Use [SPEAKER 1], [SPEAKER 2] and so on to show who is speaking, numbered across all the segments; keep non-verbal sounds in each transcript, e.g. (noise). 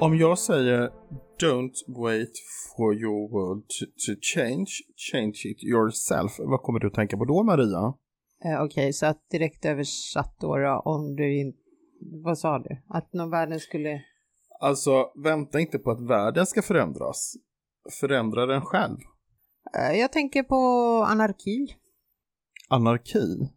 [SPEAKER 1] om jag säger Don't wait for your world to, to change, change it yourself. Vad kommer du att tänka på då Maria?
[SPEAKER 2] Eh, Okej, så att direkt översatt då, då om du inte... Vad sa du? Att någon världen skulle...
[SPEAKER 1] Alltså, vänta inte på att världen ska förändras. Förändra den själv.
[SPEAKER 2] Eh, jag tänker på anarki.
[SPEAKER 1] Anarki.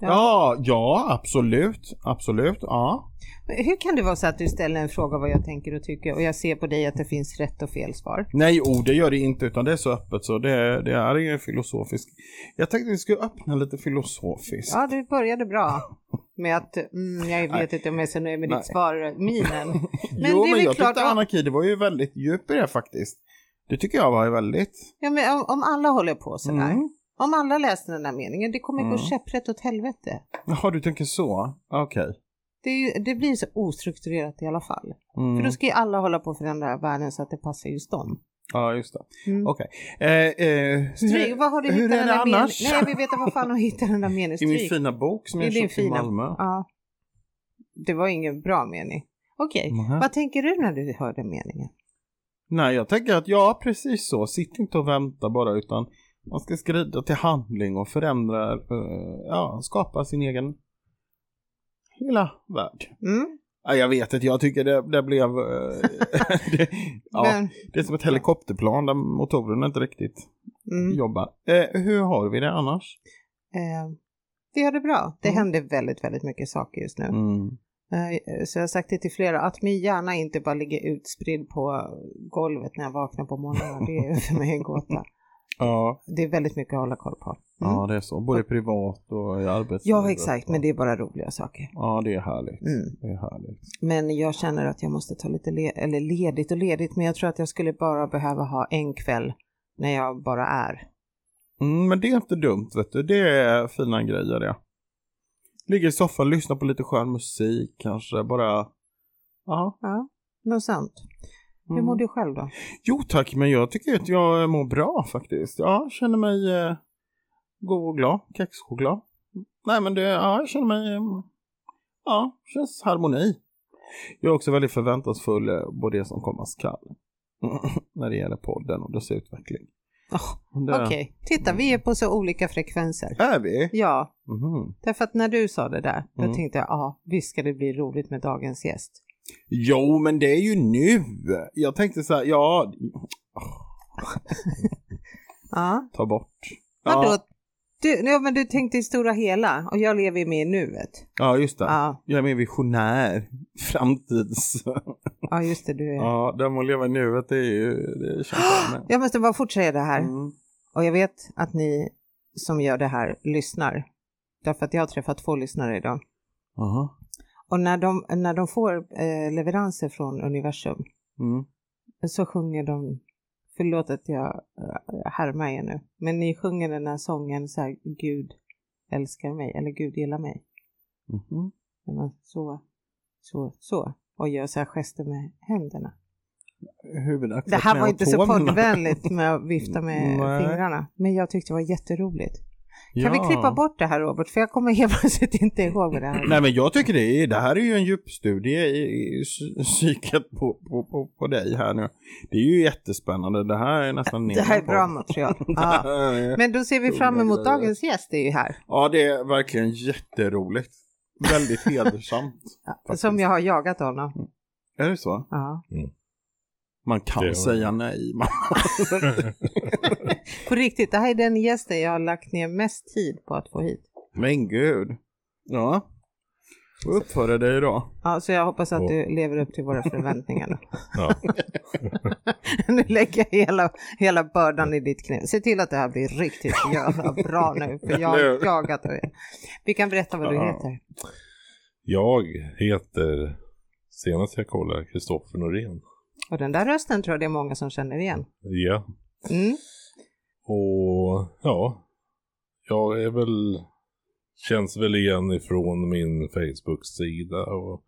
[SPEAKER 2] Ja.
[SPEAKER 1] Ja, ja, absolut. Absolut, ja.
[SPEAKER 2] Men Hur kan det vara så att du ställer en fråga vad jag tänker och tycker och jag ser på dig att det finns rätt och fel svar?
[SPEAKER 1] Nej, oh, det gör det inte, utan det är så öppet så det, det är ju filosofiskt. Jag tänkte vi skulle öppna lite filosofiskt.
[SPEAKER 2] Ja, du började bra med att mm, jag vet inte om jag är så nöjd med
[SPEAKER 1] Nej.
[SPEAKER 2] ditt svar, minen.
[SPEAKER 1] (laughs)
[SPEAKER 2] Men
[SPEAKER 1] jo,
[SPEAKER 2] det är
[SPEAKER 1] men
[SPEAKER 2] väl
[SPEAKER 1] jag
[SPEAKER 2] klart
[SPEAKER 1] tyckte
[SPEAKER 2] att-
[SPEAKER 1] anarki, det var ju väldigt djup i det faktiskt. Det tycker jag var ju väldigt.
[SPEAKER 2] Ja, men om, om alla håller på sådär,
[SPEAKER 1] Mm.
[SPEAKER 2] om alla läser den här meningen, det kommer gå käpprätt åt helvete.
[SPEAKER 1] Jaha, du tänker så? Okej.
[SPEAKER 2] Det, är ju, det blir så ostrukturerat i alla fall.
[SPEAKER 1] Mm.
[SPEAKER 2] För då ska ju alla hålla på att förändra världen så att det passar just dem.
[SPEAKER 1] Ja, just det.
[SPEAKER 2] Mm.
[SPEAKER 1] Okej. Eh, eh,
[SPEAKER 2] Stryk, vad har du hittat
[SPEAKER 1] hur är
[SPEAKER 2] den
[SPEAKER 1] det
[SPEAKER 2] där meningen?
[SPEAKER 1] annars?
[SPEAKER 2] Nej, jag vill veta vad fan har hittat den där meningen.
[SPEAKER 1] I min
[SPEAKER 2] Stryk.
[SPEAKER 1] fina bok som
[SPEAKER 2] I
[SPEAKER 1] jag
[SPEAKER 2] din
[SPEAKER 1] köpte i
[SPEAKER 2] fina-
[SPEAKER 1] Malmö.
[SPEAKER 2] Ja. Det var ingen bra mening. Okej,
[SPEAKER 1] Nähä.
[SPEAKER 2] vad tänker du när du hör den meningen?
[SPEAKER 1] Nej, jag tänker att ja, precis så. Sitt inte och vänta bara, utan man ska skrida till handling och förändra, eh, ja, skapa sin egen lilla värld.
[SPEAKER 2] Mm?
[SPEAKER 1] Ja, jag vet inte, jag tycker det, det blev... eh, (laughs) det, ja,
[SPEAKER 2] Men,
[SPEAKER 1] det är som ett helikopterplan där motorerna inte riktigt
[SPEAKER 2] mm,
[SPEAKER 1] jobbar. Eh, hur har vi det annars?
[SPEAKER 2] eh, det gör det bra. Det
[SPEAKER 1] Mm.
[SPEAKER 2] händer väldigt, väldigt mycket saker just nu.
[SPEAKER 1] Mm.
[SPEAKER 2] Eh, Så jag har sagt det till flera, att min hjärna inte bara ligger utspridd på golvet när jag vaknar på morgonen. Det är (laughs) för mig en gåta.
[SPEAKER 1] Ja,
[SPEAKER 2] Det är väldigt mycket att hålla koll på. Mm.
[SPEAKER 1] ja, det är så. Både privat och i arbetslivet.
[SPEAKER 2] Ja, exakt, men det är bara roliga saker.
[SPEAKER 1] Ja, det är härligt.
[SPEAKER 2] Mm.
[SPEAKER 1] Det är härligt.
[SPEAKER 2] Men jag känner att jag måste ta lite le- eller ledigt och ledigt, men jag tror att jag skulle bara behöva ha en kväll när jag bara är.
[SPEAKER 1] Mm, men det är inte dumt, vet du. Det är fina grejer det. Ligger i soffan, lyssnar på lite skön musik kanske, bara... Ja.
[SPEAKER 2] Ja, något sånt. Hur
[SPEAKER 1] Mm.
[SPEAKER 2] mår du själv då?
[SPEAKER 1] Jo tack, men jag tycker att jag mår bra faktiskt. Ja, känner mig eh, god och glad. Kexchoklad. Nej, men det, ja, jag känner mig... eh, Ja, känns harmoni. Jag är också väldigt förväntansfull eh, på det som komma skall. (laughs) När det gäller podden och dess utveckling.
[SPEAKER 2] Oh,
[SPEAKER 1] Det
[SPEAKER 2] Okej, titta vi är på så olika frekvenser.
[SPEAKER 1] Är vi?
[SPEAKER 2] Ja,
[SPEAKER 1] Mhm.
[SPEAKER 2] Därför att när du sa det där, då
[SPEAKER 1] Mm.
[SPEAKER 2] tänkte jag, ja, visst ska det bli roligt med dagens gäst.
[SPEAKER 1] Jo, men det är ju nu. Jag tänkte så här, ja,
[SPEAKER 2] Ja,
[SPEAKER 1] ta bort.
[SPEAKER 2] vadå?
[SPEAKER 1] Ja,
[SPEAKER 2] Du, ja, men du tänkte i stora hela och jag lever ju med i nuet.
[SPEAKER 1] ja just det.
[SPEAKER 2] Ja,
[SPEAKER 1] Jag är mer visionär. Framtids...
[SPEAKER 2] ja just det, du är. Ja.
[SPEAKER 1] Ja, den må leva i nuet, det är ju... Det känns bra med.
[SPEAKER 2] Jag måste bara fortsätta det (gasps) här
[SPEAKER 1] Mm.
[SPEAKER 2] och jag vet att ni som gör det här lyssnar. Därför att jag har träffat två lyssnare idag.
[SPEAKER 1] Aha.
[SPEAKER 2] Och när de, när de får eh, leveranser från universum
[SPEAKER 1] Mm.
[SPEAKER 2] så sjunger de, förlåt att jag eh, härmar er nu, men ni sjunger den här sången så här, Gud älskar mig eller Gud gillar mig.
[SPEAKER 1] Mhm.
[SPEAKER 2] När man så, så, så och gör så här gester med händerna.
[SPEAKER 1] Huvudaxeln
[SPEAKER 2] Det här var
[SPEAKER 1] och
[SPEAKER 2] inte så
[SPEAKER 1] tårna.
[SPEAKER 2] poddvänligt med att vifta med
[SPEAKER 1] Nej.
[SPEAKER 2] fingrarna, men jag tyckte det var jätteroligt. Kan
[SPEAKER 1] Ja.
[SPEAKER 2] vi klippa bort det här Robert? För jag kommer (laughs) helt plötsligt inte ihåg vad det här
[SPEAKER 1] Nej men jag tycker det, är, det här är ju en djupstudie i, i psy- psyket på, på, på, på dig här nu. Det är ju jättespännande, det här är nästan
[SPEAKER 2] Det här är
[SPEAKER 1] min podd.
[SPEAKER 2] bra material. Mm. (laughs) Ja. Men då ser vi fram emot dagens gäst, det är ju här.
[SPEAKER 1] (laughs) Ja, det är verkligen jätteroligt. Väldigt
[SPEAKER 2] (laughs)
[SPEAKER 1] hedersamt. Faktiskt.
[SPEAKER 2] Som jag har jagat honom.
[SPEAKER 1] Är det så?
[SPEAKER 2] Ja.
[SPEAKER 1] Man kan
[SPEAKER 3] Det har-
[SPEAKER 1] säga nej. Man...
[SPEAKER 2] På riktigt, det här är den gästen jag har lagt ner mest tid på att få hit.
[SPEAKER 1] Men gud. Ja. Och uppföra dig idag.
[SPEAKER 2] Ja, så jag hoppas att
[SPEAKER 3] Och-
[SPEAKER 2] du lever upp till våra förväntningar nu.
[SPEAKER 3] Ja.
[SPEAKER 2] (laughs) Nu lägger jag hela, hela bördan i ditt knä. Se till att det här blir riktigt jävla bra nu, för jag
[SPEAKER 1] Eller
[SPEAKER 2] har
[SPEAKER 1] hur?
[SPEAKER 2] jagat dig. Vi kan berätta vad du
[SPEAKER 3] Ja.
[SPEAKER 2] heter.
[SPEAKER 3] Jag heter, senast jag kollade, Kristoffer Norén.
[SPEAKER 2] Och den där rösten tror jag det är många som känner igen.
[SPEAKER 3] Ja.
[SPEAKER 2] Mm.
[SPEAKER 3] Och ja, jag är väl, känns väl igen ifrån min Facebook-sida och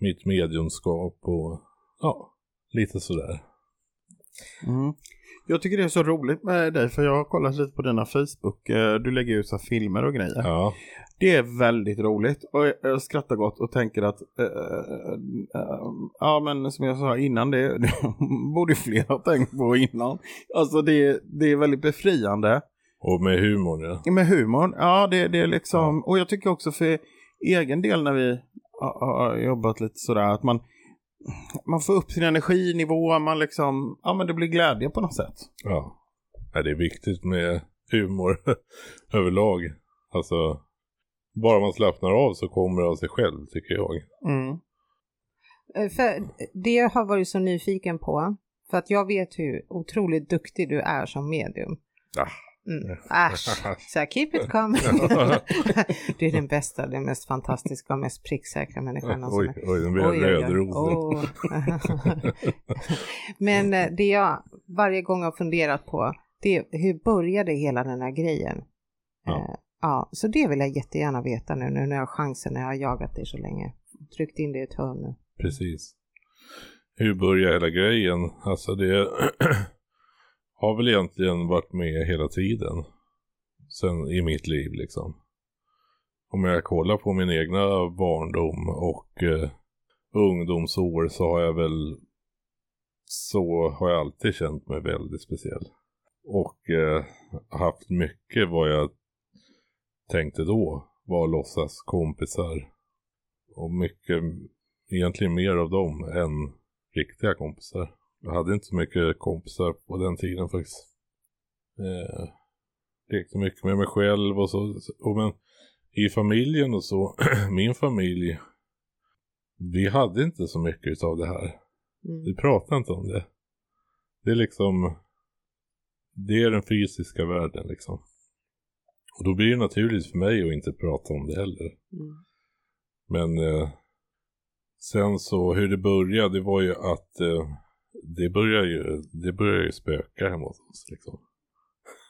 [SPEAKER 3] mitt mediumskap och ja, lite sådär.
[SPEAKER 1] Mm. Jag tycker det är så roligt med dig för jag har kollat lite på dina Facebook. Eh, Du lägger ut så här filmer och grejer.
[SPEAKER 3] Ja.
[SPEAKER 1] Det är väldigt roligt och jag- jag skrattar gott och tänker att eh, eh, eh, ja men som jag sa innan det, (laughs) det borde ju fler ha tänkt på innan. Alltså det, det är väldigt befriande.
[SPEAKER 3] Och med humorn ja.
[SPEAKER 1] Med humorn, ja det, det är liksom, och jag tycker också för egen del när vi har- har jobbat lite sådär att man, man får upp sin energinivå, man liksom, ja men det blir glädje på något sätt.
[SPEAKER 3] Ja. ja. Det är viktigt med humor (laughs) överlag. Alltså, bara man slappnar av så kommer det av sig själv tycker jag.
[SPEAKER 1] Mm.
[SPEAKER 2] Eh, För det jag har varit så nyfiken på, för att jag vet hur otroligt duktig du är som medium.
[SPEAKER 3] Ah. (laughs)
[SPEAKER 2] Mm. Äsch, så här, keep it calm. du är den bästa, den mest fantastiska och mest pricksäkra människan någonsin.
[SPEAKER 3] Oj, oj, den blev rödrosen.
[SPEAKER 2] Åh. (laughs) Men eh, det jag varje gång har funderat på, det är hur började hela den här grejen?
[SPEAKER 3] Ja.
[SPEAKER 2] Eh, ja, så det vill jag jättegärna veta nu, nu när jag har chansen, när jag har jagat dig så länge. Tryckt in det i ett hörn nu.
[SPEAKER 3] Precis. Hur börjar hela grejen? Alltså det (clears throat) har väl egentligen varit med hela tiden. Sen i mitt liv liksom. Om jag kollar på min egna barndom och eh, ungdomsår så har jag väl så har jag alltid känt mig väldigt speciell. Och eh, haft mycket vad jag tänkte då var låtsas kompisar. Och mycket egentligen mer av dem än riktiga kompisar. Jag hade inte så mycket kompisar på den tiden faktiskt. Eh, lekte mycket med mig själv och så. Och men i familjen och så, (clears throat) min familj, vi hade inte så mycket av det här. Vi
[SPEAKER 2] Mm.
[SPEAKER 3] pratade inte om det. Det är liksom, det är den fysiska världen liksom. Och då blir det naturligt för mig att inte prata om det heller.
[SPEAKER 2] Mm.
[SPEAKER 3] Men eh, sen så hur det började det var ju att eh, det började ju, det började ju spöka hemma hos oss. Liksom.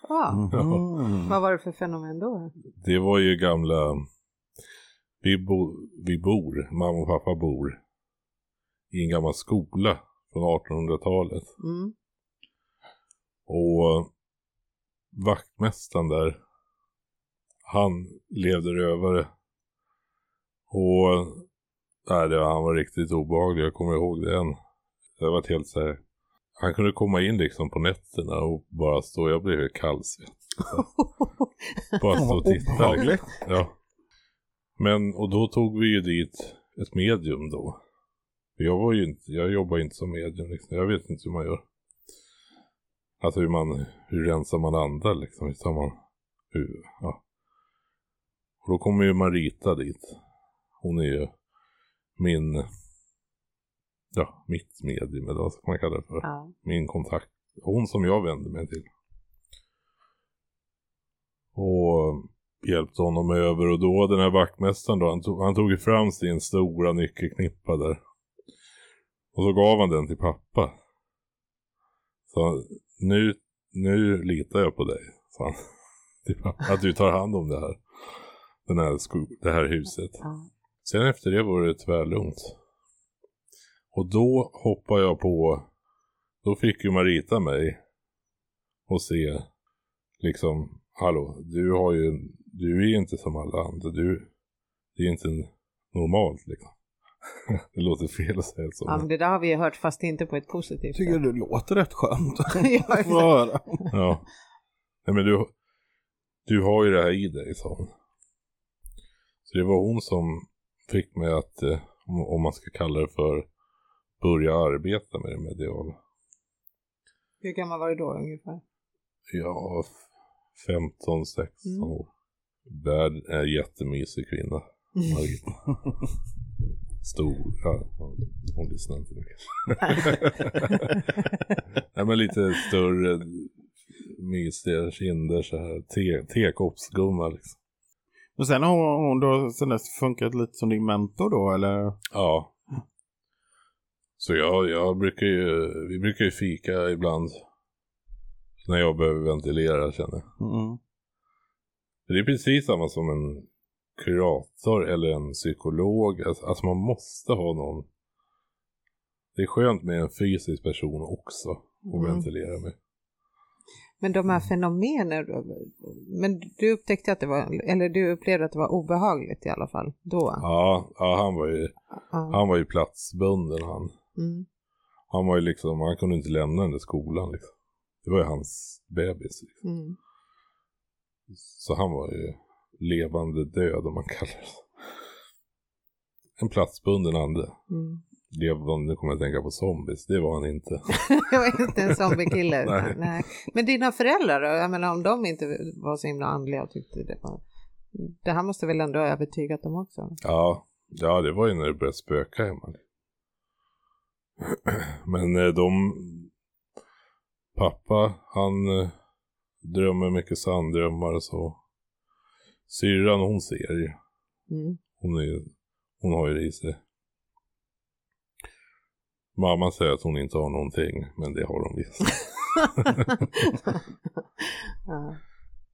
[SPEAKER 2] Ja,
[SPEAKER 3] Mm.
[SPEAKER 1] Mhm.
[SPEAKER 2] vad var det för fenomen då?
[SPEAKER 3] Det var ju gamla, vi, bo, vi bor, mamma och pappa bor i en gammal skola från 1800-talet.
[SPEAKER 2] Mm.
[SPEAKER 3] Och eh, vaktmästaren där, han levde rövare. Och nej, det var, han var riktigt obehaglig, jag kommer ihåg det än. Jag var helt så här. Han kunde komma in liksom på nätterna och bara stå, jag blev helt kallsvettig. Bara stå och titta. Liksom.
[SPEAKER 1] Obehagligt.
[SPEAKER 3] Ja. Men, och då tog vi ju dit ett medium då. Jag var ju inte, jag jobbar ju inte som medium liksom. Jag vet inte hur man gör. Alltså hur man, hur rensar man andar liksom. Hur tar man, hur, ja. Och då kommer ju Marita dit. Hon är ju min, ja, mitt medium eller vad ska man kalla det för
[SPEAKER 2] Ja.
[SPEAKER 3] min kontakt. Hon som jag vände mig till. Och hjälpte honom över och då den här vaktmästaren då, han tog, han tog ju fram sin stora nyckelknippa där. Och så gav han den till pappa. Så han, nu, nu litar jag på dig, sa han. (laughs) Till pappa, att du tar hand om det här. Den här sko, det här huset.
[SPEAKER 2] Ja.
[SPEAKER 3] Sen efter det var det tvärlugnt. Och då hoppade jag på, då fick ju Marita mig och se liksom, hallå, du har ju, du är inte som alla andra, du, det är inte normalt liksom. (laughs) det låter fel att säga så.
[SPEAKER 2] ja, men det där har vi ju hört fast inte på ett positivt
[SPEAKER 1] Jag tycker
[SPEAKER 2] sätt.
[SPEAKER 1] det låter rätt skönt
[SPEAKER 2] (laughs) Ja,
[SPEAKER 1] att få höra.
[SPEAKER 3] Ja. Nej men du, du har ju det här i dig, sa hon. Så det var hon som fick mig att, eh, om- om man ska kalla det för, börja arbeta med det mediala.
[SPEAKER 2] Hur gammal var du då ungefär?
[SPEAKER 3] Ja, f- 15, 16
[SPEAKER 2] Mm.
[SPEAKER 3] år. Värd är jättemysig kvinna, Margit. Stor, ja, hon lyssnar inte nu kanske. Nej men lite större, mysiga kinder så här, te, tekoppsgumma liksom.
[SPEAKER 1] Men sen har hon då sen dess funkat lite som din mentor då eller?
[SPEAKER 3] Ja. Så jag, jag brukar ju, vi brukar ju fika ibland. När jag behöver ventilera känner jag.
[SPEAKER 1] Mm.
[SPEAKER 3] Det är precis samma som en kurator eller en psykolog. Alltså, alltså man måste ha någon. Det är skönt med en fysisk person också. och
[SPEAKER 2] Mm.
[SPEAKER 3] ventilera mig.
[SPEAKER 2] Men de här fenomenen, men du upptäckte att det var, eller du upplevde att det var obehagligt i alla fall då?
[SPEAKER 3] Ja, ja han, var ju,
[SPEAKER 2] Ja.
[SPEAKER 3] han var ju platsbunden han.
[SPEAKER 2] Mm.
[SPEAKER 3] Han var ju liksom, han kunde inte lämna den där skolan liksom. Det var ju hans bebis. Liksom.
[SPEAKER 2] Mm.
[SPEAKER 3] Så han var ju levande död om man kallar det. så. En platsbunden ande.
[SPEAKER 2] Mm. (laughs)
[SPEAKER 3] Levande, nu kommer jag att tänka på zombies. Det var han inte.
[SPEAKER 2] Jag var inte en zombiekille. utan-
[SPEAKER 3] Nej.
[SPEAKER 2] nej. Men dina föräldrar då? Jag menar om de inte var så himla andliga och tyckte det var... Det här måste väl ändå ha övertygat dem också?
[SPEAKER 3] Ja, ja det var ju när det började spöka hemma. (clears throat) Men eh, de... Pappa, han eh, drömmer mycket sanddrömmar och så. Syrran, hon ser ju.
[SPEAKER 2] Mm.
[SPEAKER 3] Hon, är, ju- hon har ju det i sig. Mamma säger att hon inte har någonting, men det har hon visst.
[SPEAKER 2] (laughs) ja.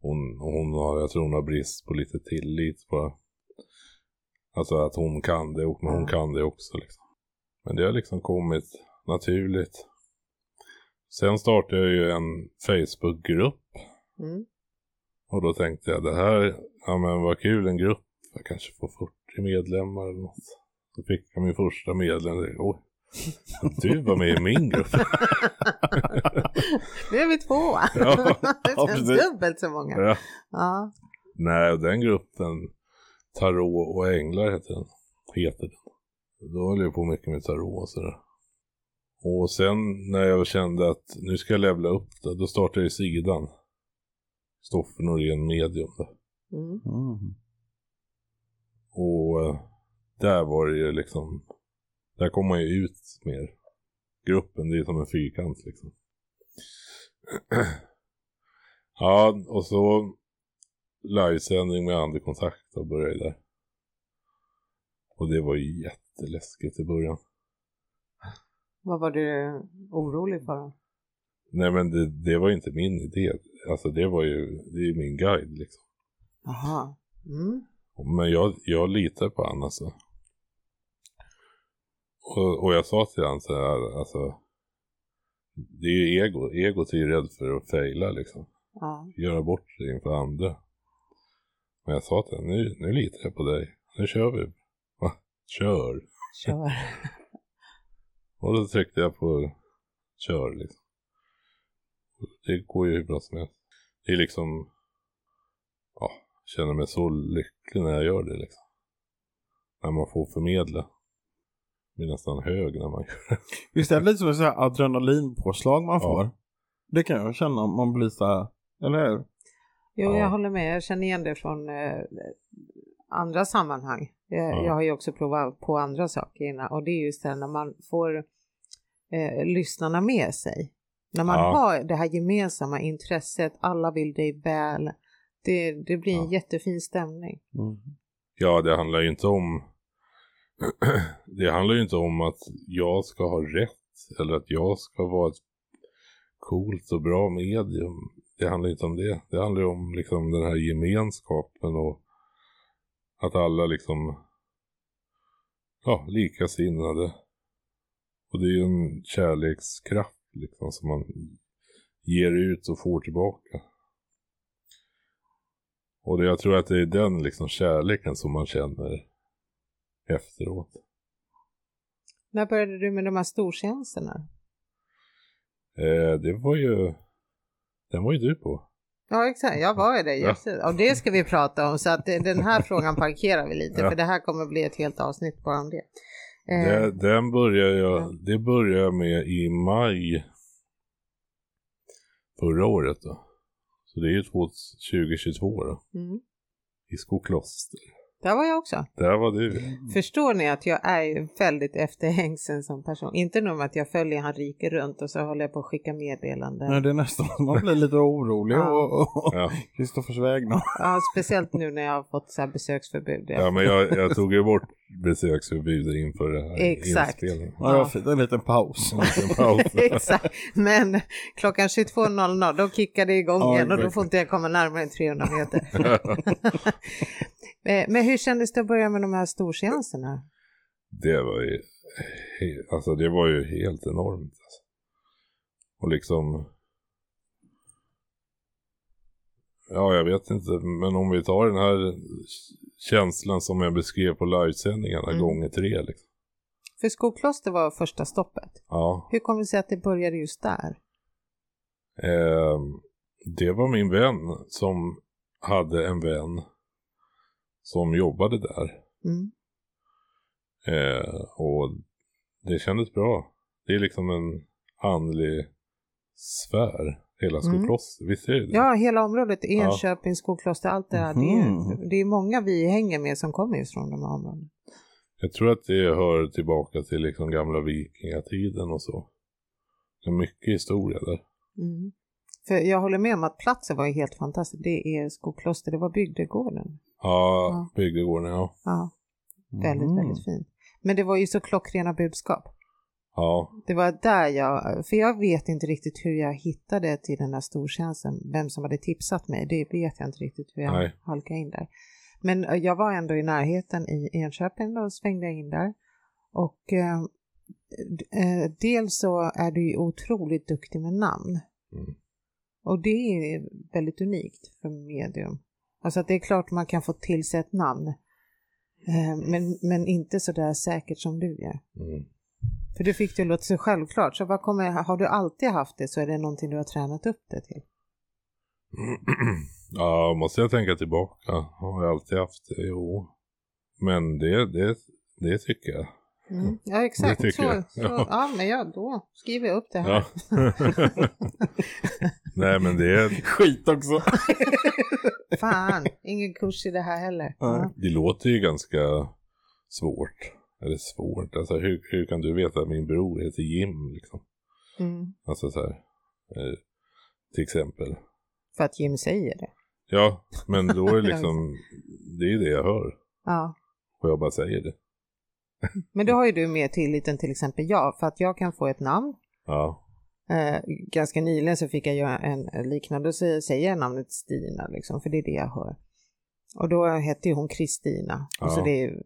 [SPEAKER 3] Hon, hon har, jag tror hon har brist på lite tillit bara. Alltså att hon kan det, och- men hon
[SPEAKER 2] Ja.
[SPEAKER 3] kan det också liksom. Men det har liksom kommit naturligt. Sen startade jag ju en Facebookgrupp.
[SPEAKER 2] Mm.
[SPEAKER 3] Och då tänkte jag det här, ja men vad kul en grupp. Jag kanske får 40 medlemmar eller något. Då fick jag min första medlem. Oj, du var med i min grupp. (laughs)
[SPEAKER 2] Nu är vi två!
[SPEAKER 3] Ja,
[SPEAKER 2] (laughs) det
[SPEAKER 3] ja,
[SPEAKER 2] känns
[SPEAKER 3] precis.
[SPEAKER 2] dubbelt så många.
[SPEAKER 3] Ja.
[SPEAKER 2] Ja.
[SPEAKER 3] Nej, den gruppen Tarot och Änglar heter den. Heter den. Då höll jag på mycket med tarot och sådär. Och sen när jag kände att nu ska jag levla upp det, då startade jag ju sidan. Stoffe Norén Medium där.
[SPEAKER 2] Mm.
[SPEAKER 1] Mm.
[SPEAKER 3] Och eh, där var det ju liksom, där kom man ju ut mer. Gruppen, det är som en fyrkant liksom. (clears throat) ja, och så livesändning med andekontakt och började där. Och det var ju jätteläskigt i början.
[SPEAKER 2] Vad var du orolig för? då?
[SPEAKER 3] Nej men det, det var ju inte min idé. Alltså det var ju, det är ju min guide liksom.
[SPEAKER 2] Jaha. Mm.
[SPEAKER 3] Men jag, jag litar på han alltså. Och, och jag sa till han så här, alltså. Det är ju ego. Egot är ju rädd för att fejla liksom.
[SPEAKER 2] Ja.
[SPEAKER 3] Göra bort sig inför andra. Men jag sa till honom, nu, nu litar jag på dig. Nu kör vi. (laughs) Va? Kör.
[SPEAKER 2] Kör.
[SPEAKER 3] Och då tryckte jag på kör liksom. Det går ju hur bra som helst. Det är liksom, ja, känner mig så lycklig när jag gör det liksom. När man får förmedla. Jag blir nästan hög när man gör
[SPEAKER 1] Visst är det lite som ett så här adrenalinpåslag man
[SPEAKER 3] Ja.
[SPEAKER 1] får? Det kan jag känna om man blir så här, eller hur?
[SPEAKER 2] Jo,
[SPEAKER 3] Ja.
[SPEAKER 2] jag håller med. Jag känner igen det från eh, andra sammanhang. Jag,
[SPEAKER 3] Ja.
[SPEAKER 2] jag har ju också provat på andra saker innan och det är just det när man får eh, lyssnarna med sig. När man
[SPEAKER 3] Ja.
[SPEAKER 2] har det här gemensamma intresset, alla vill dig väl, det, det blir en
[SPEAKER 3] Ja.
[SPEAKER 2] jättefin stämning.
[SPEAKER 3] Mm. Ja, det handlar ju inte om... (clears throat) det handlar ju inte om att jag ska ha rätt eller att jag ska vara ett coolt och bra medium. Det handlar ju inte om det. Det handlar ju om liksom den här gemenskapen och att alla liksom... Ja, likasinnade. Och det är ju en kärlekskraft liksom som man ger ut och får tillbaka. Och det, jag tror att det är den liksom kärleken som man känner efteråt.
[SPEAKER 2] När började du med de här stortjänsterna?
[SPEAKER 3] Eh, det var ju... Den var ju du på.
[SPEAKER 2] Ja exakt, jag var ju det.
[SPEAKER 3] Ja.
[SPEAKER 2] Just det. Och det ska vi prata om så att eh, den
[SPEAKER 3] (laughs)
[SPEAKER 2] här frågan parkerar vi lite
[SPEAKER 3] Ja.
[SPEAKER 2] för det här kommer bli ett helt avsnitt bara om det. Eh,
[SPEAKER 3] Det, den började
[SPEAKER 2] Ja.
[SPEAKER 3] jag, det började jag med i maj förra året då. Så det är ju 2022 då.
[SPEAKER 2] Mm.
[SPEAKER 3] I Skokloster.
[SPEAKER 2] Där var jag också.
[SPEAKER 3] Där var du.
[SPEAKER 2] Mm, Förstår ni att jag är ju väldigt efterhängsen som person? Inte nog med att jag följer han riker runt och så håller jag på att skicka meddelanden.
[SPEAKER 3] Mm.
[SPEAKER 1] Nej, det är nästan att man blir lite orolig
[SPEAKER 2] Ja.
[SPEAKER 1] och, och, och
[SPEAKER 3] Ja,
[SPEAKER 1] Kristoffers väg nu.
[SPEAKER 2] Ja, speciellt nu när jag har fått så här besöksförbud.
[SPEAKER 3] ja men jag, jag tog ju bort besöksförbudet inför det här
[SPEAKER 2] Exakt.
[SPEAKER 3] inspelningen.
[SPEAKER 1] Ja, jag fick en liten paus.
[SPEAKER 2] Mm.
[SPEAKER 3] En liten
[SPEAKER 2] (laughs)
[SPEAKER 3] paus.
[SPEAKER 2] Exakt. Men klockan 22.00 då kickar det igång
[SPEAKER 1] Ja,
[SPEAKER 2] igen och då
[SPEAKER 1] exakt.
[SPEAKER 2] får inte jag komma närmare än 300 meter.
[SPEAKER 1] (laughs)
[SPEAKER 2] (laughs) Eh, Men hur kändes det att börja med de här storseanserna?
[SPEAKER 3] Det var ju, he- alltså det var ju helt enormt. Alltså. Och liksom... Ja, jag vet inte. Men om vi tar den här känslan som jag beskrev på livesändningarna
[SPEAKER 2] Mm.
[SPEAKER 3] gånger tre. Liksom.
[SPEAKER 2] För Skokloster var första stoppet.
[SPEAKER 3] Ja.
[SPEAKER 2] Hur kommer det sig att det började just där?
[SPEAKER 3] Ehm, det var min vän som hade en vän som jobbade där.
[SPEAKER 2] Mm.
[SPEAKER 3] Eh, och det kändes bra. Det är liksom en andlig sfär. Hela
[SPEAKER 2] Mm.
[SPEAKER 3] Skokloster. Visst är det det?
[SPEAKER 2] Ja, hela området, Enköping, Skokloster, allt det där. Det,
[SPEAKER 1] Mhm.
[SPEAKER 2] är, det är många vi hänger med som kommer just från de här områdena.
[SPEAKER 3] Jag tror att det hör tillbaka till liksom gamla vikingatiden och så. Det är mycket historia där.
[SPEAKER 2] Mm. För jag håller med om att platsen var ju helt fantastisk. Det är Skokloster, det var bygdegården.
[SPEAKER 3] Ja,
[SPEAKER 2] Ja.
[SPEAKER 3] bygdegården ja.
[SPEAKER 2] Ja, väldigt,
[SPEAKER 1] Mm.
[SPEAKER 2] väldigt fint. Men det var ju så klockrena budskap.
[SPEAKER 3] Ja,
[SPEAKER 2] Det var där jag, för jag vet inte riktigt hur jag hittade till den här stortjänsten, vem som hade tipsat mig, det vet jag inte riktigt hur jag
[SPEAKER 3] Nej.
[SPEAKER 2] halkade in där. Men eh, jag var ändå i närheten i Enköping och svängde jag in där. Och eh, d- eh, dels så är du ju otroligt duktig med namn.
[SPEAKER 3] Mm.
[SPEAKER 2] Och det är väldigt unikt för medium. Alltså att det är klart man kan få till sig ett namn. Eh, men, men inte så där säkert som du gör.
[SPEAKER 3] mm. (clears throat)
[SPEAKER 2] För du fick det att låta så självklart. Så vad kommer, har du alltid haft det så är det någonting du har tränat upp det till.
[SPEAKER 3] ja måste jag tänka tillbaka. Har jag alltid haft det? Jo. Men det, det, det tycker jag.
[SPEAKER 2] Mm. Ja exakt.
[SPEAKER 3] Det tycker
[SPEAKER 2] så,
[SPEAKER 3] jag.
[SPEAKER 2] Så,
[SPEAKER 3] Ja.
[SPEAKER 2] ja. men ja, då skriver jag upp det här. (laughs)
[SPEAKER 3] Ja. (laughs) Nej men det,
[SPEAKER 1] Skit också.
[SPEAKER 2] Fan, ingen kurs i det här heller. Ja.
[SPEAKER 3] det låter ju ganska svårt. Eller svårt, alltså hur, hur kan du veta att min bror heter Jim liksom?
[SPEAKER 2] Mm.
[SPEAKER 3] Alltså så här. Eh, till exempel.
[SPEAKER 2] För att Jim säger det.
[SPEAKER 3] Ja, men då
[SPEAKER 2] (laughs)
[SPEAKER 3] är det liksom, det är det jag hör.
[SPEAKER 2] Ja.
[SPEAKER 3] Och jag bara säger det.
[SPEAKER 2] Men då har ju du mer tilliten till exempel jag, för att jag kan få ett namn.
[SPEAKER 3] Ja,
[SPEAKER 2] Eh, ganska nyligen så fick jag göra en liknande, och så säger jag namnet Stina, liksom, för det är det jag hör. Och då hette ju hon Kristina, och så
[SPEAKER 3] Ja.
[SPEAKER 2] det är ju-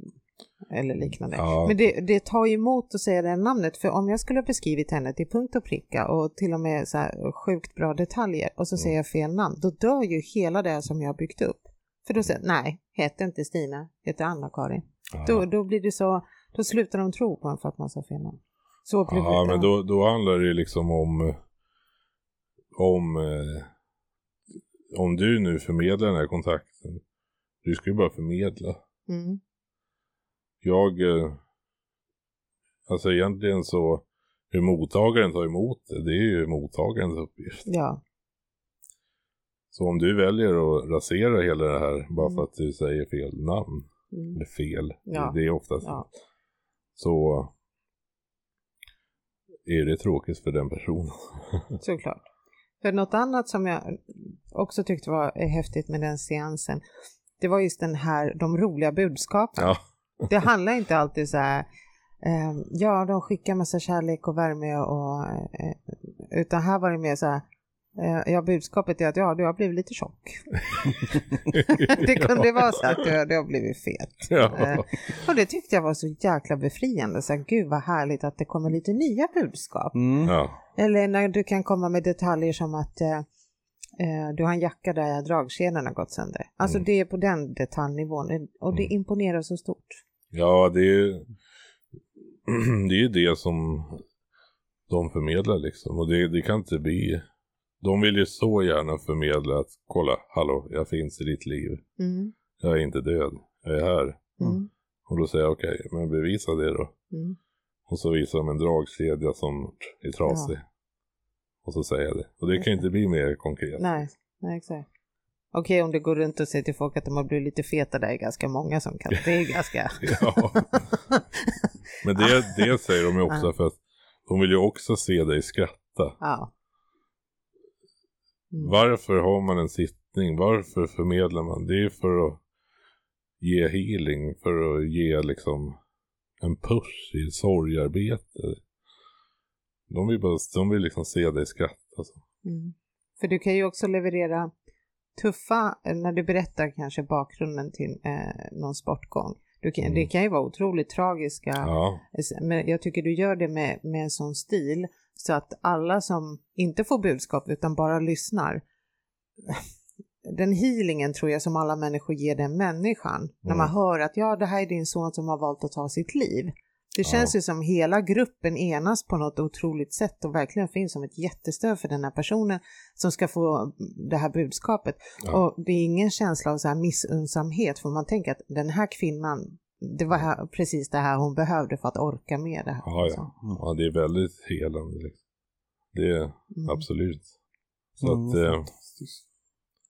[SPEAKER 2] eller liknande.
[SPEAKER 3] Ja.
[SPEAKER 2] Men det, det tar ju emot att säga det namnet, för om jag skulle ha beskrivit henne till punkt och pricka och till och med så här sjukt bra detaljer och så säger jag fel namn, då dör ju hela det som jag har byggt upp. För då säger jag, nej, heter inte Stina, heter Anna-Karin.
[SPEAKER 3] ja.
[SPEAKER 2] Då, då blir det så, då slutar de tro på en för att man sa fel namn. Så blir
[SPEAKER 3] ja
[SPEAKER 2] det.
[SPEAKER 3] men då, då handlar det ju liksom om, om, eh, om du nu förmedlar den här kontakten. Du ska ju bara förmedla.
[SPEAKER 2] Mm.
[SPEAKER 3] jag, eh, alltså egentligen så, hur mottagaren tar emot det, det är ju mottagarens uppgift.
[SPEAKER 2] Ja,
[SPEAKER 3] Så om du väljer att rasera hela det här bara
[SPEAKER 2] Mm.
[SPEAKER 3] för att du säger fel namn,
[SPEAKER 2] mm.
[SPEAKER 3] eller fel,
[SPEAKER 2] Ja.
[SPEAKER 3] det är oftast
[SPEAKER 2] Ja.
[SPEAKER 3] så är det tråkigt för den personen. (laughs) Mm.
[SPEAKER 2] Såklart. För något annat som jag också tyckte var eh, häftigt med den seansen, det var just den här, de roliga budskapen.
[SPEAKER 3] Ja,
[SPEAKER 2] Det handlar inte alltid så här, eh, ja de skickar massa kärlek och värme och, eh, utan här var det mer så här, eh, ja budskapet är att ja du har blivit lite
[SPEAKER 3] (laughs)
[SPEAKER 2] tjock. (laughs) det kunde vara så att du, du har blivit fet. Eh,
[SPEAKER 3] ja.
[SPEAKER 2] och det tyckte jag var så jäkla befriande, så här, gud vad härligt att det kommer lite nya budskap.
[SPEAKER 1] Mm.
[SPEAKER 3] ja.
[SPEAKER 2] Eller när du kan komma med detaljer som att eh, eh, du har en jacka där dragkedjan har gått sönder. Alltså
[SPEAKER 3] Mm.
[SPEAKER 2] det är på den detaljnivån och det
[SPEAKER 3] Mm.
[SPEAKER 2] imponerar så stort.
[SPEAKER 3] Ja, det är ju (clears throat) det, är ju det som de förmedlar liksom. Och det, det kan inte bli... De vill ju så gärna förmedla att kolla, hallå, jag finns i ditt liv.
[SPEAKER 2] Mm.
[SPEAKER 3] Jag är inte död, jag är här.
[SPEAKER 2] Mm.
[SPEAKER 3] Och då säger jag okej, men bevisa det då.
[SPEAKER 2] Mm.
[SPEAKER 3] Och så visar de en dragkedja som är trasig. Och så säger jag det. Och det kan ju inte bli mer konkret.
[SPEAKER 2] Nej, nej exakt. Okej om det går runt och säger till folk att de har blivit lite feta, det är ganska många som kan. Det är
[SPEAKER 3] (laughs)
[SPEAKER 2] ganska...
[SPEAKER 3] (laughs) Ja. Men det, det säger de ju också för att de vill ju också se dig skratta.
[SPEAKER 2] ja. Mm.
[SPEAKER 3] Varför har man en sittning? Varför förmedlar man? Det är för att ge healing, för att ge liksom en push i sorgarbete. De vill, bara, de vill liksom se dig skratta. Alltså.
[SPEAKER 2] Mm. För du kan ju också leverera tuffa, eh, när du berättar kanske bakgrunden till eh, någon sportgång. Du kan,
[SPEAKER 3] Mm.
[SPEAKER 2] Det kan ju vara otroligt tragiska
[SPEAKER 3] Ja.
[SPEAKER 2] Men jag tycker du gör det med, med en sån stil Så att alla som inte får budskap utan bara lyssnar, (laughs) den healingen tror jag som alla människor ger den människan, när man
[SPEAKER 3] Mm.
[SPEAKER 2] hör att ja, det här är din son som har valt att ta sitt liv. Det
[SPEAKER 3] Ja.
[SPEAKER 2] känns ju som hela gruppen enas på något otroligt sätt och verkligen finns som ett jättestöd för den här personen som ska få det här budskapet.
[SPEAKER 3] Ja.
[SPEAKER 2] Och det är ingen känsla av så här missunnsamhet för man tänker att den här kvinnan, det var här, precis det här hon behövde för att orka med det här. liksom.
[SPEAKER 3] Ja, ja. ja, det är väldigt helande. Liksom. Det är
[SPEAKER 2] Mm.
[SPEAKER 3] absolut. Så
[SPEAKER 1] Mm,
[SPEAKER 3] att, eh,
[SPEAKER 1] fantastiskt.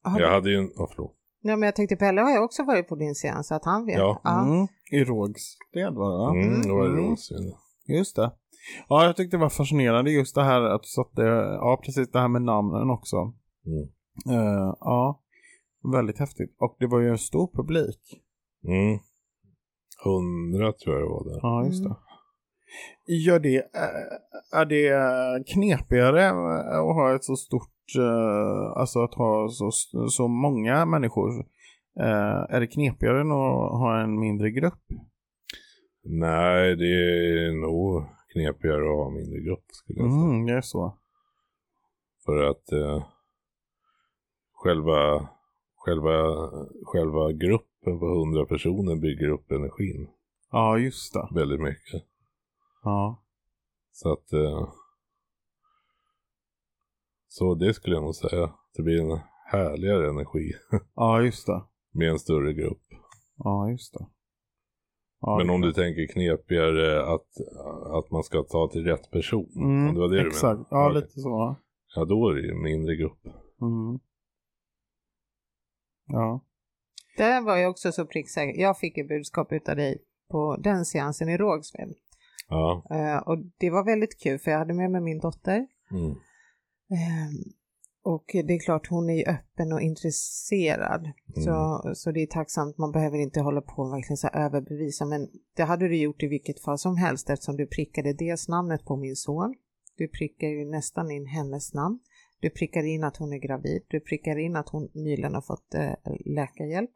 [SPEAKER 2] Har du-
[SPEAKER 3] jag hade ju en, oh, förlåt.
[SPEAKER 2] Nej, men jag tänkte Pelle har ju också varit på din seans så att han vet.
[SPEAKER 3] Ja.
[SPEAKER 1] Mm, I Rågsved var det va?
[SPEAKER 3] Mm, det var
[SPEAKER 1] Mm.
[SPEAKER 3] roligt.
[SPEAKER 1] Just det. Ja, jag tyckte det var fascinerande just det här att du satte, ja precis det här med namnen också.
[SPEAKER 3] Mm.
[SPEAKER 1] Eh, ja, väldigt häftigt. Och det var ju en stor publik.
[SPEAKER 3] Mm. Hundra tror jag det var där.
[SPEAKER 1] Ja, just det.
[SPEAKER 2] Mm.
[SPEAKER 1] Gör det, eh, är det knepigare eh, att ha ett så stort, eh, alltså att ha så, så många människor? Eh, Är det knepigare än att ha en mindre grupp?
[SPEAKER 3] Nej, det är nog knepigare att ha mindre grupp skulle jag säga.
[SPEAKER 1] Mm, det är så.
[SPEAKER 3] För att eh, själva, själva, själva gruppen på hundra personer bygger upp energin
[SPEAKER 1] Ja, just det.
[SPEAKER 3] väldigt mycket.
[SPEAKER 1] Ja.
[SPEAKER 3] Så att... Eh, så det skulle jag nog säga. Det blir en härligare energi
[SPEAKER 1] ja, just det.
[SPEAKER 3] med en större grupp.
[SPEAKER 1] Ja, just det. Ja,
[SPEAKER 3] Men
[SPEAKER 1] det-
[SPEAKER 3] om du tänker knepigare att, att man ska ta till rätt person.
[SPEAKER 1] Mm,
[SPEAKER 3] om det var det du
[SPEAKER 1] Exakt,
[SPEAKER 3] menade.
[SPEAKER 1] ja
[SPEAKER 3] Okej.
[SPEAKER 1] lite så. va?
[SPEAKER 3] Ja, då är det ju en mindre grupp.
[SPEAKER 1] Mm. Ja.
[SPEAKER 2] Där var jag också så pricksäker. Jag fick ett budskap utav dig på den seansen i Rågsved.
[SPEAKER 3] Ja.
[SPEAKER 2] Eh, och det var väldigt kul för jag hade med mig min dotter.
[SPEAKER 3] Mm.
[SPEAKER 2] Ehm, och det är klart hon är ju öppen och intresserad. Så,
[SPEAKER 1] Mm.
[SPEAKER 2] så det är tacksamt, man behöver inte hålla på och verkligen så här överbevisa. Men det hade du gjort i vilket fall som helst eftersom du prickade dels namnet på min son. Du prickar ju nästan in hennes namn. Du prickar in att hon är gravid. Du prickar in att hon nyligen har fått eh, läkarhjälp.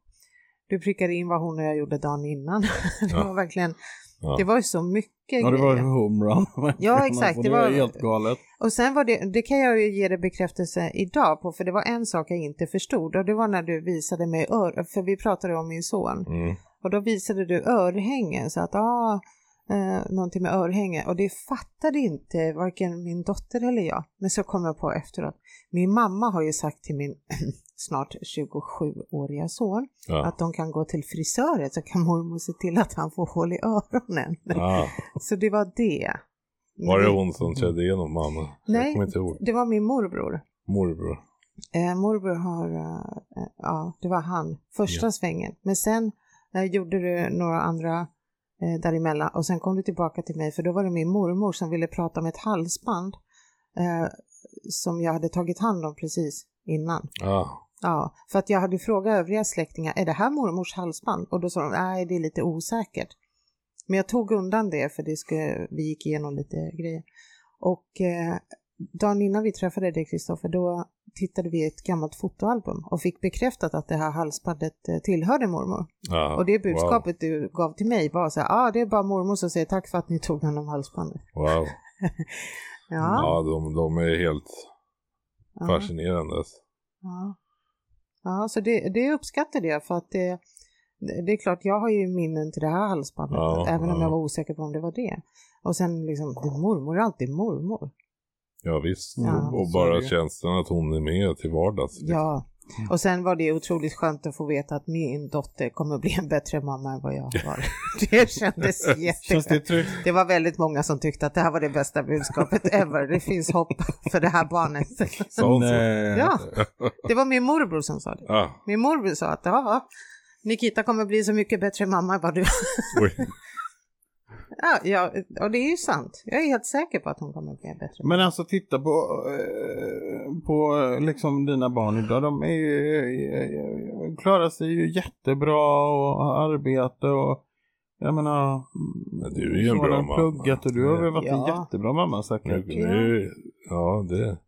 [SPEAKER 2] Du prickar in vad hon och jag gjorde dagen innan. (laughs) det
[SPEAKER 3] Ja.
[SPEAKER 2] var verkligen,
[SPEAKER 3] Ja.
[SPEAKER 2] det var ju så mycket
[SPEAKER 1] ja, det var ju
[SPEAKER 2] grejer.
[SPEAKER 1] homerun. Alltså,
[SPEAKER 2] Ja, exakt,
[SPEAKER 1] Det
[SPEAKER 2] det
[SPEAKER 1] var
[SPEAKER 2] var-
[SPEAKER 1] helt galet.
[SPEAKER 2] Och sen var det, det kan jag ju ge dig bekräftelse idag på, för det var en sak jag inte förstod och det var när du visade mig ör, för vi pratade om min
[SPEAKER 1] (laughs)
[SPEAKER 2] son,
[SPEAKER 3] Mm.
[SPEAKER 2] och då visade du örhängen så att ah, eh, någonting med örhänge och det fattade inte varken min dotter eller jag. Men så kom jag på efteråt, min mamma har ju sagt till min (clears throat) snart 27-åriga son
[SPEAKER 3] Ja.
[SPEAKER 2] att de kan gå till frisören så kan mormor se till att han får hål i öronen.
[SPEAKER 3] Ah.
[SPEAKER 2] Så det var det.
[SPEAKER 3] Var det hon som körde igenom mamma? Jag
[SPEAKER 2] Nej.
[SPEAKER 3] kommer inte ihåg.
[SPEAKER 2] Det var min morbror.
[SPEAKER 3] Morbror.
[SPEAKER 2] Eh, morbror har, eh, eh, ja det var han, första
[SPEAKER 3] Ja.
[SPEAKER 2] svängen. Men sen eh, gjorde du några andra eh, däremellan och sen kom du tillbaka till mig för då var det min mormor som ville prata om ett halsband eh, som jag hade tagit hand om precis innan.
[SPEAKER 3] Ja.
[SPEAKER 2] Ja, för att jag hade frågat övriga släktingar, är det här mormors halsband? Och då sa de, nej det är lite osäkert. Men jag tog undan det för det skulle, vi gick igenom lite grejer. Och eh, dagen innan vi träffade dig Kristoffer, då tittade vi i ett gammalt fotoalbum och fick bekräftat att det här halsbandet eh, tillhörde mormor.
[SPEAKER 3] ja.
[SPEAKER 2] och det budskapet du gav till mig var så här, ja ah, det är bara mormor som säger tack för att ni tog hand om halsbandet.
[SPEAKER 3] Wow. wow.
[SPEAKER 2] Ja,
[SPEAKER 3] Ja, de, de är helt
[SPEAKER 2] ja,
[SPEAKER 3] fascinerande.
[SPEAKER 2] ja. ja så det, det uppskattade jag för att det, det är klart jag har ju minnen till det här halsbandet,
[SPEAKER 3] Ja,
[SPEAKER 2] även om
[SPEAKER 3] ja.
[SPEAKER 2] jag var osäker på om det var det. Och sen liksom, det är mormor är alltid mormor.
[SPEAKER 3] Ja, visst.
[SPEAKER 2] Ja.
[SPEAKER 3] Och
[SPEAKER 1] Så är
[SPEAKER 3] bara
[SPEAKER 1] det.
[SPEAKER 3] känslan att hon är med till vardags.
[SPEAKER 2] Ja, och sen var det otroligt skönt att få veta att min dotter kommer bli en bättre mamma än vad jag var. (laughs) Det
[SPEAKER 3] (laughs)
[SPEAKER 2] kändes
[SPEAKER 1] Känns det
[SPEAKER 2] jätteskönt.
[SPEAKER 1] tryggt?
[SPEAKER 2] Det var väldigt många som tyckte att det här var det bästa budskapet ever. Det finns hopp för det här barnet.
[SPEAKER 3] (laughs) Sa hon så?
[SPEAKER 1] Nej.
[SPEAKER 2] Ja, det var min morbror som sa det.
[SPEAKER 3] Ah,
[SPEAKER 2] Min morbror sa att ja, Nikita kommer bli så mycket bättre mamma än vad du
[SPEAKER 3] oj.
[SPEAKER 2] ja, ja, och det är ju sant. Jag är helt säker på att hon kommer bli en bättre mamma.
[SPEAKER 1] Men alltså titta på, eh, på eh, liksom dina barn idag. De är ju, eh, klarar sig ju jättebra och har arbete och jag menar.
[SPEAKER 3] Men du är ju en
[SPEAKER 1] så har
[SPEAKER 3] bra
[SPEAKER 1] de
[SPEAKER 3] mamma.
[SPEAKER 1] pluggat och du har väl varit en
[SPEAKER 2] Ja.
[SPEAKER 1] jättebra mamma
[SPEAKER 3] Nu,
[SPEAKER 1] säkert.
[SPEAKER 3] nu, ja, det.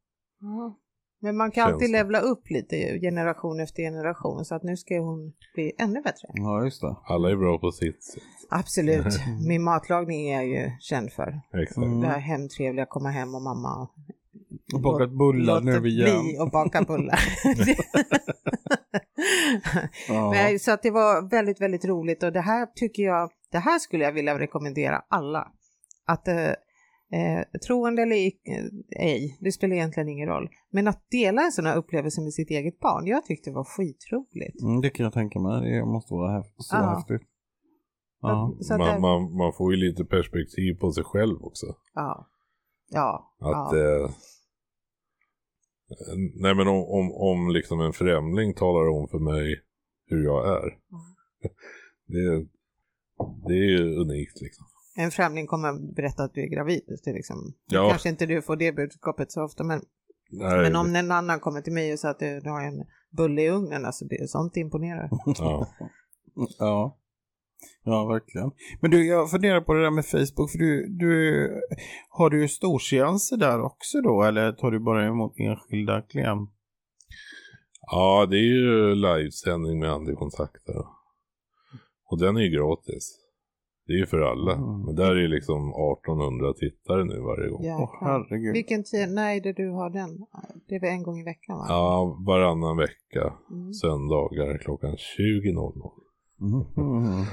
[SPEAKER 2] Ja. Men man kan alltid
[SPEAKER 3] Känsla.
[SPEAKER 2] levla upp lite ju, generation efter generation så att nu ska ju hon bli ännu bättre.
[SPEAKER 1] Ja, just det.
[SPEAKER 3] Alla är bra på sitt sätt.
[SPEAKER 2] Absolut, (laughs) min matlagning är jag ju känd för.
[SPEAKER 3] Exakt.
[SPEAKER 1] Mm.
[SPEAKER 2] Det här hemtrevliga, komma hem och mamma och
[SPEAKER 1] Och bakat bullar
[SPEAKER 2] låter
[SPEAKER 1] nu igen.
[SPEAKER 2] bli och baka
[SPEAKER 1] (laughs)
[SPEAKER 2] bullar. (laughs)
[SPEAKER 1] Ja.
[SPEAKER 2] Nej, så att det var väldigt, väldigt roligt och det här tycker jag, det här skulle jag vilja rekommendera alla. Att eh, eh, troende eller ic- eh, ej, det spelar egentligen ingen roll. Men att dela en sån här upplevelse med sitt eget barn, jag tyckte det var skitroligt.
[SPEAKER 1] Mm, det kan jag tänka mig. Det måste vara häf- så
[SPEAKER 2] Ja.
[SPEAKER 1] häftigt. Ja.
[SPEAKER 2] Så att det-
[SPEAKER 3] man, man, man får ju lite perspektiv på sig själv också.
[SPEAKER 2] Ja. Ja. ja.
[SPEAKER 3] Att, eh, nej men om, om, om liksom en främling talar om för mig hur jag är. (laughs) Det, det är ju unikt liksom.
[SPEAKER 2] En främling kommer att berätta att du är gravid. Till liksom.
[SPEAKER 3] Ja.
[SPEAKER 2] Kanske inte du får det budskapet så ofta, men,
[SPEAKER 3] Nej,
[SPEAKER 2] men om en annan kommer till mig och säger att du, du har en bulle i ugnen, alltså det, sånt imponerar.
[SPEAKER 3] ja.
[SPEAKER 1] (laughs) Ja. Ja, verkligen. Men du, jag funderar på det där med Facebook. För du, du, har du storseanser där också då? Eller tar du bara emot enskilda klienter?
[SPEAKER 3] ja, det är ju livesändning med andekontakt där. Och den är ju gratis. Det är ju för alla.
[SPEAKER 1] Mm.
[SPEAKER 3] Men där är ju liksom 1800 tittare nu varje gång.
[SPEAKER 1] Åh,
[SPEAKER 2] Jäklar.
[SPEAKER 1] herregud.
[SPEAKER 2] Vilken tid? Nej, det du har den. Det är väl en gång i veckan va?
[SPEAKER 3] Ja, varannan vecka.
[SPEAKER 2] Mm.
[SPEAKER 3] Söndagar klockan 20.00.
[SPEAKER 1] Mhm. Men hur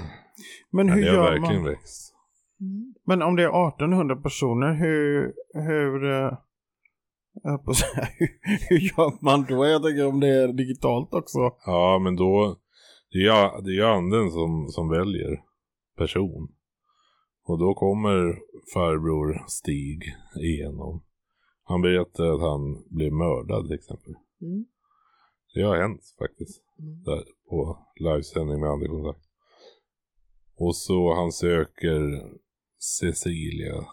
[SPEAKER 3] Men det har
[SPEAKER 1] gör
[SPEAKER 3] verkligen
[SPEAKER 1] man?
[SPEAKER 3] växt.
[SPEAKER 2] Mm.
[SPEAKER 1] Men om det är 1800 personer, hur, hur, eh, jag höll på att säga, (laughs) hur, hur gör man då? Jag tänker om det är digitalt också.
[SPEAKER 3] Ja, men då... Det är ju- det är ju anden som, som väljer person. Och då kommer farbror Stig igenom. Han berättar att han blev mördad till exempel.
[SPEAKER 2] Mm.
[SPEAKER 3] Det har hänt faktiskt.
[SPEAKER 2] Mm.
[SPEAKER 3] Där på livesändning med andekontakt. Och så han söker Cecilia.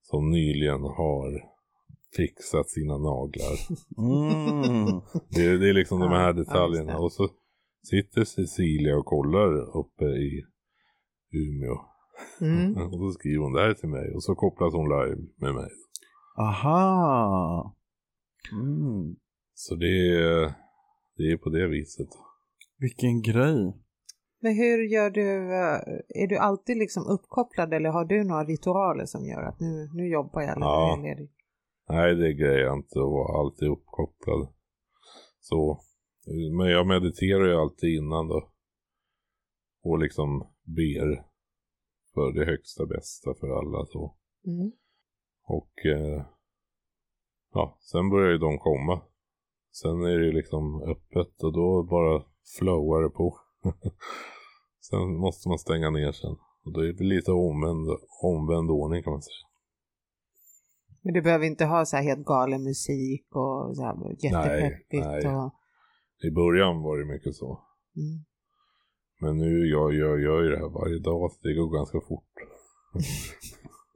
[SPEAKER 3] Som nyligen har fixat sina naglar.
[SPEAKER 1] Mm.
[SPEAKER 3] Det, det är liksom de
[SPEAKER 2] Ja,
[SPEAKER 3] här
[SPEAKER 2] ja, just
[SPEAKER 3] detaljerna.
[SPEAKER 2] det.
[SPEAKER 3] Och så sitter Cecilia och kollar uppe i Umeå.
[SPEAKER 2] Mm.
[SPEAKER 3] (laughs) Och så skriver hon det här till mig. Och så kopplas hon live med mig.
[SPEAKER 1] Aha. Mm.
[SPEAKER 3] Så det är, det är på det viset.
[SPEAKER 1] Vilken grej.
[SPEAKER 2] Men hur gör du? eh, Är du alltid liksom uppkopplad eller har du några ritualer som gör att nu, nu jobbar jag eller
[SPEAKER 3] Ja.
[SPEAKER 2] nu är jag ledig?
[SPEAKER 3] Nej, det grejer jag inte att vara alltid uppkopplad. Så. Men jag mediterar ju alltid innan då. Och liksom ber för det högsta bästa för alla så.
[SPEAKER 2] Mm.
[SPEAKER 3] Och eh, ja, sen börjar ju de komma. Sen är det ju liksom öppet och då bara flowar det på. (laughs) sen måste man stänga ner sen. Och då är det lite omvänd, omvänd ordning kan man säga.
[SPEAKER 2] Men du behöver inte ha så här helt galen musik och så här jättepeppigt
[SPEAKER 3] nej.
[SPEAKER 2] och...
[SPEAKER 3] I början var det mycket så.
[SPEAKER 2] Mm.
[SPEAKER 3] Men nu jag gör jag gör ju det här varje dag så det går ganska fort.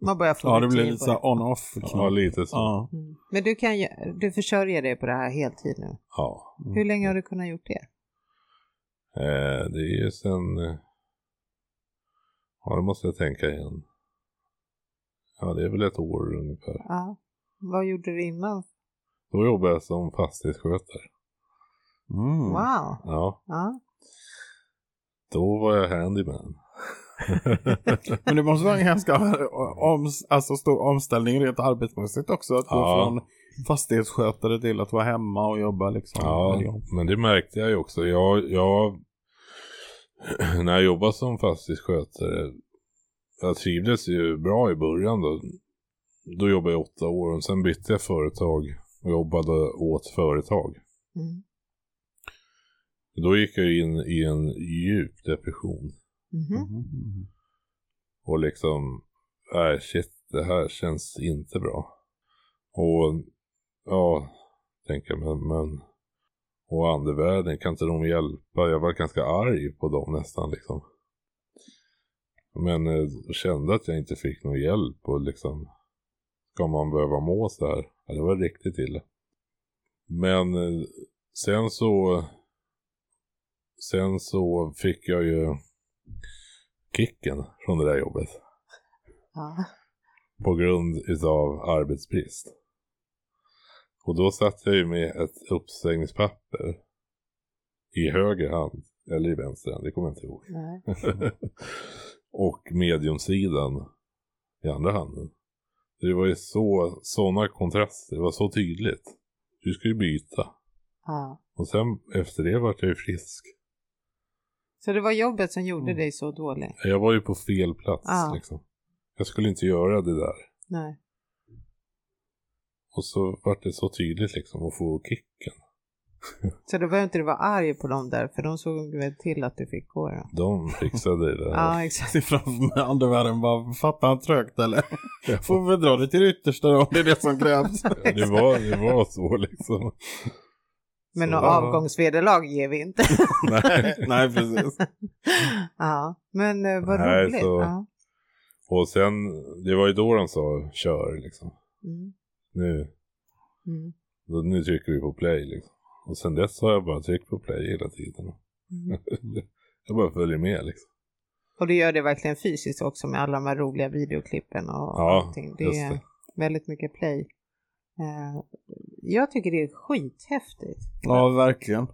[SPEAKER 2] Man börjar få
[SPEAKER 1] Ja, det
[SPEAKER 2] rutin
[SPEAKER 1] blir
[SPEAKER 2] på
[SPEAKER 1] lite så här on-off. liksom.
[SPEAKER 3] Ja, lite så.
[SPEAKER 1] Ja.
[SPEAKER 2] Mm. Men du, kan, ju- du försörjer dig på det här heltid
[SPEAKER 1] Mm.
[SPEAKER 2] nu.
[SPEAKER 3] Ja.
[SPEAKER 2] Hur länge har du kunnat gjort det?
[SPEAKER 3] Eh, det är ju sen... eh, Ja, det måste jag tänka igen. Ja, det är väl ett år ungefär.
[SPEAKER 2] Ja. Vad gjorde du innan?
[SPEAKER 3] Då jobbade jag som fastighetsskötare.
[SPEAKER 1] Mm.
[SPEAKER 2] Wow!
[SPEAKER 3] Ja,
[SPEAKER 2] Ja.
[SPEAKER 3] då var jag handyman.
[SPEAKER 1] Men det måste vara en ganska om, alltså stor omställning rent arbetsmässigt också. Att gå
[SPEAKER 3] Ja.
[SPEAKER 1] från fastighetsskötare till att vara hemma och jobba liksom.
[SPEAKER 3] Ja, men det märkte jag ju också. Jag, jag, (clears throat) när jag jobbade som fastighetsskötare, jag trivdes ju bra i början då. Då jobbade jag åtta år och sen bytte jag företag och jobbade åt företag.
[SPEAKER 2] Mm.
[SPEAKER 3] Då gick jag in i en djup depression Mm.
[SPEAKER 2] Mhm.
[SPEAKER 1] Mhm.
[SPEAKER 3] och liksom, nej shit, det här känns inte bra. Och ja, tänker jag, men, men och andevärlden, kan inte de hjälpa? Jag var ganska arg på dem nästan liksom. Men eh, kände att jag inte fick någon hjälp och liksom, ska man behöva må så här? Ja, det var riktigt illa. Men eh, sen så, sen så fick jag ju kicken från det där jobbet
[SPEAKER 2] Ja.
[SPEAKER 3] på grund utav arbetsbrist. Och då satt jag ju med ett uppsägningspapper i höger hand, eller i vänster hand, det kommer jag inte ihåg.
[SPEAKER 2] Nej.
[SPEAKER 3] och mediumsidan i andra handen. Det var ju så, sådana kontraster, det var så tydligt. Du ska ju byta.
[SPEAKER 2] Ja.
[SPEAKER 3] Och sen efter det vart jag ju frisk.
[SPEAKER 2] Så det var jobbet som gjorde
[SPEAKER 3] Mm.
[SPEAKER 2] dig så dålig?
[SPEAKER 3] Jag var ju på fel plats
[SPEAKER 2] Ja.
[SPEAKER 3] liksom. Jag skulle inte göra det där.
[SPEAKER 2] Nej.
[SPEAKER 3] Och så vart det så tydligt liksom att få kicken.
[SPEAKER 2] Så det var inte du var arg på dem där, för de såg väl till att du fick gå då?
[SPEAKER 3] De fixade det där.
[SPEAKER 2] Ja, exakt.
[SPEAKER 1] (laughs) Se framför mig andevärlden bara, fattar han trögt eller?
[SPEAKER 3] (laughs)
[SPEAKER 1] Får vi dra det till det yttersta då, om det är det som krävs.
[SPEAKER 3] Det var, det var så liksom.
[SPEAKER 2] Men
[SPEAKER 3] Så-
[SPEAKER 2] något avgångsvederlag ger vi
[SPEAKER 3] (laughs)
[SPEAKER 2] inte.
[SPEAKER 3] (laughs) Nej.
[SPEAKER 1] Nej, precis.
[SPEAKER 2] ja, men eh, vad
[SPEAKER 3] Nej,
[SPEAKER 2] roligt.
[SPEAKER 3] så-
[SPEAKER 2] Ja.
[SPEAKER 3] Och sen, det var ju då de sa kör liksom.
[SPEAKER 2] Mm.
[SPEAKER 3] Nu,
[SPEAKER 2] Mm.
[SPEAKER 3] då, nu trycker vi på play liksom. Och sen dess har jag bara tryckt på play hela tiden. (laughs)
[SPEAKER 2] Mm.
[SPEAKER 3] Jag bara följer med liksom.
[SPEAKER 2] Och du gör det verkligen fysiskt också med alla de här roliga videoklippen och
[SPEAKER 3] Ja,
[SPEAKER 2] allting. Det
[SPEAKER 3] just
[SPEAKER 2] är
[SPEAKER 3] det.
[SPEAKER 2] väldigt mycket play. Eh, jag tycker det är skithäftigt.
[SPEAKER 1] Ja, verkligen.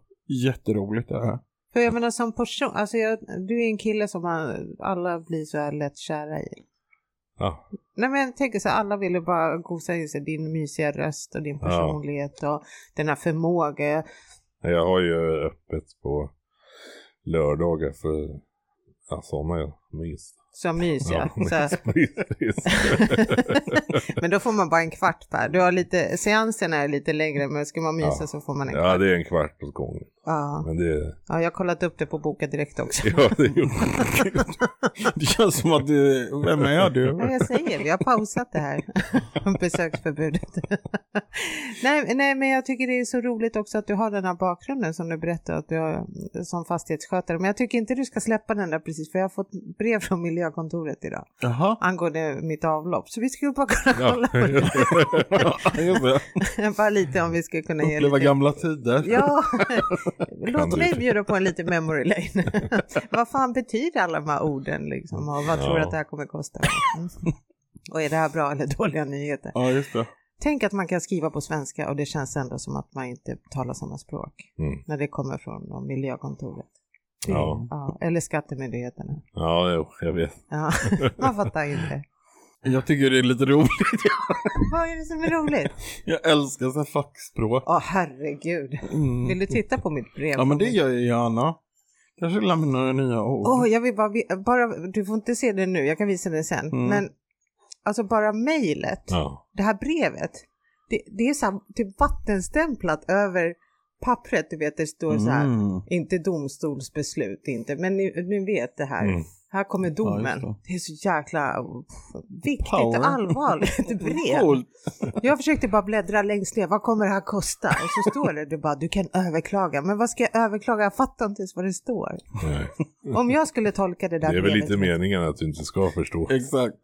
[SPEAKER 1] Jätteroligt det här. (laughs)
[SPEAKER 2] För jag menar som person, alltså jag, du är en kille som man, alla blir så här lätt kära i.
[SPEAKER 3] Ja,
[SPEAKER 2] Nej men jag tänker så här, alla ville bara gosa in sig din mysiga röst och din
[SPEAKER 3] Ja.
[SPEAKER 2] personlighet och den här förmågan.
[SPEAKER 3] jag har ju öppet på lördagar för ja, sådana (laughs) mys.
[SPEAKER 2] Så mysiga.
[SPEAKER 3] Ja,
[SPEAKER 2] så här.
[SPEAKER 3] mys, mys.
[SPEAKER 2] men då får man bara en kvart per. Du har lite, seanserna är lite längre men ska man mysa
[SPEAKER 3] Ja.
[SPEAKER 2] så får man en kvart.
[SPEAKER 3] ja, det är en kvart åt gången.
[SPEAKER 2] Ja.
[SPEAKER 3] Men det,
[SPEAKER 2] ja, jag har kollat upp det på Boka Direkt också.
[SPEAKER 3] ja, det är ju...
[SPEAKER 2] (laughs)
[SPEAKER 1] Det känns som att du, vem är
[SPEAKER 2] Ja,
[SPEAKER 1] du?
[SPEAKER 2] jag säger, vi har pausat det här (laughs) besöksförbudet. nej, nej, men jag tycker det är så roligt också att du har den här bakgrunden som du berättar att du har som fastighetsskötare. Men jag tycker inte du ska släppa den där precis, för jag har fått brev från miljökontoret idag
[SPEAKER 1] Jaha.
[SPEAKER 2] angående mitt avlopp. Så vi skulle bara kunna
[SPEAKER 3] Ja.
[SPEAKER 2] (laughs) kolla på det.
[SPEAKER 1] Just det.
[SPEAKER 2] bara lite om vi skulle kunna ge
[SPEAKER 1] Uppleva
[SPEAKER 2] lite...
[SPEAKER 1] gamla tider.
[SPEAKER 3] (laughs)
[SPEAKER 2] Ja,
[SPEAKER 3] Kan
[SPEAKER 2] låt
[SPEAKER 3] du?
[SPEAKER 2] mig bjuda på en liten memory lane. (laughs) vad fan betyder alla de här orden liksom? Och vad tror du
[SPEAKER 3] Ja.
[SPEAKER 2] att det här kommer kosta? Mm. Och är det här bra eller dåliga nyheter?
[SPEAKER 1] Ja, just det.
[SPEAKER 2] Tänk att man kan skriva på svenska och det känns ändå som att man inte talar samma språk
[SPEAKER 3] Mm.
[SPEAKER 2] när det kommer från de miljökontoret.
[SPEAKER 3] Ja.
[SPEAKER 2] Ja, eller skattemyndigheterna.
[SPEAKER 3] ja, jo, jag vet.
[SPEAKER 2] Ja, (laughs) man fattar inte.
[SPEAKER 1] Jag tycker det är lite roligt.
[SPEAKER 2] Vad är det som är roligt?
[SPEAKER 1] Jag älskar så här fackspråk.
[SPEAKER 2] Åh herregud.
[SPEAKER 1] Mm.
[SPEAKER 2] Vill du titta på mitt brev?
[SPEAKER 1] Ja, men det gör jag gärna. Kanske lär mig några nya ord.
[SPEAKER 2] Åh, jag vill bara, vi- bara, du får inte se det nu, jag kan visa det sen.
[SPEAKER 1] Mm.
[SPEAKER 2] Men alltså bara mejlet,
[SPEAKER 3] Ja,
[SPEAKER 2] det här brevet, det, det är så här, typ vattenstämplat över pappret, du vet det står så här,
[SPEAKER 1] Mm.
[SPEAKER 2] inte domstolsbeslut inte, men ni, ni vet det här.
[SPEAKER 3] Mm.
[SPEAKER 2] Här kommer domen.
[SPEAKER 1] Ja, just
[SPEAKER 2] det. är så jäkla pff, viktigt
[SPEAKER 1] Power. (laughs)
[SPEAKER 2] och allvarligt brev.
[SPEAKER 1] Coolt.
[SPEAKER 2] Jag försökte bara bläddra längst ner. Vad kommer det här kosta? Och så står det, du bara, du kan överklaga. Men vad ska jag överklaga? Jag fattar inte ens vad det står.
[SPEAKER 3] nej.
[SPEAKER 2] Om jag skulle tolka det
[SPEAKER 3] Det
[SPEAKER 2] där
[SPEAKER 3] är väl
[SPEAKER 2] brevet-
[SPEAKER 3] lite meningen att du inte ska
[SPEAKER 2] (laughs)
[SPEAKER 3] förstå.
[SPEAKER 1] Exakt.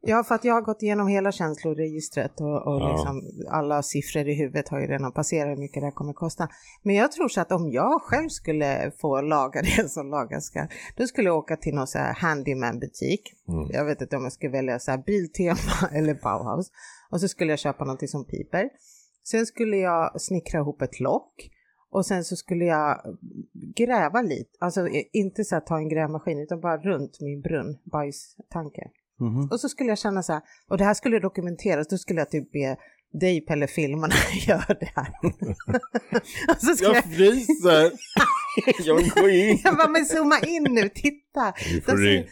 [SPEAKER 2] Ja, för att jag har gått igenom hela känsloregistret och, och
[SPEAKER 3] Ja.
[SPEAKER 2] liksom alla siffror i huvudet har ju redan passerat hur mycket det här kommer kosta. Men jag tror så att om jag själv skulle få laga (laughs) det som lagas ska, då skulle jag åka till någon så här handyman-butik.
[SPEAKER 3] Mm.
[SPEAKER 2] Jag vet inte om jag skulle välja så här Biltema (laughs) eller Bauhaus. Och så skulle jag köpa någonting som piper. Sen skulle jag snickra ihop ett lock. Och sen så skulle jag gräva lite, alltså i- inte så här ta en grävmaskin utan bara runt min brunn, bajstanke.
[SPEAKER 1] Mhm.
[SPEAKER 2] Och så skulle jag känna så här, och det här skulle dokumenteras, då skulle jag typ be dig Pelle filma när jag gör det här. (laughs) och så skulle jag,
[SPEAKER 1] Jag fryser. jag går in.
[SPEAKER 2] (laughs) jag bara, men zooma in nu, titta.
[SPEAKER 3] Du får, ring...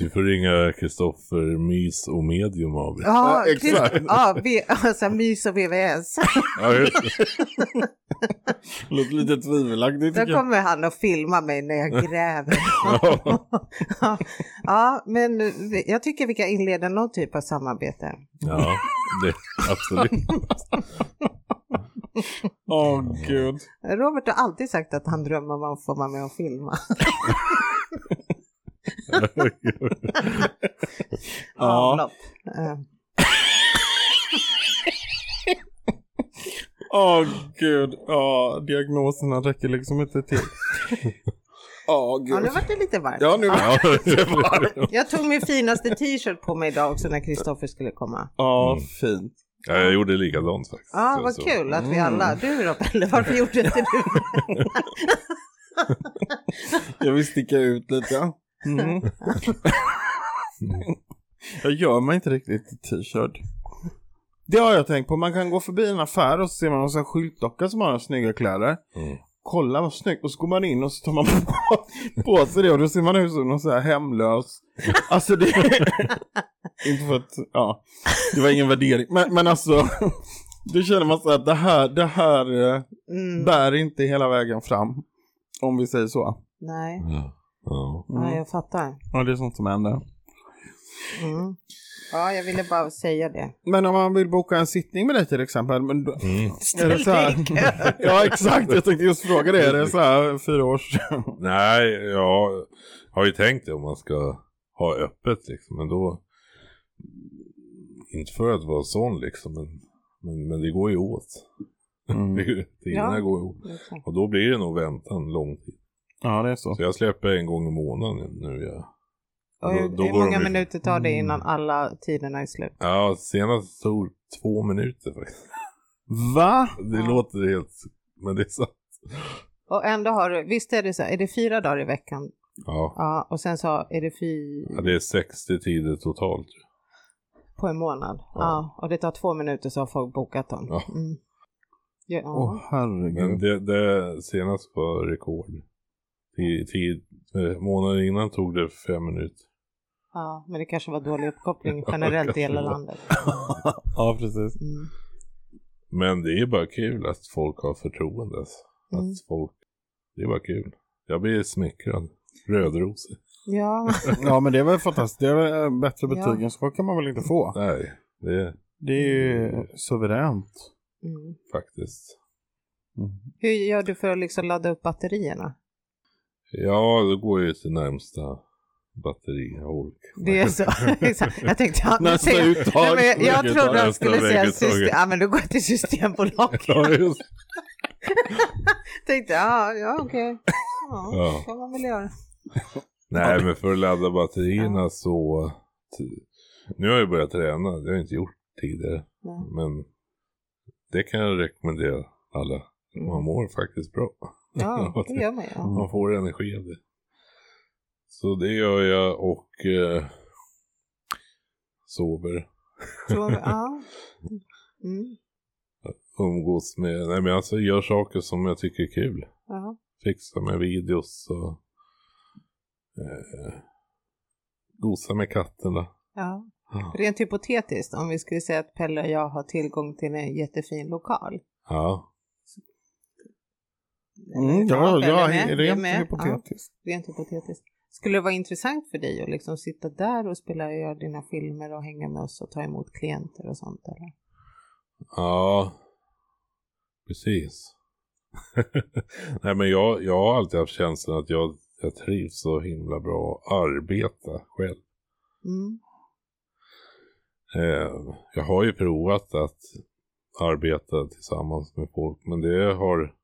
[SPEAKER 3] du får ringa Kristoffer Mys och Medium AB.
[SPEAKER 2] Ja,
[SPEAKER 1] Ja, exakt.
[SPEAKER 2] Chris- ja v- alltså, mys och VVS.
[SPEAKER 3] Ja, just det.
[SPEAKER 1] Låter lite tvivelaktigt
[SPEAKER 2] Då
[SPEAKER 1] tycker jag.
[SPEAKER 2] kommer han och filma mig när jag gräver. ja. (laughs) ja, men vi- jag tycker vi kan inleda någon typ av samarbete.
[SPEAKER 3] ja det, absolut.
[SPEAKER 1] Åh gud.
[SPEAKER 2] Robert har alltid sagt att han drömmer om att få vara med och
[SPEAKER 3] (laughs)
[SPEAKER 2] filma.
[SPEAKER 1] Ja.
[SPEAKER 2] Avlopp. Eh,
[SPEAKER 1] Åh gud. Ja, diagnoserna räcker liksom inte (laughs) till. Åh
[SPEAKER 2] Ja, nu
[SPEAKER 1] gud.
[SPEAKER 2] vart det lite varmt.
[SPEAKER 1] Ja, nu.
[SPEAKER 3] Ja, det var det.
[SPEAKER 2] Jag tog min finaste t-shirt på mig idag också när Kristoffer skulle komma.
[SPEAKER 1] (laughs) Ja,
[SPEAKER 3] Mm.
[SPEAKER 1] fint.
[SPEAKER 3] Ja, jag gjorde likadant faktiskt.
[SPEAKER 2] Ja, vad
[SPEAKER 3] Så-
[SPEAKER 2] kul att vi
[SPEAKER 1] Mm.
[SPEAKER 2] alla, du då Pelle, varför gjorde inte du
[SPEAKER 1] Jag vill sticka ut lite. Mm. (laughs) jag gör mig inte riktigt t-shirt. Det har jag tänkt på. Man kan gå förbi en affär och så ser man en sån här skyltdocka som har snygga kläder.
[SPEAKER 3] Mm.
[SPEAKER 1] Kolla vad snyggt. Och så går man in och så tar man på, på sig det och då ser man ut som någon så här hemlös. Alltså det... inte för att... Ja. Det var ingen värdering. Men, men alltså. Då känner man så här att det här, det här eh,
[SPEAKER 2] Mm.
[SPEAKER 1] bär inte hela vägen fram. Om vi säger så.
[SPEAKER 2] Nej,
[SPEAKER 3] Ja. Ja.
[SPEAKER 1] Mm.
[SPEAKER 2] ja, jag fattar.
[SPEAKER 1] Ja, det är sånt som händer.
[SPEAKER 2] Mm. Ja, jag ville bara säga det.
[SPEAKER 1] Men om man vill boka en sittning med dig till exempel. Men då,
[SPEAKER 3] Mm.
[SPEAKER 1] är det så här,
[SPEAKER 2] dig i kö.
[SPEAKER 1] (laughs) ja exakt, jag tänkte just fråga det. Är det så här fyra års...
[SPEAKER 3] Nej, jag har ju tänkt det om man ska ha öppet liksom. Men då, inte för att vara sån liksom, men, men, men det går ju åt.
[SPEAKER 1] Mm.
[SPEAKER 3] Tiderna
[SPEAKER 2] Ja.
[SPEAKER 3] går ju åt.
[SPEAKER 2] Okej.
[SPEAKER 3] Och då blir det nog väntan lång tid.
[SPEAKER 1] Ja, det är så.
[SPEAKER 3] Så jag släpper en gång i månaden nu. Ja,
[SPEAKER 2] Och
[SPEAKER 3] Då-
[SPEAKER 2] hur,
[SPEAKER 3] då
[SPEAKER 2] hur
[SPEAKER 3] går de
[SPEAKER 2] många
[SPEAKER 3] ju- Mm.
[SPEAKER 2] minuter tar det innan alla tiderna är slut?
[SPEAKER 3] ja senast tog två minuter faktiskt.
[SPEAKER 1] Va?
[SPEAKER 3] Det
[SPEAKER 2] Ja.
[SPEAKER 3] låter helt, men det är så.
[SPEAKER 2] Och ändå har du, visst är det så, här, är det fyra dagar i veckan?
[SPEAKER 3] Ja,
[SPEAKER 2] Ja, och sen så är det fyra
[SPEAKER 3] Ja, det är 60 tider totalt.
[SPEAKER 2] på en månad. Ja. och det tar två minuter så har folk bokat dem.
[SPEAKER 3] Ja.
[SPEAKER 2] Mm. Ja, ja.
[SPEAKER 1] Åh
[SPEAKER 2] Mm.
[SPEAKER 3] Men
[SPEAKER 1] herregud.
[SPEAKER 3] det, det senast var rekord. Ti- ti- eh, månaden innan tog det fem minuter.
[SPEAKER 2] ja, men det kanske var dålig (laughs) uppkoppling generellt i hela
[SPEAKER 3] kanske var.
[SPEAKER 2] landet.
[SPEAKER 1] ja, precis.
[SPEAKER 2] Mm.
[SPEAKER 3] Men det är bara kul att folk har förtroende.
[SPEAKER 2] Mm.
[SPEAKER 3] Att folk, det är bara kul. Jag blir smickrad. Rödrosig.
[SPEAKER 2] Ja,
[SPEAKER 1] Ja, men det är väl fantastiskt. Det är väl eh, bättre
[SPEAKER 2] Ja.
[SPEAKER 1] betyg än så kan man väl inte få.
[SPEAKER 3] Nej, det är
[SPEAKER 1] Det är ju suveränt.
[SPEAKER 2] mm.
[SPEAKER 3] faktiskt.
[SPEAKER 2] hur gör du för att liksom ladda upp batterierna?
[SPEAKER 3] Ja, då går jag ju till närmsta batterihål.
[SPEAKER 2] (laughs) Det är så, exakt. jag tänkte, ja, nu
[SPEAKER 1] Nästa
[SPEAKER 2] ser jag.
[SPEAKER 1] uttag.
[SPEAKER 2] Nej, men jag, jag
[SPEAKER 3] Vilket
[SPEAKER 2] trodde
[SPEAKER 3] tar
[SPEAKER 2] han
[SPEAKER 3] nästa
[SPEAKER 2] skulle säga
[SPEAKER 3] väg,
[SPEAKER 2] system,
[SPEAKER 3] uttaget.
[SPEAKER 2] ja, men då går jag till Systembolaget.
[SPEAKER 3] Ja, just
[SPEAKER 2] tänkte, ja, ja okej. (laughs) Ja,
[SPEAKER 3] (laughs) Ja.
[SPEAKER 2] kan man väl göra.
[SPEAKER 3] Nej, men för att ladda batterierna så... t- Nu har jag börjat träna, det har jag inte gjort tidigare.
[SPEAKER 2] Nej.
[SPEAKER 3] Men det kan jag rekommendera alla.
[SPEAKER 2] Mm.
[SPEAKER 3] Man mår faktiskt bra.
[SPEAKER 2] Ja, det gör man ju. Ja.
[SPEAKER 3] Man får energi av det. Så det gör jag och eh, sover.
[SPEAKER 2] Så, (laughs) ja. Mm,
[SPEAKER 3] Umgås med, nej men alltså gör saker som jag tycker är kul.
[SPEAKER 2] ja.
[SPEAKER 3] Fixa med videos och eh, gosa med katterna.
[SPEAKER 2] Ja.
[SPEAKER 3] Ja.
[SPEAKER 2] Rent hypotetiskt, om vi skulle säga att Pelle och jag har tillgång till en jättefin lokal.
[SPEAKER 3] Ja.
[SPEAKER 1] Mm, ja, ja,
[SPEAKER 2] Eh, Pelle med, du är
[SPEAKER 1] rent
[SPEAKER 2] med.
[SPEAKER 1] hypotetiskt.
[SPEAKER 2] Ja, rent hypotetiskt. Skulle det vara intressant för dig att liksom sitta där och spela och göra dina filmer och hänga med oss och ta emot klienter och sånt? Eller?
[SPEAKER 3] Ja, precis. (laughs) Nej men jag, jag har alltid haft känslan att jag, jag trivs så himla bra att arbeta själv.
[SPEAKER 2] Mm.
[SPEAKER 3] Eh, jag har ju provat att arbeta tillsammans med folk men det har,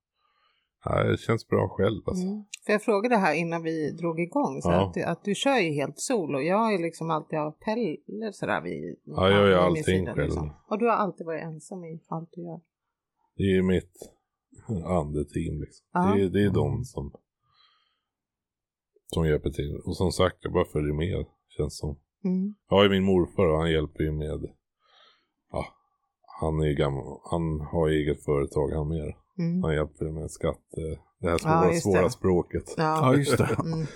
[SPEAKER 3] nej det känns bra själv alltså.
[SPEAKER 2] Mm. För jag frågade här innan vi drog igång, så
[SPEAKER 3] Ja.
[SPEAKER 2] att, du- att du kör ju helt sol och jag har ju liksom alltid haft Pelle sådär vid
[SPEAKER 3] Ja, jag gör ju
[SPEAKER 2] vid min liksom.
[SPEAKER 3] allting själv.
[SPEAKER 2] Och du har alltid varit ensam i allt du gör.
[SPEAKER 3] Det är ju mitt (laughs) andeteam liksom.
[SPEAKER 2] Ja.
[SPEAKER 3] Det, är- det är de som, som hjälper till. Och som sagt jag bara följer med känns som.
[SPEAKER 2] Mm.
[SPEAKER 3] Jag har ju min morfar och han hjälper ju med. Ja, han är ju gammal. Han har ju eget företag han med.
[SPEAKER 2] Mm.
[SPEAKER 3] Han hjälper ju med skatt. eh, Det här
[SPEAKER 2] Ja,
[SPEAKER 3] svåra,
[SPEAKER 2] just det.
[SPEAKER 3] svåra språket.
[SPEAKER 2] Ja,
[SPEAKER 1] Ja, just det.
[SPEAKER 2] mm.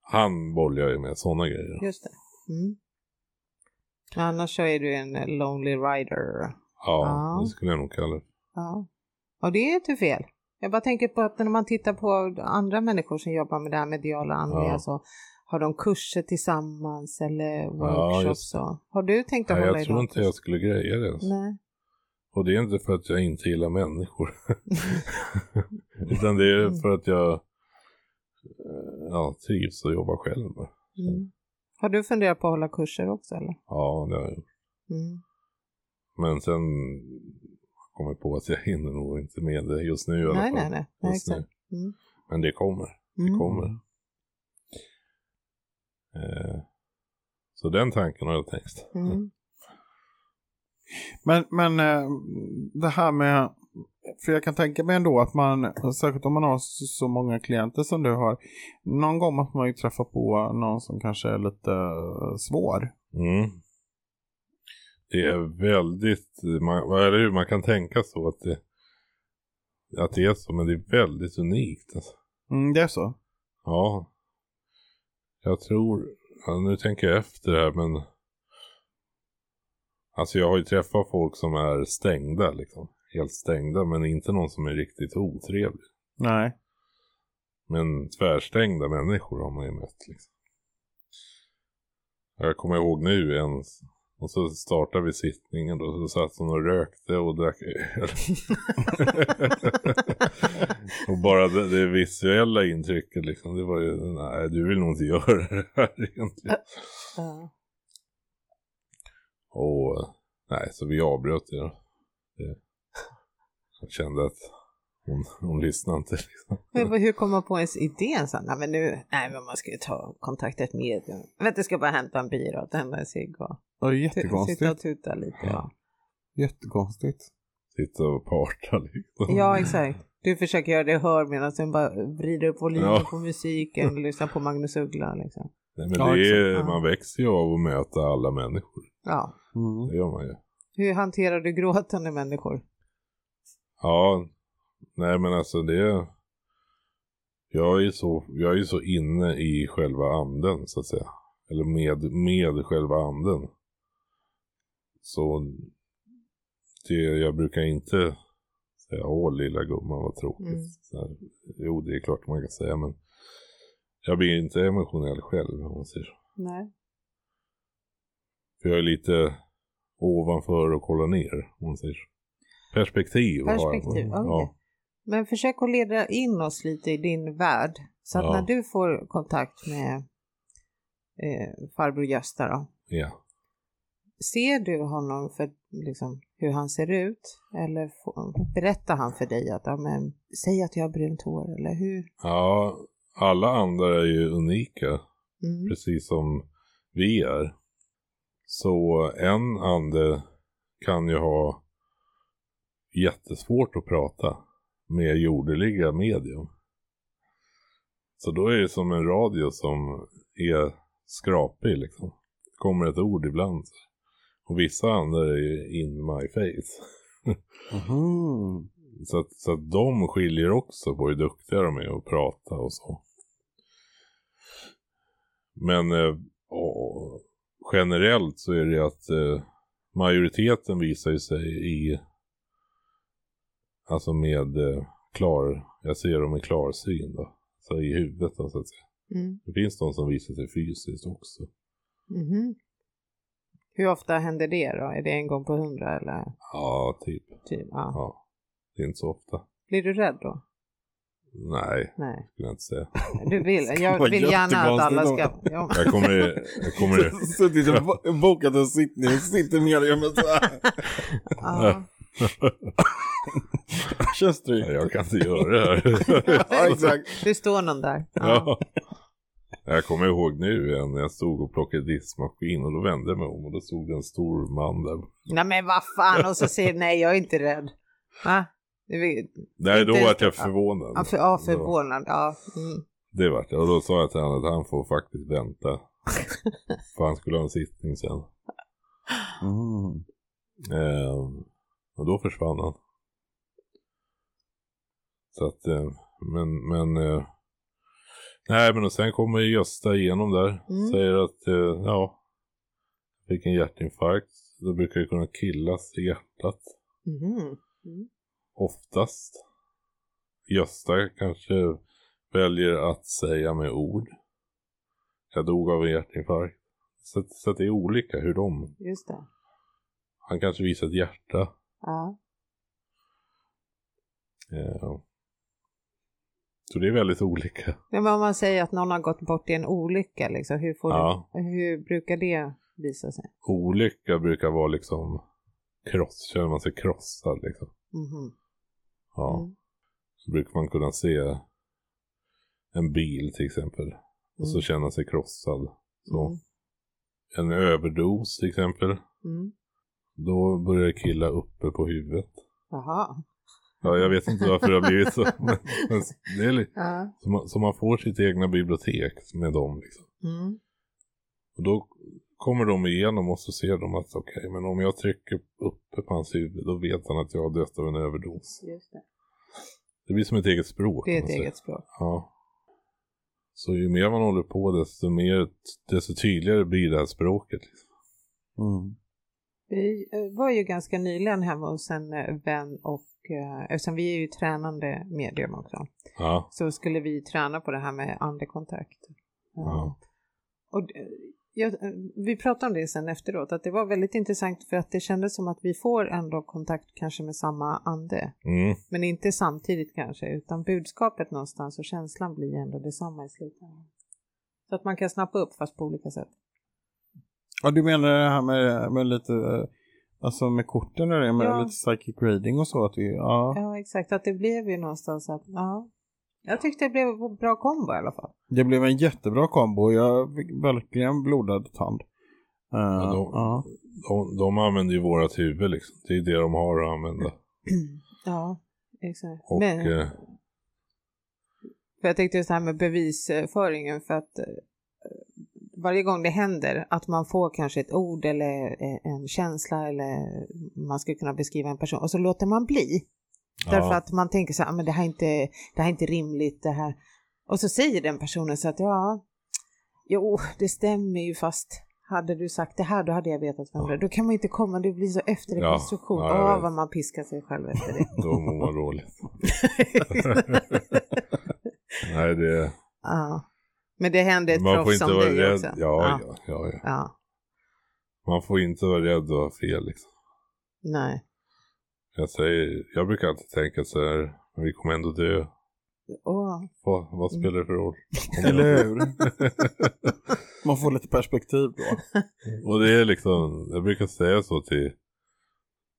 [SPEAKER 3] Han bollar ju med sådana grejer.
[SPEAKER 2] just det. Mm. Annars så är du en eh, lonely rider.
[SPEAKER 3] Ja,
[SPEAKER 2] Ja.
[SPEAKER 3] det skulle jag nog kalla det.
[SPEAKER 2] Ja, och det är inte fel. Jag bara tänker på att när man tittar på andra människor som jobbar med det här mediala andliga
[SPEAKER 3] Ja.
[SPEAKER 2] så har de kurser tillsammans eller
[SPEAKER 3] just
[SPEAKER 2] workshops.
[SPEAKER 3] det.
[SPEAKER 2] och, har du tänkt att
[SPEAKER 3] Nej,
[SPEAKER 2] hålla
[SPEAKER 3] jag
[SPEAKER 2] i
[SPEAKER 3] tror
[SPEAKER 2] dem?
[SPEAKER 3] inte jag skulle greja det. alltså.
[SPEAKER 2] Nej.
[SPEAKER 3] Och det är inte för att jag inte gillar
[SPEAKER 2] (laughs)
[SPEAKER 3] människor. Utan det
[SPEAKER 2] Mm.
[SPEAKER 3] är för att jag eh, ja, trivs och jobbar själv.
[SPEAKER 2] Mm. Har du funderat på att hålla kurser också eller?
[SPEAKER 3] Ja, det har jag gjort.
[SPEAKER 2] Mm.
[SPEAKER 3] Men sen kom jag på att jag hinner nog inte med det just nu i alla
[SPEAKER 2] Nej,
[SPEAKER 3] fall.
[SPEAKER 2] nej, nej. nej
[SPEAKER 3] just nu.
[SPEAKER 2] exakt. Mm.
[SPEAKER 3] Men det kommer. Det
[SPEAKER 2] Mm.
[SPEAKER 3] kommer. (laughs) Eh, så den tanken har jag tänkt.
[SPEAKER 2] Mm.
[SPEAKER 1] Men, men eh, det här med, för jag kan tänka mig ändå att man, särskilt om man har så så många klienter som du har, någon gång måste man ju träffa på någon som kanske är lite eh, svår.
[SPEAKER 3] Mm. Det
[SPEAKER 2] Mm.
[SPEAKER 3] är väldigt, man, vad är det, man kan tänka så att det, att det är så, men det är väldigt unikt. Alltså.
[SPEAKER 1] Mm, det är så.
[SPEAKER 3] Ja. Jag tror, ja, nu tänker jag efter här men. Alltså jag har ju träffat folk som är stängda liksom. Helt stängda men inte någon som är riktigt otrevlig.
[SPEAKER 1] Nej.
[SPEAKER 3] Men tvärstängda människor har man ju mött liksom. Jag kommer ihåg nu en. Och så startade vi sittningen och så satt hon och rökte och drack öl. (laughs) och bara det, det visuella intrycket liksom. Det var ju, nej du vill nog inte göra det här egentligen.
[SPEAKER 2] (laughs) Ja.
[SPEAKER 3] Och nej, så vi avbröt det. då. Det- Jag kände att hon, hon lyssnade inte. Liksom.
[SPEAKER 2] Men vad- hur kom man på ens idén? Så, nej, men nu, nej, men man ska ju ta kontakt ett medium. Vänta, jag ska bara hämta en byrå och tända en cigg och
[SPEAKER 1] Det är
[SPEAKER 2] tu- sitta och
[SPEAKER 1] jättekonstigt.
[SPEAKER 2] tuta lite. Ja.
[SPEAKER 1] Jättekonstigt.
[SPEAKER 3] Sitta och parta liksom.
[SPEAKER 2] ja, exakt. Du försöker göra det hör medan du bara vrider upp volymen
[SPEAKER 3] Ja.
[SPEAKER 2] på musiken och lyssnar på Magnus Uggla. Liksom.
[SPEAKER 3] Nej, men
[SPEAKER 1] Ja,
[SPEAKER 3] det är,
[SPEAKER 2] exakt. Ja.
[SPEAKER 3] Man växer ju av att möta alla människor.
[SPEAKER 2] Ja.
[SPEAKER 1] Mm.
[SPEAKER 3] Det gör man ju.
[SPEAKER 2] Hur hanterar du gråtande människor?
[SPEAKER 3] Ja, nej men alltså det... Jag är ju så, jag är ju så inne i själva anden så att säga. Eller med, med själva anden. Så det, jag brukar inte säga åh lilla gumman vad tråkigt.
[SPEAKER 2] Mm.
[SPEAKER 3] Så här, jo det är klart man kan säga men jag blir inte emotionell själv om man säger så.
[SPEAKER 2] Nej.
[SPEAKER 3] För jag är lite ovanför och kollar ner om man säger så. Perspektiv, har
[SPEAKER 2] Perspektiv,
[SPEAKER 3] jag.
[SPEAKER 2] okej. Men försök att leda in oss lite i din värld. Så att
[SPEAKER 3] Ja.
[SPEAKER 2] när du får kontakt med eh, farbror Gösta då,
[SPEAKER 3] ja.
[SPEAKER 2] Ser du honom för liksom, hur han ser ut? Eller får, berättar han för dig att ja, men, säg att jag har brunt hår eller hur?
[SPEAKER 3] Ja, alla andra är ju unika,
[SPEAKER 2] Mm.
[SPEAKER 3] precis som vi är. Så en ande kan ju ha jättesvårt att prata med jordeliga medium. Så då är det som en radio som är skrapig liksom. Det kommer ett ord ibland. Och vissa andra är ju in my face.
[SPEAKER 1] Mhm.
[SPEAKER 3] Så att, så att de skiljer också på hur duktiga de är att prata och så. Men eh, och, generellt så är det att eh, majoriteten visar ju sig i alltså med eh, klar, jag ser dem i klarsyn då. Så i huvudet då, så att säga.
[SPEAKER 2] Mm.
[SPEAKER 3] Det finns de som visar sig fysiskt också.
[SPEAKER 2] Mhm. Hur ofta händer det då? Är det en gång på hundra eller?
[SPEAKER 3] Ja, typ.
[SPEAKER 2] Typ, ja.
[SPEAKER 3] Ja. Det är inte så ofta.
[SPEAKER 2] Blir du rädd då?
[SPEAKER 3] Nej,
[SPEAKER 2] Nej,
[SPEAKER 3] skulle jag inte säga.
[SPEAKER 2] du (laughs) vill. Jag
[SPEAKER 1] vara
[SPEAKER 2] vill gärna att alla
[SPEAKER 1] jättekonstigt
[SPEAKER 2] ska... Ja.
[SPEAKER 3] Jag kommer... Jag kommer
[SPEAKER 1] (laughs) Suttit och bo- bokat en sittning, sitter med dig med så här.
[SPEAKER 2] (laughs) Ja.
[SPEAKER 1] Känns
[SPEAKER 3] Nej,
[SPEAKER 1] tryggt.
[SPEAKER 3] jag kan inte göra det
[SPEAKER 2] (laughs)
[SPEAKER 3] här.
[SPEAKER 1] (laughs) Ja, exakt.
[SPEAKER 2] Du står någon där. Ja.
[SPEAKER 3] ja. Jag kommer ihåg nu en, jag stod och plockade diskmaskin och då vände jag mig om och då stod det en stor man där.
[SPEAKER 2] Nej men vad fan och så säger nej jag är inte rädd. Va? Du vill-
[SPEAKER 3] Nej, då
[SPEAKER 2] Inte ens-
[SPEAKER 3] vart jag förvånad.
[SPEAKER 2] Ja, för, ja,
[SPEAKER 3] Då-
[SPEAKER 2] förvånad. Ja. Mm.
[SPEAKER 3] Det vart jag. Och då sa jag till honom att han får
[SPEAKER 2] (laughs)
[SPEAKER 3] faktiskt vänta. för han skulle ha en sittning sen.
[SPEAKER 1] Mm.
[SPEAKER 3] Ehm, och då försvann han. Så att, eh, men, men. Eh, nej, men och sen kommer ju Gösta igenom där.
[SPEAKER 2] Mm.
[SPEAKER 3] Säger att, eh, ja. Fick en hjärtinfarkt. Då brukar det kunna killas i hjärtat.
[SPEAKER 2] Mhm.
[SPEAKER 3] Oftast. Gösta kanske väljer att säga med ord. Jag dog av en hjärtinfarkt. Så, att- så att det är olika hur de.
[SPEAKER 2] Just det.
[SPEAKER 3] Han kanske visar ett hjärta.
[SPEAKER 2] Ja.
[SPEAKER 3] Ja. Eh, Så det är väldigt olika.
[SPEAKER 2] Men om man säger att någon har gått bort i en olycka, liksom, hur, får
[SPEAKER 3] Ja.
[SPEAKER 2] du, hur brukar det visa sig?
[SPEAKER 3] Olycka brukar vara liksom kross, känner man sig krossad liksom.
[SPEAKER 2] Mhm.
[SPEAKER 3] Ja.
[SPEAKER 2] Mm.
[SPEAKER 3] Så brukar man kunna se en bil till exempel och så
[SPEAKER 2] Mm.
[SPEAKER 3] känna sig krossad. Så.
[SPEAKER 2] Mm.
[SPEAKER 3] En överdos till exempel.
[SPEAKER 2] Mm.
[SPEAKER 3] Då börjar det killa uppe på huvudet.
[SPEAKER 2] Jaha.
[SPEAKER 3] Ja, jag vet inte varför det har blivit så. (laughs) Men, men det är li-
[SPEAKER 2] Ja.
[SPEAKER 3] så, man, så man får sitt egna bibliotek med dem. Liksom.
[SPEAKER 2] Mm.
[SPEAKER 3] Och då kommer de igenom och så ser de att okej, men om jag trycker uppe på hans huvud då vet han att jag har dött av en överdos.
[SPEAKER 2] Just det.
[SPEAKER 3] Det blir som ett eget språk.
[SPEAKER 2] det är
[SPEAKER 3] kan
[SPEAKER 2] ett
[SPEAKER 3] man säga.
[SPEAKER 2] eget språk.
[SPEAKER 3] Ja. Så ju mer man håller på desto, mer, desto tydligare blir det här språket. Liksom.
[SPEAKER 1] Mm.
[SPEAKER 2] Vi eh, var ju ganska nyligen hemma hos en eh, vän och eh, eftersom vi är ju tränande medium också
[SPEAKER 3] Ja.
[SPEAKER 2] så skulle vi träna på det här med andekontakt.
[SPEAKER 3] Ja.
[SPEAKER 2] Och eh, jag, eh, vi pratade om det sen efteråt att det var väldigt intressant för att det kändes som att vi får ändå kontakt kanske med samma ande
[SPEAKER 3] Mm.
[SPEAKER 2] men inte samtidigt kanske utan budskapet någonstans och känslan blir ändå detsamma i slutändan. Så att man kan snappa upp fast på olika sätt.
[SPEAKER 1] Ja, du menar det här med, med lite, eh, alltså med korten och det, med
[SPEAKER 2] Ja.
[SPEAKER 1] lite psychic reading och så? Att det, ja.
[SPEAKER 2] Ja, exakt. Att det blev ju någonstans att, ja. Jag tyckte det blev en bra kombo i alla fall.
[SPEAKER 1] Det blev en jättebra kombo. Jag fick verkligen blodad tand. Eh,
[SPEAKER 3] Ja, de-
[SPEAKER 1] ja.
[SPEAKER 3] De, de använder ju vårat huvud liksom. Det är det de har att använda.
[SPEAKER 2] Ja, exakt.
[SPEAKER 3] Och
[SPEAKER 2] Men,
[SPEAKER 3] eh,
[SPEAKER 2] för jag tänkte just det här med bevisföringen för att eh, varje gång det händer att man får kanske ett ord eller eh, en känsla eller man skulle kunna beskriva en person och så låter man bli. Därför
[SPEAKER 3] ja.
[SPEAKER 2] att man tänker så här, "Ah, men det här, är inte, det här är inte rimligt det här. Och så säger den personen så att ja, jo det stämmer ju fast hade du sagt det här då hade jag vetat vem det är. Då kan man inte komma, det blir så efterrekonstruktion.
[SPEAKER 3] Ja,
[SPEAKER 2] Ja,
[SPEAKER 3] ja, jag vet.
[SPEAKER 2] vad man piskar sig själv efter det.
[SPEAKER 3] Då mår man
[SPEAKER 2] (laughs)
[SPEAKER 3] dåligt. Nej, det...
[SPEAKER 2] ja. Men det händer ett
[SPEAKER 3] Man får
[SPEAKER 2] proffs
[SPEAKER 3] inte
[SPEAKER 2] som
[SPEAKER 3] vara
[SPEAKER 2] dig
[SPEAKER 3] rädd.
[SPEAKER 2] också.
[SPEAKER 3] Ja,
[SPEAKER 2] ja.
[SPEAKER 3] ja, ja, ja.
[SPEAKER 2] ja.
[SPEAKER 3] Man får inte vara rädd att ha fel liksom.
[SPEAKER 2] Nej.
[SPEAKER 3] Jag, säger, jag brukar alltid tänka så här, men vi kommer ändå dö.
[SPEAKER 2] Åh,
[SPEAKER 3] Vad, vad spelar det för roll?
[SPEAKER 1] Mm. (laughs) Eller hur? Man får lite perspektiv då.
[SPEAKER 3] Och det är liksom, jag brukar säga så till,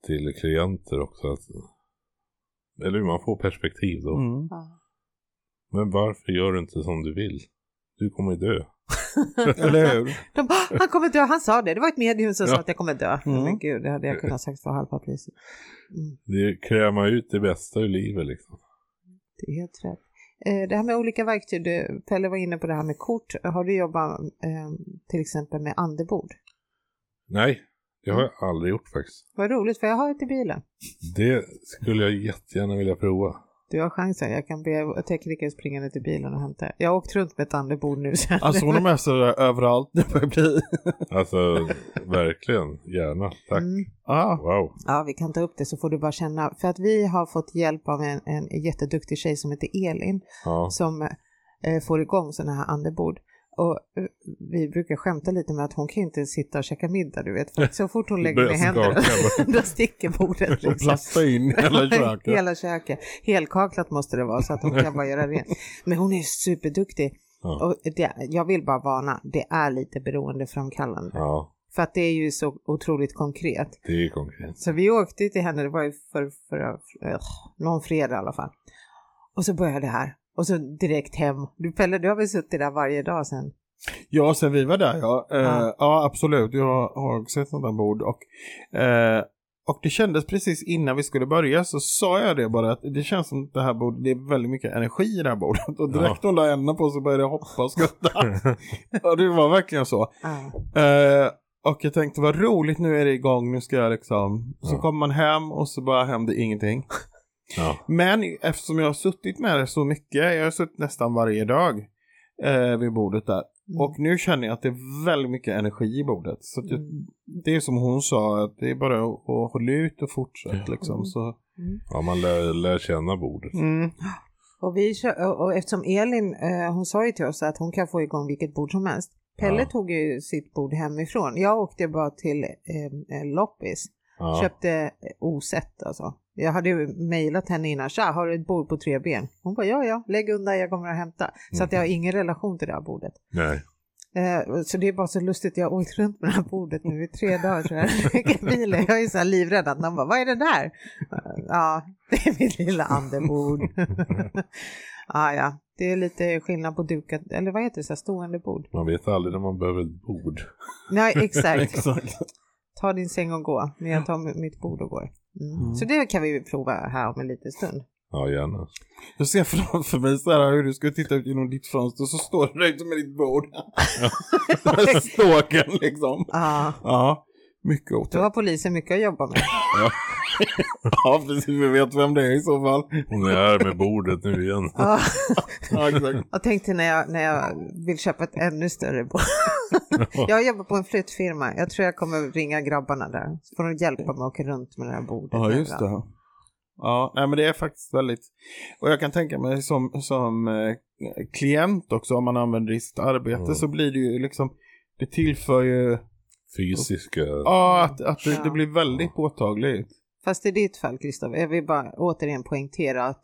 [SPEAKER 3] till klienter också. Att, eller hur, man får perspektiv då.
[SPEAKER 1] Mm.
[SPEAKER 2] ja.
[SPEAKER 3] Men varför gör du inte som du vill? Du kommer ju dö.
[SPEAKER 1] Eller hur?
[SPEAKER 2] De bara, "Ah, han kommer dö, han sa det. Det var ett medium som
[SPEAKER 3] Ja.
[SPEAKER 2] sa att jag kommer dö.
[SPEAKER 1] Mm.
[SPEAKER 2] Men gud, det hade jag kunnat sagt för halva priset. Mm.
[SPEAKER 3] Det krämar ut det bästa ur livet liksom.
[SPEAKER 2] Det är helt rätt. Eh, Det här med olika verktyg, du- Pelle var inne på det här med kort. Har du jobbat eh, till exempel med andebord?
[SPEAKER 3] Nej, det har jag
[SPEAKER 1] Mm.
[SPEAKER 3] aldrig gjort faktiskt.
[SPEAKER 2] Vad roligt, för jag har ett i bilen.
[SPEAKER 3] Det skulle jag jättegärna vilja prova.
[SPEAKER 2] Du har chansen, jag kan be tekniker springa ner till bilen och hämta. Jag har åkt runt med ett andebord nu. Så
[SPEAKER 1] Alltså hon har med sig det där överallt. Det börjar bli... (laughs)
[SPEAKER 3] Alltså, verkligen. Gärna. Tack.
[SPEAKER 2] Mm.
[SPEAKER 1] Ja.
[SPEAKER 3] Wow.
[SPEAKER 2] Ja, vi kan ta upp det så får du bara känna. För att vi har fått hjälp av en, en jätteduktig tjej som heter Elin.
[SPEAKER 3] Ja.
[SPEAKER 2] som eh, får igång sådana här andebord. Och eh, vi brukar skämta lite med att hon kan ju inte sitta och käka middag, du vet. För
[SPEAKER 3] (laughs)
[SPEAKER 2] att så fort hon lägger
[SPEAKER 3] Börjar
[SPEAKER 2] ner händerna, (laughs)
[SPEAKER 3] skaka
[SPEAKER 2] då sticker
[SPEAKER 1] Och
[SPEAKER 2] bordet. liksom.
[SPEAKER 1] plasta (laughs) in hela köket.
[SPEAKER 2] (laughs) Hela köket. Helkaklat måste det vara så att hon kan bara göra rent. Men hon är superduktig.
[SPEAKER 3] Ja.
[SPEAKER 2] Och det, jag vill bara varna, det är lite beroendeframkallande.
[SPEAKER 3] ja,
[SPEAKER 2] För att det är ju så otroligt konkret.
[SPEAKER 3] det är ju konkret.
[SPEAKER 2] Så vi åkte ju till henne, det var ju för, för, eh, någon fredag i alla fall. Och så började det här. Och så direkt hem. Du Pelle, du har väl suttit där varje dag sen?
[SPEAKER 1] Ja, sen vi var där ja. Eh,
[SPEAKER 2] Ja.
[SPEAKER 1] ja. absolut. Jag har också ett sånt där bord. Och, eh, och det kändes precis innan vi skulle börja så sa jag det bara att det känns som att det här bordet, det är väldigt mycket energi i det här bordet. (laughs) Och direkt hon la änden på så började jag hoppa och skutta. ja, det var verkligen så.
[SPEAKER 2] Ja.
[SPEAKER 1] Eh, och jag tänkte vad roligt, nu är det igång, nu ska jag liksom. Så
[SPEAKER 3] Ja.
[SPEAKER 1] kommer man hem och så bara händer ingenting.
[SPEAKER 3] Ja.
[SPEAKER 1] Men eftersom jag har suttit med det så mycket, jag har suttit nästan varje dag eh, vid bordet där.
[SPEAKER 2] Mm.
[SPEAKER 1] Och nu känner jag att det är väldigt mycket energi i bordet. Så att jag,
[SPEAKER 2] Mm.
[SPEAKER 1] det är som hon sa, att det är bara att, att hålla ut och fortsätta
[SPEAKER 2] Mm.
[SPEAKER 1] liksom. Så.
[SPEAKER 3] ja, man lär, lär känna bordet.
[SPEAKER 1] Mm.
[SPEAKER 2] Och, vi kö- och, och eftersom Elin, eh, hon sa ju till oss att hon kan få igång vilket bord som helst. Pelle
[SPEAKER 3] Ja.
[SPEAKER 2] tog ju sitt bord hemifrån. Jag åkte bara till eh, eh, loppis.
[SPEAKER 3] Ja.
[SPEAKER 2] Köpte eh, osett alltså. Jag hade ju mejlat henne innan. Tja, har du ett bord på tre ben? Hon bara ja, ja, lägg undan, jag kommer att hämta.
[SPEAKER 3] Mm.
[SPEAKER 2] Så att jag har ingen relation till det här bordet.
[SPEAKER 3] Nej.
[SPEAKER 2] Eh, så det är bara så lustigt, jag har åkt runt med det här bordet nu i tre dagar. Så här. Vilken bil är. Jag är så här livrädd att någon bara, vad är det där? Eh, Ja, det är mitt lilla (laughs) andebord. ah, ja, det är lite skillnad på dukat, eller vad heter det, så här, stående bord.
[SPEAKER 3] Man vet aldrig när man behöver ett bord.
[SPEAKER 2] Nej,
[SPEAKER 1] (laughs)
[SPEAKER 2] exakt.
[SPEAKER 1] Exakt.
[SPEAKER 2] Ta din säng och gå, men jag tar mitt bord och går. Mm.
[SPEAKER 1] Mm.
[SPEAKER 2] Så det kan vi ju prova här om en liten stund.
[SPEAKER 3] Ja, gärna.
[SPEAKER 1] Jag ser framför mig så här hur du ska titta ut genom ditt fönster så står du där ute med ditt bord. Ståken (laughs) liksom.
[SPEAKER 2] Ja,
[SPEAKER 1] Ja, mycket otäckt.
[SPEAKER 2] Ah. då har polisen mycket att jobba (laughs) med.
[SPEAKER 1] Ja, (laughs) precis. Vi vet vem det är i så fall.
[SPEAKER 3] Hon är här med bordet nu igen.
[SPEAKER 2] Ja,
[SPEAKER 1] Ja, exakt.
[SPEAKER 2] jag tänkte när jag, när jag vill köpa ett ännu större bord. Jag jobbar på en flyttfirma. Jag tror jag kommer ringa grabbarna där. Så får de hjälpa mig att åka runt med det här bordet.
[SPEAKER 1] (laughs) Ja, just det. Ja, nej, men det är faktiskt väldigt... Och jag kan tänka mig som, som eh, klient också, om man använder i sitt arbete,
[SPEAKER 3] Mm.
[SPEAKER 1] så blir det ju liksom... Det tillför ju...
[SPEAKER 3] Fysiska.
[SPEAKER 1] Ja, att, att det, det
[SPEAKER 2] Ja.
[SPEAKER 1] blir väldigt påtagligt.
[SPEAKER 2] Fast i ditt fall, Gustav, jag vill bara återigen poängtera att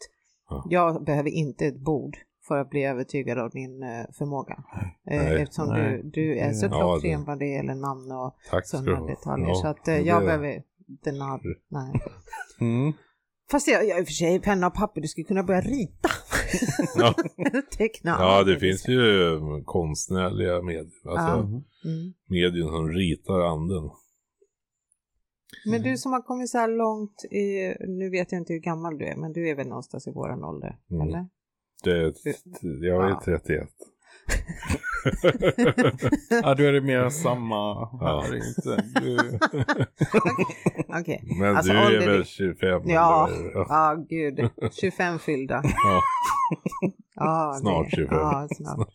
[SPEAKER 3] Ja.
[SPEAKER 2] jag behöver inte ett bord för att bli övertygad av din eh, förmåga. Eh,
[SPEAKER 3] Nej.
[SPEAKER 2] Eftersom
[SPEAKER 1] Nej.
[SPEAKER 2] Du, du är så
[SPEAKER 1] Ja,
[SPEAKER 2] klockren
[SPEAKER 3] det-
[SPEAKER 2] vad det gäller namn och
[SPEAKER 3] Tack ska du
[SPEAKER 2] sådana
[SPEAKER 3] ha.
[SPEAKER 2] detaljer.
[SPEAKER 3] Ja,
[SPEAKER 2] så att eh,
[SPEAKER 3] men
[SPEAKER 2] jag
[SPEAKER 3] det-
[SPEAKER 2] behöver inte namn. Nej.
[SPEAKER 3] (laughs)
[SPEAKER 1] Mm.
[SPEAKER 2] Fast jag, jag i och för sig, penna och papper, du skulle kunna börja rita.
[SPEAKER 3] (laughs) Ja.
[SPEAKER 2] (laughs) Teckna.
[SPEAKER 3] Ja, det finns ju eh, konstnärliga medier. Alltså
[SPEAKER 2] Ja. Mm.
[SPEAKER 3] medier som ritar anden.
[SPEAKER 2] Men
[SPEAKER 3] Mm.
[SPEAKER 2] du som har kommit så här långt, i, nu vet jag inte hur gammal du är, men du är väl någonstans i våran ålder?
[SPEAKER 3] Mm.
[SPEAKER 2] Eller?
[SPEAKER 3] Det, jag är
[SPEAKER 2] Ja.
[SPEAKER 3] 31.
[SPEAKER 1] Ja, då är det mer samma
[SPEAKER 3] Ja.
[SPEAKER 1] här, inte? Du...
[SPEAKER 2] Okej.
[SPEAKER 3] Men
[SPEAKER 2] Alltså,
[SPEAKER 3] du är
[SPEAKER 2] ålder-
[SPEAKER 3] väl 25?
[SPEAKER 2] Ja.
[SPEAKER 3] eller? Ja.
[SPEAKER 2] Ja, gud. 25 fyllda.
[SPEAKER 3] (laughs) Ja.
[SPEAKER 2] Ja,
[SPEAKER 3] Snart
[SPEAKER 2] det-
[SPEAKER 3] 25.
[SPEAKER 2] Ja, snart.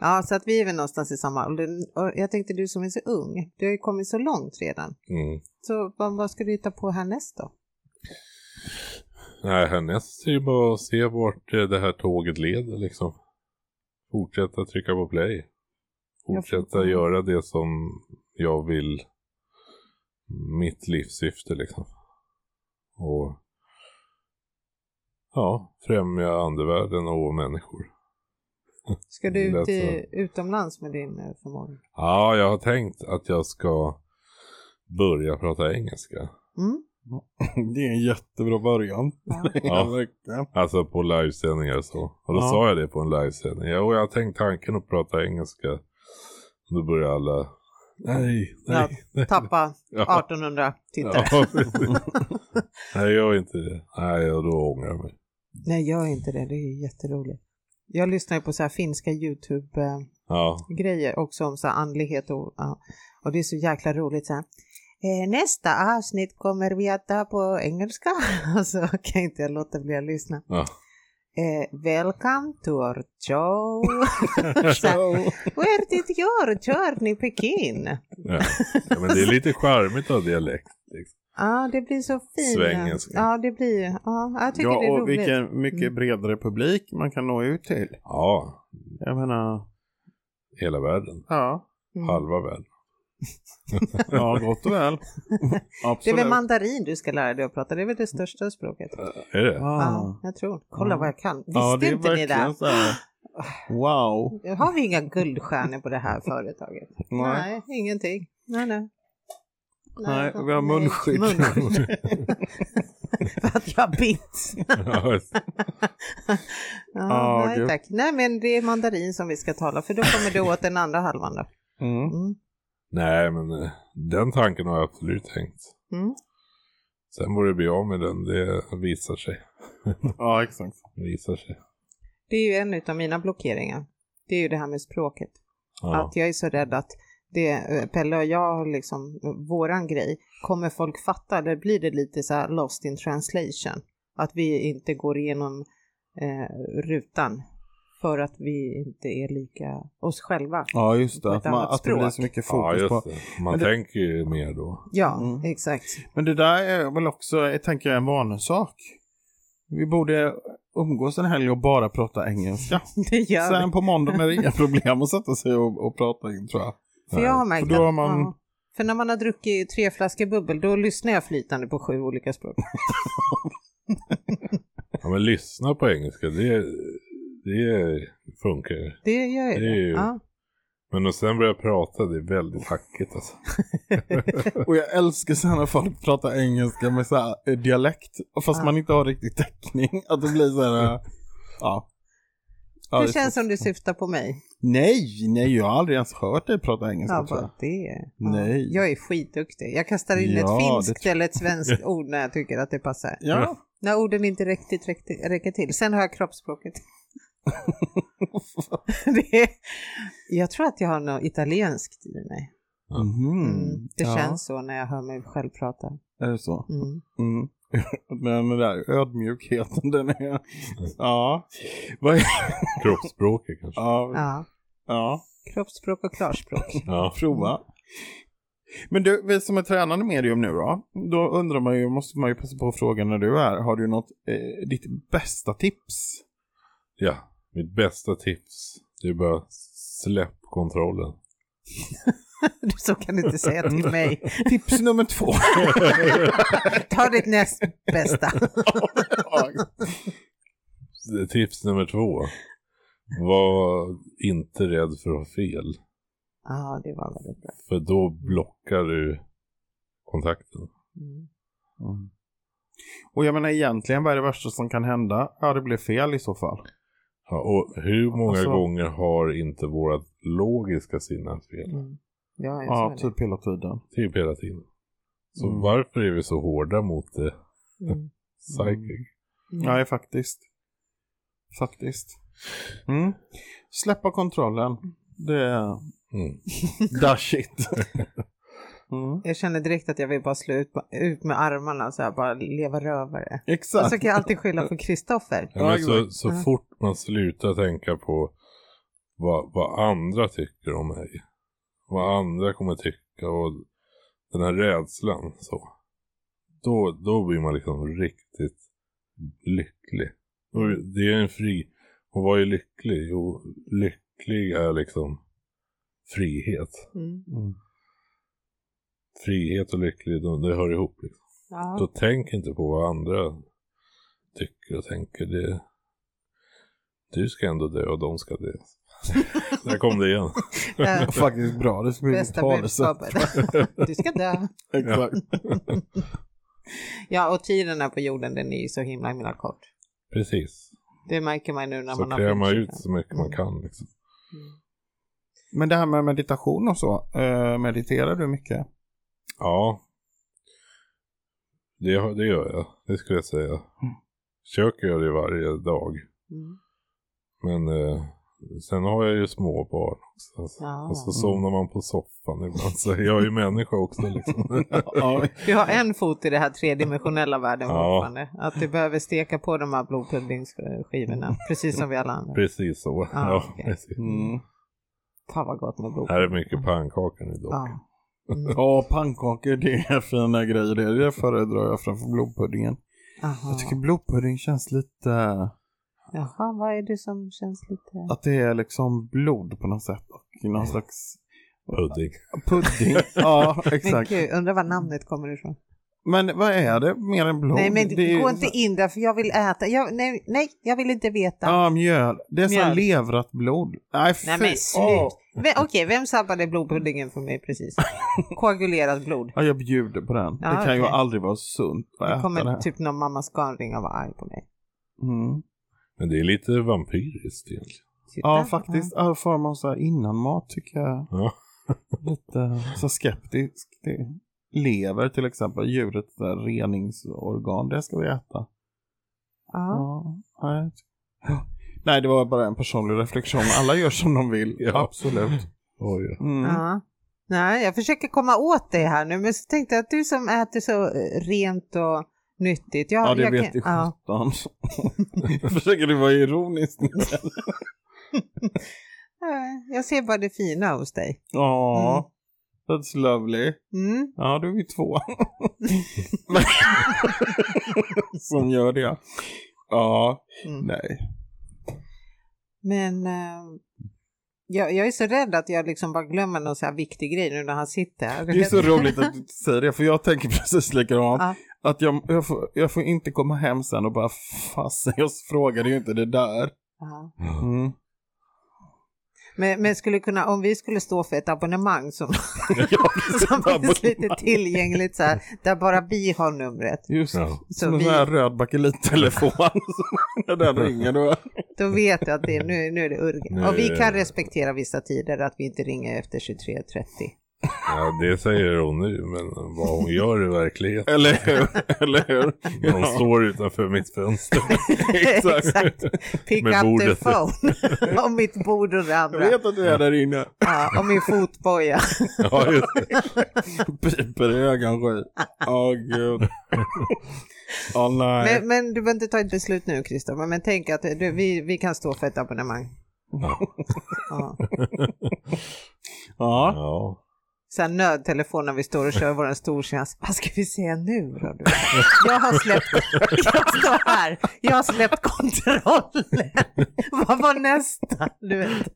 [SPEAKER 2] ja, så att vi är väl någonstans i samma ålder. Och jag tänkte du som är så ung, du har ju kommit så långt redan.
[SPEAKER 3] Mm.
[SPEAKER 2] Så vad, vad ska du hitta på härnäst då?
[SPEAKER 3] Nej, härnäst är ju bara att se vart eh, det här tåget leder liksom. Fortsätta trycka på play. Fortsätta
[SPEAKER 2] Jag får-
[SPEAKER 3] göra det som jag vill. Mitt livssyfte liksom. Och ja, främja andevärlden och människor.
[SPEAKER 2] Ska du
[SPEAKER 3] Det
[SPEAKER 2] ut
[SPEAKER 3] lät
[SPEAKER 2] i, utomlands med din eh, förmåga?
[SPEAKER 3] Ja, jag har tänkt att jag ska börja prata engelska.
[SPEAKER 2] Mm?
[SPEAKER 1] Det är en jättebra början.
[SPEAKER 2] Ja.
[SPEAKER 3] Ja.
[SPEAKER 2] (laughs)
[SPEAKER 1] verkligen.
[SPEAKER 3] Alltså på livesändningar och så. Och då
[SPEAKER 1] Ja.
[SPEAKER 3] sa jag det på en livesändning. Ja, och jag har tänkt tanken att prata engelska. Då börjar alla... Nej, (laughs) nej.
[SPEAKER 2] Tappa
[SPEAKER 3] (laughs) Ja,
[SPEAKER 2] 1800 tittare.
[SPEAKER 3] ja. nej, gör inte det. Nej, och då ångrar jag mig.
[SPEAKER 2] Nej, gör inte det. Det är jätteroligt. Jag lyssnar ju på så här finska YouTube eh,
[SPEAKER 3] Ja,
[SPEAKER 2] grejer också om så här andlighet och, ja. och det är så jäkla roligt. Så här. Eh, nästa avsnitt kommer vi att ta på engelska. (laughs) alltså kan inte jag låta bli att lyssna.
[SPEAKER 3] ja.
[SPEAKER 2] Eh, welcome to our
[SPEAKER 3] (laughs)
[SPEAKER 2] show. så, här, Where did your journey begin?
[SPEAKER 3] ja. ja men det är lite charmigt av dialekt. Liksom.
[SPEAKER 2] Ja, det blir så fint.
[SPEAKER 3] Svengelska.
[SPEAKER 2] Ja, det blir ja, jag tycker det
[SPEAKER 1] Ja,
[SPEAKER 2] är
[SPEAKER 1] och
[SPEAKER 2] roligt.
[SPEAKER 1] vilken mycket
[SPEAKER 2] Mm.
[SPEAKER 1] bredare publik man kan nå ut till.
[SPEAKER 3] Ja,
[SPEAKER 1] Jag menar,
[SPEAKER 3] hela världen.
[SPEAKER 1] ja,
[SPEAKER 2] Mm.
[SPEAKER 3] Halva världen.
[SPEAKER 1] ja gott och väl. Absolut.
[SPEAKER 2] (laughs) Det är väl mandarin du ska lära dig att prata, det är väl det största språket.
[SPEAKER 3] Äh, Är det?
[SPEAKER 1] Ah.
[SPEAKER 2] Ja, jag tror. Kolla
[SPEAKER 1] Ja.
[SPEAKER 2] vad jag kan. Visste
[SPEAKER 1] Ja, det är
[SPEAKER 2] inte ni
[SPEAKER 1] verkligen
[SPEAKER 2] det? Ah.
[SPEAKER 1] så här. Wow.
[SPEAKER 2] Har vi inga guldstjärnor på det här företaget?
[SPEAKER 1] (laughs) Nej.
[SPEAKER 2] Nej, ingenting. Nej, nej.
[SPEAKER 1] Nej, vi har munskydd.
[SPEAKER 2] munskydd.
[SPEAKER 1] (laughs)
[SPEAKER 2] (laughs) För att jag bits. Ja,
[SPEAKER 3] Ja,
[SPEAKER 1] Ja,
[SPEAKER 2] nej,
[SPEAKER 1] gud.
[SPEAKER 2] tack. Nej, men det är mandarin som vi ska tala för då kommer du åt den andra halvan då.
[SPEAKER 1] Mm.
[SPEAKER 2] Mm.
[SPEAKER 3] Nej, men eh, den tanken har jag absolut tänkt.
[SPEAKER 2] Mm.
[SPEAKER 3] Sen borde det bli av med den, det visar sig.
[SPEAKER 1] Ja, exakt.
[SPEAKER 3] Det visar sig.
[SPEAKER 2] Det är ju en av mina blockeringar. Det är ju det här med språket.
[SPEAKER 3] Ja.
[SPEAKER 2] Att jag är så rädd att det, eh, Pelle och jag, liksom, eh, våran grej, kommer folk fatta eller blir det lite så här lost in translation? Att vi inte går igenom eh, rutan för att vi inte är lika oss själva.
[SPEAKER 1] Ja, just
[SPEAKER 2] På
[SPEAKER 1] det.
[SPEAKER 2] ett
[SPEAKER 1] Att, man,
[SPEAKER 2] annat
[SPEAKER 1] att det blir
[SPEAKER 2] språk.
[SPEAKER 1] så mycket
[SPEAKER 3] Ja,
[SPEAKER 1] fokus
[SPEAKER 3] just
[SPEAKER 1] på.
[SPEAKER 3] det. Man
[SPEAKER 1] Men det-
[SPEAKER 3] tänker ju mer då.
[SPEAKER 2] Ja,
[SPEAKER 1] Mm.
[SPEAKER 2] exakt. (laughs)
[SPEAKER 1] Men det där är väl också, jag tänker jag, en vanesak. Vi borde umgås en helg och bara prata engelska.
[SPEAKER 2] Det gör vi.
[SPEAKER 1] Sen på måndag är det inga (laughs) problem att sätta sig och, och prata in, tror jag.
[SPEAKER 2] För jag har märkt
[SPEAKER 1] för då har
[SPEAKER 2] att-
[SPEAKER 1] man-
[SPEAKER 2] ja. För när man har druckit tre flaskor bubbel, då lyssnar jag flytande på sju olika språk.
[SPEAKER 3] Ja, men lyssna på engelska, det, det funkar.
[SPEAKER 2] Det gör jag
[SPEAKER 3] Det är
[SPEAKER 2] ju.
[SPEAKER 3] ju-
[SPEAKER 2] Ja.
[SPEAKER 3] Men och sen börja prata, det är väldigt hackigt alltså.
[SPEAKER 1] (laughs) Och jag älskar så här när folk pratar engelska med så här eh, dialekt, fast
[SPEAKER 2] Ja.
[SPEAKER 1] man inte har riktigt täckning. Att det blir så här, eh, ja. Ja,
[SPEAKER 2] det
[SPEAKER 1] är
[SPEAKER 2] känns
[SPEAKER 1] så-
[SPEAKER 2] som du syftar på mig.
[SPEAKER 1] Nej, nej, jag har aldrig ens hört dig prata engelska.
[SPEAKER 2] Ja,
[SPEAKER 1] tror jag.
[SPEAKER 2] bara det. Ja.
[SPEAKER 1] Nej.
[SPEAKER 2] Jag är skitduktig. Jag kastar in
[SPEAKER 1] Ja,
[SPEAKER 2] ett
[SPEAKER 1] det
[SPEAKER 2] finskt eller
[SPEAKER 1] (laughs)
[SPEAKER 2] ett svenskt ord när jag tycker att det passar.
[SPEAKER 1] Ja,
[SPEAKER 2] När orden inte riktigt räck- räcker till. Sen har
[SPEAKER 1] (laughs)
[SPEAKER 2] jag kroppsspråket. det är, jag tror att jag har något italienskt i mig.
[SPEAKER 1] Mhm.
[SPEAKER 2] Mm. Det
[SPEAKER 1] ja.
[SPEAKER 2] känns så när jag hör mig själv prata.
[SPEAKER 1] Är det så?
[SPEAKER 2] Mm.
[SPEAKER 1] Mm. (laughs) Men den där ödmjukheten, den är... Ja. Vad är...
[SPEAKER 3] Kroppsspråket kanske.
[SPEAKER 1] Ja.
[SPEAKER 2] Ja.
[SPEAKER 1] ja.
[SPEAKER 2] Kroppsspråk och klarspråk. (laughs)
[SPEAKER 3] Ja.
[SPEAKER 1] Prova. Men du, vi som är tränande medium nu då, då undrar man ju, måste man ju passa på att fråga när du är, har du något, eh, ditt bästa tips?
[SPEAKER 3] ja. Mitt bästa tips. Det är bara
[SPEAKER 1] (laughs)
[SPEAKER 3] släpp kontrollen.
[SPEAKER 2] så kan du inte säga till mig.
[SPEAKER 1] Tips nummer
[SPEAKER 2] (laughs)
[SPEAKER 1] två.
[SPEAKER 2] Ta ditt näst bästa.
[SPEAKER 3] Tips nummer två. Var inte rädd för att ha fel.
[SPEAKER 2] Ja, det var väldigt bra.
[SPEAKER 3] För då blockar du kontakten.
[SPEAKER 2] Mm.
[SPEAKER 1] Mm. Och jag menar egentligen, vad är det värsta som kan hända? Ja, det blir fel i så fall.
[SPEAKER 3] Ja, och hur många
[SPEAKER 1] Alltså-
[SPEAKER 3] gånger har inte vårat logiska sinne haft fel?
[SPEAKER 2] Mm. Ja, jag
[SPEAKER 1] Ja,
[SPEAKER 2] sa
[SPEAKER 1] typ hela tiden.
[SPEAKER 3] Typ hela tiden. Så
[SPEAKER 1] Mm.
[SPEAKER 3] varför är vi så hårda mot det?
[SPEAKER 2] det. Mm.
[SPEAKER 3] Psychic.
[SPEAKER 2] Mm.
[SPEAKER 1] Nej, faktiskt. Faktiskt. Mm. Släppa kontrollen. Det är...
[SPEAKER 2] (laughs)
[SPEAKER 3] Mm.
[SPEAKER 1] That shit. Mm.
[SPEAKER 2] Jag känner direkt att jag vill bara slå ut, ut med armarna så här, bara leva rövare. Och
[SPEAKER 1] Exakt.
[SPEAKER 2] så kan jag alltid skylla på Kristoffer.
[SPEAKER 3] Ja, men
[SPEAKER 1] Ja,
[SPEAKER 3] så,
[SPEAKER 1] exakt.
[SPEAKER 3] så
[SPEAKER 2] Ja.
[SPEAKER 3] fort man slutar tänka på vad, vad andra tycker om mig. Vad andra kommer tycka och den här rädslan så. Då, då blir man liksom riktigt lycklig. Och det är en fri... Och vad är lycklig? Jo, lycklig är liksom frihet.
[SPEAKER 2] Mm.
[SPEAKER 1] Mm.
[SPEAKER 3] Frihet och lycklig, de- det hör ihop. Liksom. Då
[SPEAKER 2] Ja.
[SPEAKER 3] tänk inte på vad andra tycker och tänker. Det, du ska ändå dö och de
[SPEAKER 2] (laughs)
[SPEAKER 3] ska dö. Där kom det igen.
[SPEAKER 1] (laughs)
[SPEAKER 2] Eh,
[SPEAKER 1] Faktiskt bra. Det är så mycket
[SPEAKER 2] Bästa
[SPEAKER 1] talesätt.
[SPEAKER 2] budskapet. (laughs) Du ska dö.
[SPEAKER 1] (laughs) Exakt.
[SPEAKER 2] Ja, och tiden här på jorden den är ju så himla himla kort.
[SPEAKER 3] Precis.
[SPEAKER 2] Det märker man ju nu när
[SPEAKER 3] Så
[SPEAKER 2] man har Mm.
[SPEAKER 3] kräma
[SPEAKER 2] fyllt
[SPEAKER 3] ut så mycket man kan. Liksom.
[SPEAKER 1] Men det här med meditation och så. Eh, mediterar du mycket?
[SPEAKER 3] Ja. Det, har- det gör jag. Det skulle jag säga. Försöker göra det varje dag.
[SPEAKER 2] Mm.
[SPEAKER 3] Men eh, sen har jag ju små barn också. Alltså.
[SPEAKER 2] Ja.
[SPEAKER 3] Och så somnar man på soffan ibland. Så jag är ju människa
[SPEAKER 2] (laughs)
[SPEAKER 3] också liksom.
[SPEAKER 1] (laughs) ja.
[SPEAKER 2] Vi har en fot i det här tredimensionella världen
[SPEAKER 3] Ja.
[SPEAKER 2] fortfarande. Att du behöver steka på de här blodpuddingsskivorna, precis som vi alla andra.
[SPEAKER 3] Precis så.
[SPEAKER 2] Ja,
[SPEAKER 3] ja,
[SPEAKER 2] Ah, okej.
[SPEAKER 3] precis.
[SPEAKER 1] Mm.
[SPEAKER 2] Fan vad gott med blod.
[SPEAKER 3] Här är mycket pannkakor nu dock.
[SPEAKER 2] Ja. Mm.
[SPEAKER 1] Ja, pannkakor det är fina grejer. Det, det föredrar jag framför blodpuddingen.
[SPEAKER 2] Aha.
[SPEAKER 1] Jag tycker blodpudding känns lite...
[SPEAKER 2] Jaha, vad är det som känns lite...
[SPEAKER 1] Att det är liksom blod på något sätt. Och någon slags
[SPEAKER 3] Pudding.
[SPEAKER 1] pudding. (laughs) ja,
[SPEAKER 2] Men
[SPEAKER 1] exakt.
[SPEAKER 2] gud, undrar var namnet kommer ifrån.
[SPEAKER 1] Men vad är det mer än blod?
[SPEAKER 2] nej, men
[SPEAKER 1] det är ju
[SPEAKER 2] gå
[SPEAKER 1] så-
[SPEAKER 2] inte in där för jag vill äta. Jag, nej, nej, jag vill inte veta.
[SPEAKER 1] Ja, mjöl. Det är så här
[SPEAKER 2] Mjöl.
[SPEAKER 1] leverat blod. Nej, fy.
[SPEAKER 2] Nej men slut.
[SPEAKER 1] åh.
[SPEAKER 2] Ve- Okej, vem sabbade blodpuddingen för mig
[SPEAKER 1] (laughs)
[SPEAKER 2] precis? Koagulerat blod.
[SPEAKER 1] Ja, jag bjuder på den.
[SPEAKER 2] Ja,
[SPEAKER 1] det kan ju
[SPEAKER 2] okej.
[SPEAKER 1] aldrig vara sunt att
[SPEAKER 2] Det
[SPEAKER 1] äta det här.
[SPEAKER 2] kommer typ någon mamma Scan ringa och vara arg på mig.
[SPEAKER 1] Mm.
[SPEAKER 3] Men det är lite vampyriskt egentligen.
[SPEAKER 2] Titta.
[SPEAKER 1] Ja, faktiskt. All form av så här innanmat tycker jag
[SPEAKER 3] Ja. (laughs)
[SPEAKER 1] lite eh, så skeptisk. Det lever till exempel, djurets där reningsorgan, det ska vi äta.
[SPEAKER 2] Ja.
[SPEAKER 1] Ja. nej. Nej, det var bara en personlig reflektion. Alla gör som de vill,
[SPEAKER 3] (laughs) Ja.
[SPEAKER 1] absolut.
[SPEAKER 3] Oj, ja.
[SPEAKER 1] Mm.
[SPEAKER 2] Ja. Nej, jag försöker komma åt det här nu, men så tänkte jag att du som äter så eh, rent och nyttigt. Jag,
[SPEAKER 1] Ja, det
[SPEAKER 2] jag
[SPEAKER 1] vet ju
[SPEAKER 2] ja.
[SPEAKER 1] sjutton. (laughs) Försöker du vara
[SPEAKER 2] (laughs)
[SPEAKER 1] ironisk? nu?
[SPEAKER 2] Nej, Jag ser bara det fina hos dig.
[SPEAKER 1] Ja, that's lovely.
[SPEAKER 2] Mm.
[SPEAKER 1] Ja, då är vi
[SPEAKER 2] (laughs)
[SPEAKER 1] två. Men- Som gör det. Ja,
[SPEAKER 2] Mm.
[SPEAKER 1] nej.
[SPEAKER 2] Men eh, jag, jag är så rädd att jag liksom bara glömmer någon så här viktig grej nu när han sitter här.
[SPEAKER 1] Det är så roligt att du säger det, för jag tänker (laughs) precis likadant.
[SPEAKER 2] Ja.
[SPEAKER 1] Att jag, jag, får, jag får inte komma hem sen och bara,
[SPEAKER 3] Mm.
[SPEAKER 1] Mm, fasen, jag frågade ju inte det där.
[SPEAKER 2] Ja.
[SPEAKER 1] Mm.
[SPEAKER 2] Men, men skulle kunna, om vi skulle stå för ett abonnemang som, (laughs)
[SPEAKER 1] ja, precis.
[SPEAKER 2] som finns lite tillgängligt så här, där bara vi har numret,
[SPEAKER 1] Just
[SPEAKER 3] Ja.
[SPEAKER 1] som
[SPEAKER 2] Så
[SPEAKER 1] en
[SPEAKER 2] vi-
[SPEAKER 1] sån här röd bakelittelefon. (laughs) som när den ringer då.
[SPEAKER 2] då vet jag att det, är- nu, nu är det
[SPEAKER 3] Nu
[SPEAKER 2] urgent.
[SPEAKER 3] är
[SPEAKER 2] Och vi
[SPEAKER 3] det-
[SPEAKER 2] kan respektera vissa tider, att vi inte ringer efter 23.30. (laughs)
[SPEAKER 3] Ja, det säger hon nu, men vad hon gör i verkligheten.
[SPEAKER 1] Eller hur? Eller hur?
[SPEAKER 3] Hon står utanför mitt fönster.
[SPEAKER 1] (laughs) Exakt.
[SPEAKER 2] Pick
[SPEAKER 3] Med
[SPEAKER 2] up
[SPEAKER 3] bordet.
[SPEAKER 2] the phone. (laughs) om mitt bord och det
[SPEAKER 1] Jag
[SPEAKER 2] andra.
[SPEAKER 1] vet att du är där inne.
[SPEAKER 2] Ja, och min fotboja.
[SPEAKER 3] (laughs) Ja, just det.
[SPEAKER 1] Piper i ögonsky. Åh
[SPEAKER 2] (laughs)
[SPEAKER 1] gud. Åh nej.
[SPEAKER 2] Men, men du behöver inte ta ett beslut nu Kristoffer, men tänk att eh, du, vi, vi kan stå för ett abonnemang.
[SPEAKER 3] Ja.
[SPEAKER 2] (laughs) Ja.
[SPEAKER 1] Ja.
[SPEAKER 3] ja.
[SPEAKER 2] Så här nödtelefon när vi står och kör våran stortjänst. Vad ska vi säga nu då? Du? Jag har släppt, jag står här, jag har släppt kontrollen. Vad var nästa? Du vet.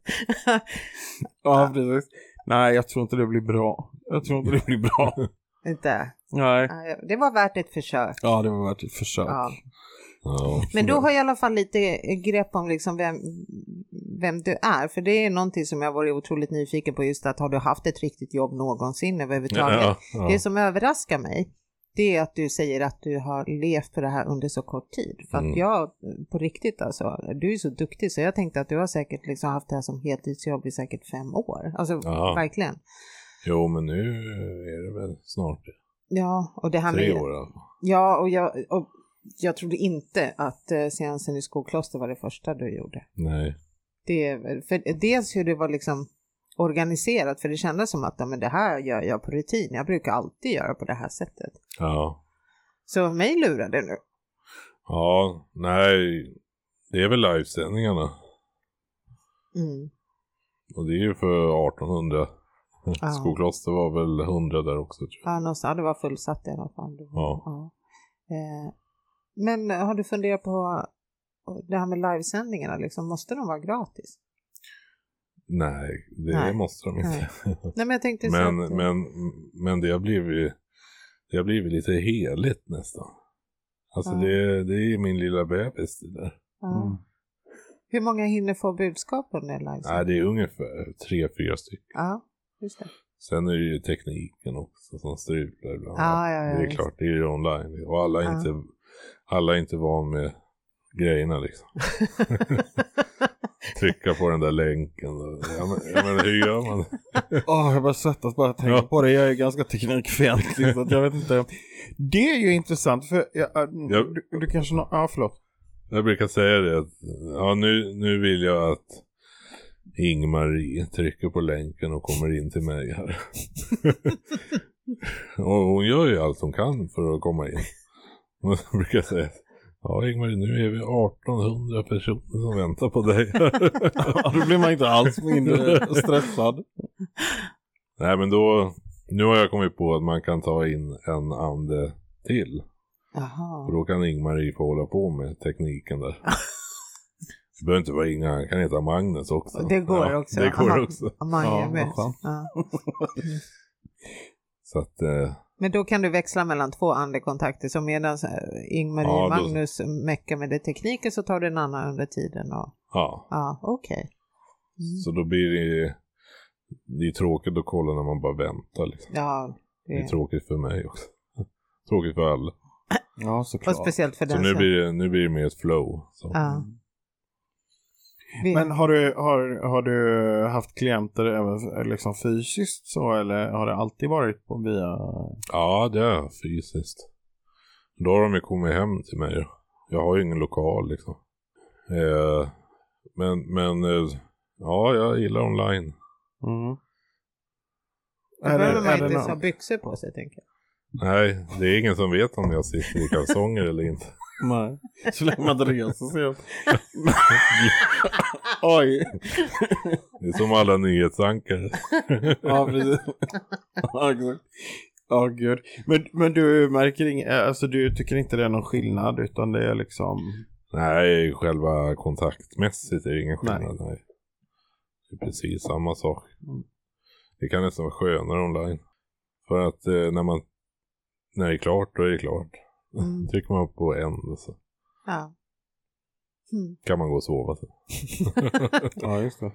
[SPEAKER 1] ja, precis. Nej, jag tror inte det blir bra. Jag tror inte det blir (laughs) bra.
[SPEAKER 2] Inte.
[SPEAKER 1] Nej.
[SPEAKER 2] Ja, Det var värt ett försök.
[SPEAKER 1] Ja, det var värt ett försök.
[SPEAKER 2] Ja.
[SPEAKER 3] ja.
[SPEAKER 2] Men då har jag i alla fall lite grepp om liksom vem, vem du är. För det är någonting som jag varit otroligt nyfiken på just att har du haft ett riktigt jobb någonsin överhuvudtaget?
[SPEAKER 3] Ja, ja.
[SPEAKER 2] Det som överraskar mig, det är att du säger att du har levt på det här under så kort tid. För att
[SPEAKER 3] Mm.
[SPEAKER 2] jag, på riktigt alltså, du är så duktig så jag tänkte att du har säkert liksom haft det här som heltidsjobb i säkert fem år. Alltså
[SPEAKER 3] Ja.
[SPEAKER 2] verkligen.
[SPEAKER 3] Jo, men nu är det väl snart
[SPEAKER 2] Ja, och det här
[SPEAKER 3] tre
[SPEAKER 2] med...
[SPEAKER 3] år. alltså. i alla fall.
[SPEAKER 2] Ja, och jag, och jag trodde inte att eh, seansen i Skokloster var det första du gjorde.
[SPEAKER 3] Nej.
[SPEAKER 2] Det, för dels hur det var liksom organiserat, för det kändes som att ja, men det här gör jag på rutin. Jag brukar alltid göra på det här sättet.
[SPEAKER 3] Ja.
[SPEAKER 2] Så mig lurar det nu.
[SPEAKER 3] Ja, nej. Det är väl livesändningarna.
[SPEAKER 2] Mm.
[SPEAKER 3] Och det är ju för 1800.
[SPEAKER 2] Ja.
[SPEAKER 3] Skokloster var väl 100 där också tror jag.
[SPEAKER 2] Ja, någonstans. Ja, det var fullsatt i alla fall. Det var-
[SPEAKER 3] Ja.
[SPEAKER 2] Eh, Men eh, har du funderat på eh, det här med livesändningarna, liksom, måste de vara gratis?
[SPEAKER 3] Nej, det
[SPEAKER 2] Nej.
[SPEAKER 3] måste de inte.
[SPEAKER 2] Nej, men jag tänkte så
[SPEAKER 3] Men,
[SPEAKER 2] att,
[SPEAKER 3] men, men det har blivit, det har blivit lite heligt nästan. Alltså
[SPEAKER 2] Ja.
[SPEAKER 3] det, det är min lilla bebis det där.
[SPEAKER 2] ja.
[SPEAKER 1] Mm.
[SPEAKER 2] Hur många hinner få budskap under
[SPEAKER 3] Nej,
[SPEAKER 2] livesändningen?
[SPEAKER 3] det är ungefär tre, fyra stycken.
[SPEAKER 2] Ja, just det.
[SPEAKER 3] Sen är det ju tekniken också som strular ibland.
[SPEAKER 2] Ja, ja, ja,
[SPEAKER 3] det är
[SPEAKER 2] just.
[SPEAKER 3] klart, det är ju online. Och alla är,
[SPEAKER 2] Ja.
[SPEAKER 3] inte, alla är inte van med grejerna
[SPEAKER 2] (laughs)
[SPEAKER 3] liksom. Trycka på den där länken. och- Ja, men, ja, men hur gör man?
[SPEAKER 1] Åh, jag börjar svettas bara jag tänker
[SPEAKER 3] Ja.
[SPEAKER 1] på det. Jag är ganska teknikfientlig så att jag vet inte. Det är ju intressant för jag, äh,
[SPEAKER 3] Ja.
[SPEAKER 1] du, du kanske... nå- Ja, förlåt.
[SPEAKER 3] Jag brukar säga det att ja, nu, nu vill jag att Ingmarie trycker på länken och kommer in till mig
[SPEAKER 2] (laughs)
[SPEAKER 3] här. och hon gör ju allt hon kan för att komma in. Och så brukar jag säga Ja Ingmarie, nu är vi 1800 personer som väntar på dig
[SPEAKER 2] (laughs)
[SPEAKER 3] här.
[SPEAKER 1] Ja, då blir man inte alls (laughs) mindre stressad.
[SPEAKER 3] Nej men då, nu har jag kommit på att man kan ta in en ande till.
[SPEAKER 2] Jaha.
[SPEAKER 3] Och då kan Ingmarie få hålla på med
[SPEAKER 2] (laughs)
[SPEAKER 3] tekniken där. Det behöver inte vara Inga, han kan heta Magnus också.
[SPEAKER 2] Det går också.
[SPEAKER 3] Det går
[SPEAKER 2] Aha.
[SPEAKER 3] också.
[SPEAKER 2] Ja, man
[SPEAKER 1] Ja,
[SPEAKER 2] är
[SPEAKER 1] vad
[SPEAKER 2] med.
[SPEAKER 1] skönt.
[SPEAKER 2] ja.
[SPEAKER 3] Så att, eh,
[SPEAKER 2] Men då kan du växla mellan två andekontakter, så medan Ingmarie
[SPEAKER 3] Ja, då-
[SPEAKER 2] och Magnus meckar med det tekniken så tar du en annan under tiden. Och...
[SPEAKER 3] ja.
[SPEAKER 2] Ja, okej.
[SPEAKER 3] Så då blir det, det är tråkigt att kolla när man bara väntar liksom.
[SPEAKER 2] Ja, det...
[SPEAKER 3] Det är tråkigt för mig också. (laughs) Tråkigt för alla.
[SPEAKER 1] Ja,
[SPEAKER 2] och
[SPEAKER 1] såklart.
[SPEAKER 2] speciellt för
[SPEAKER 3] Så
[SPEAKER 2] den
[SPEAKER 3] nu
[SPEAKER 2] som...
[SPEAKER 3] blir det, nu blir det mer ett flow. Så.
[SPEAKER 2] Alltså. Ja. Vi...
[SPEAKER 1] Men har du, har, har du haft klienter även liksom fysiskt så eller har det alltid varit på via?
[SPEAKER 3] Ja, det är fysiskt. Då har de ju kommit hem till mig. Jag har ju ingen lokal liksom. Eh, men, men eh, ja, jag gillar online.
[SPEAKER 1] Mm.
[SPEAKER 2] Då
[SPEAKER 1] Är det-
[SPEAKER 2] behöver
[SPEAKER 1] är
[SPEAKER 2] man
[SPEAKER 1] det
[SPEAKER 2] inte
[SPEAKER 1] någon-
[SPEAKER 2] ha byxor på sig, tänker jag.
[SPEAKER 3] Nej, det är ingen som vet om jag sitter i kalsonger eller inte.
[SPEAKER 1] Nej, (laughs) så länge man inte reser sig upp. (laughs) Oj,
[SPEAKER 3] Det är som
[SPEAKER 2] (laughs)
[SPEAKER 3] alla nyhetsankare.
[SPEAKER 1] ja precis. Ja, exakt. Ja, gud. Men, men du märker ing, alltså du tycker inte det är någon skillnad utan det är liksom,
[SPEAKER 3] Nej, själva kontaktmässigt är det ingen skillnad. Nej. Det är precis samma sak.
[SPEAKER 1] Mm.
[SPEAKER 3] Det kan nästan vara skönare online. För att eh, när, man, när det är klart, då är det klart.
[SPEAKER 2] Mm.
[SPEAKER 3] (laughs) Trycker man på en så
[SPEAKER 2] Ja. Mm.
[SPEAKER 3] kan man gå och sova. sen.
[SPEAKER 1] ja just det.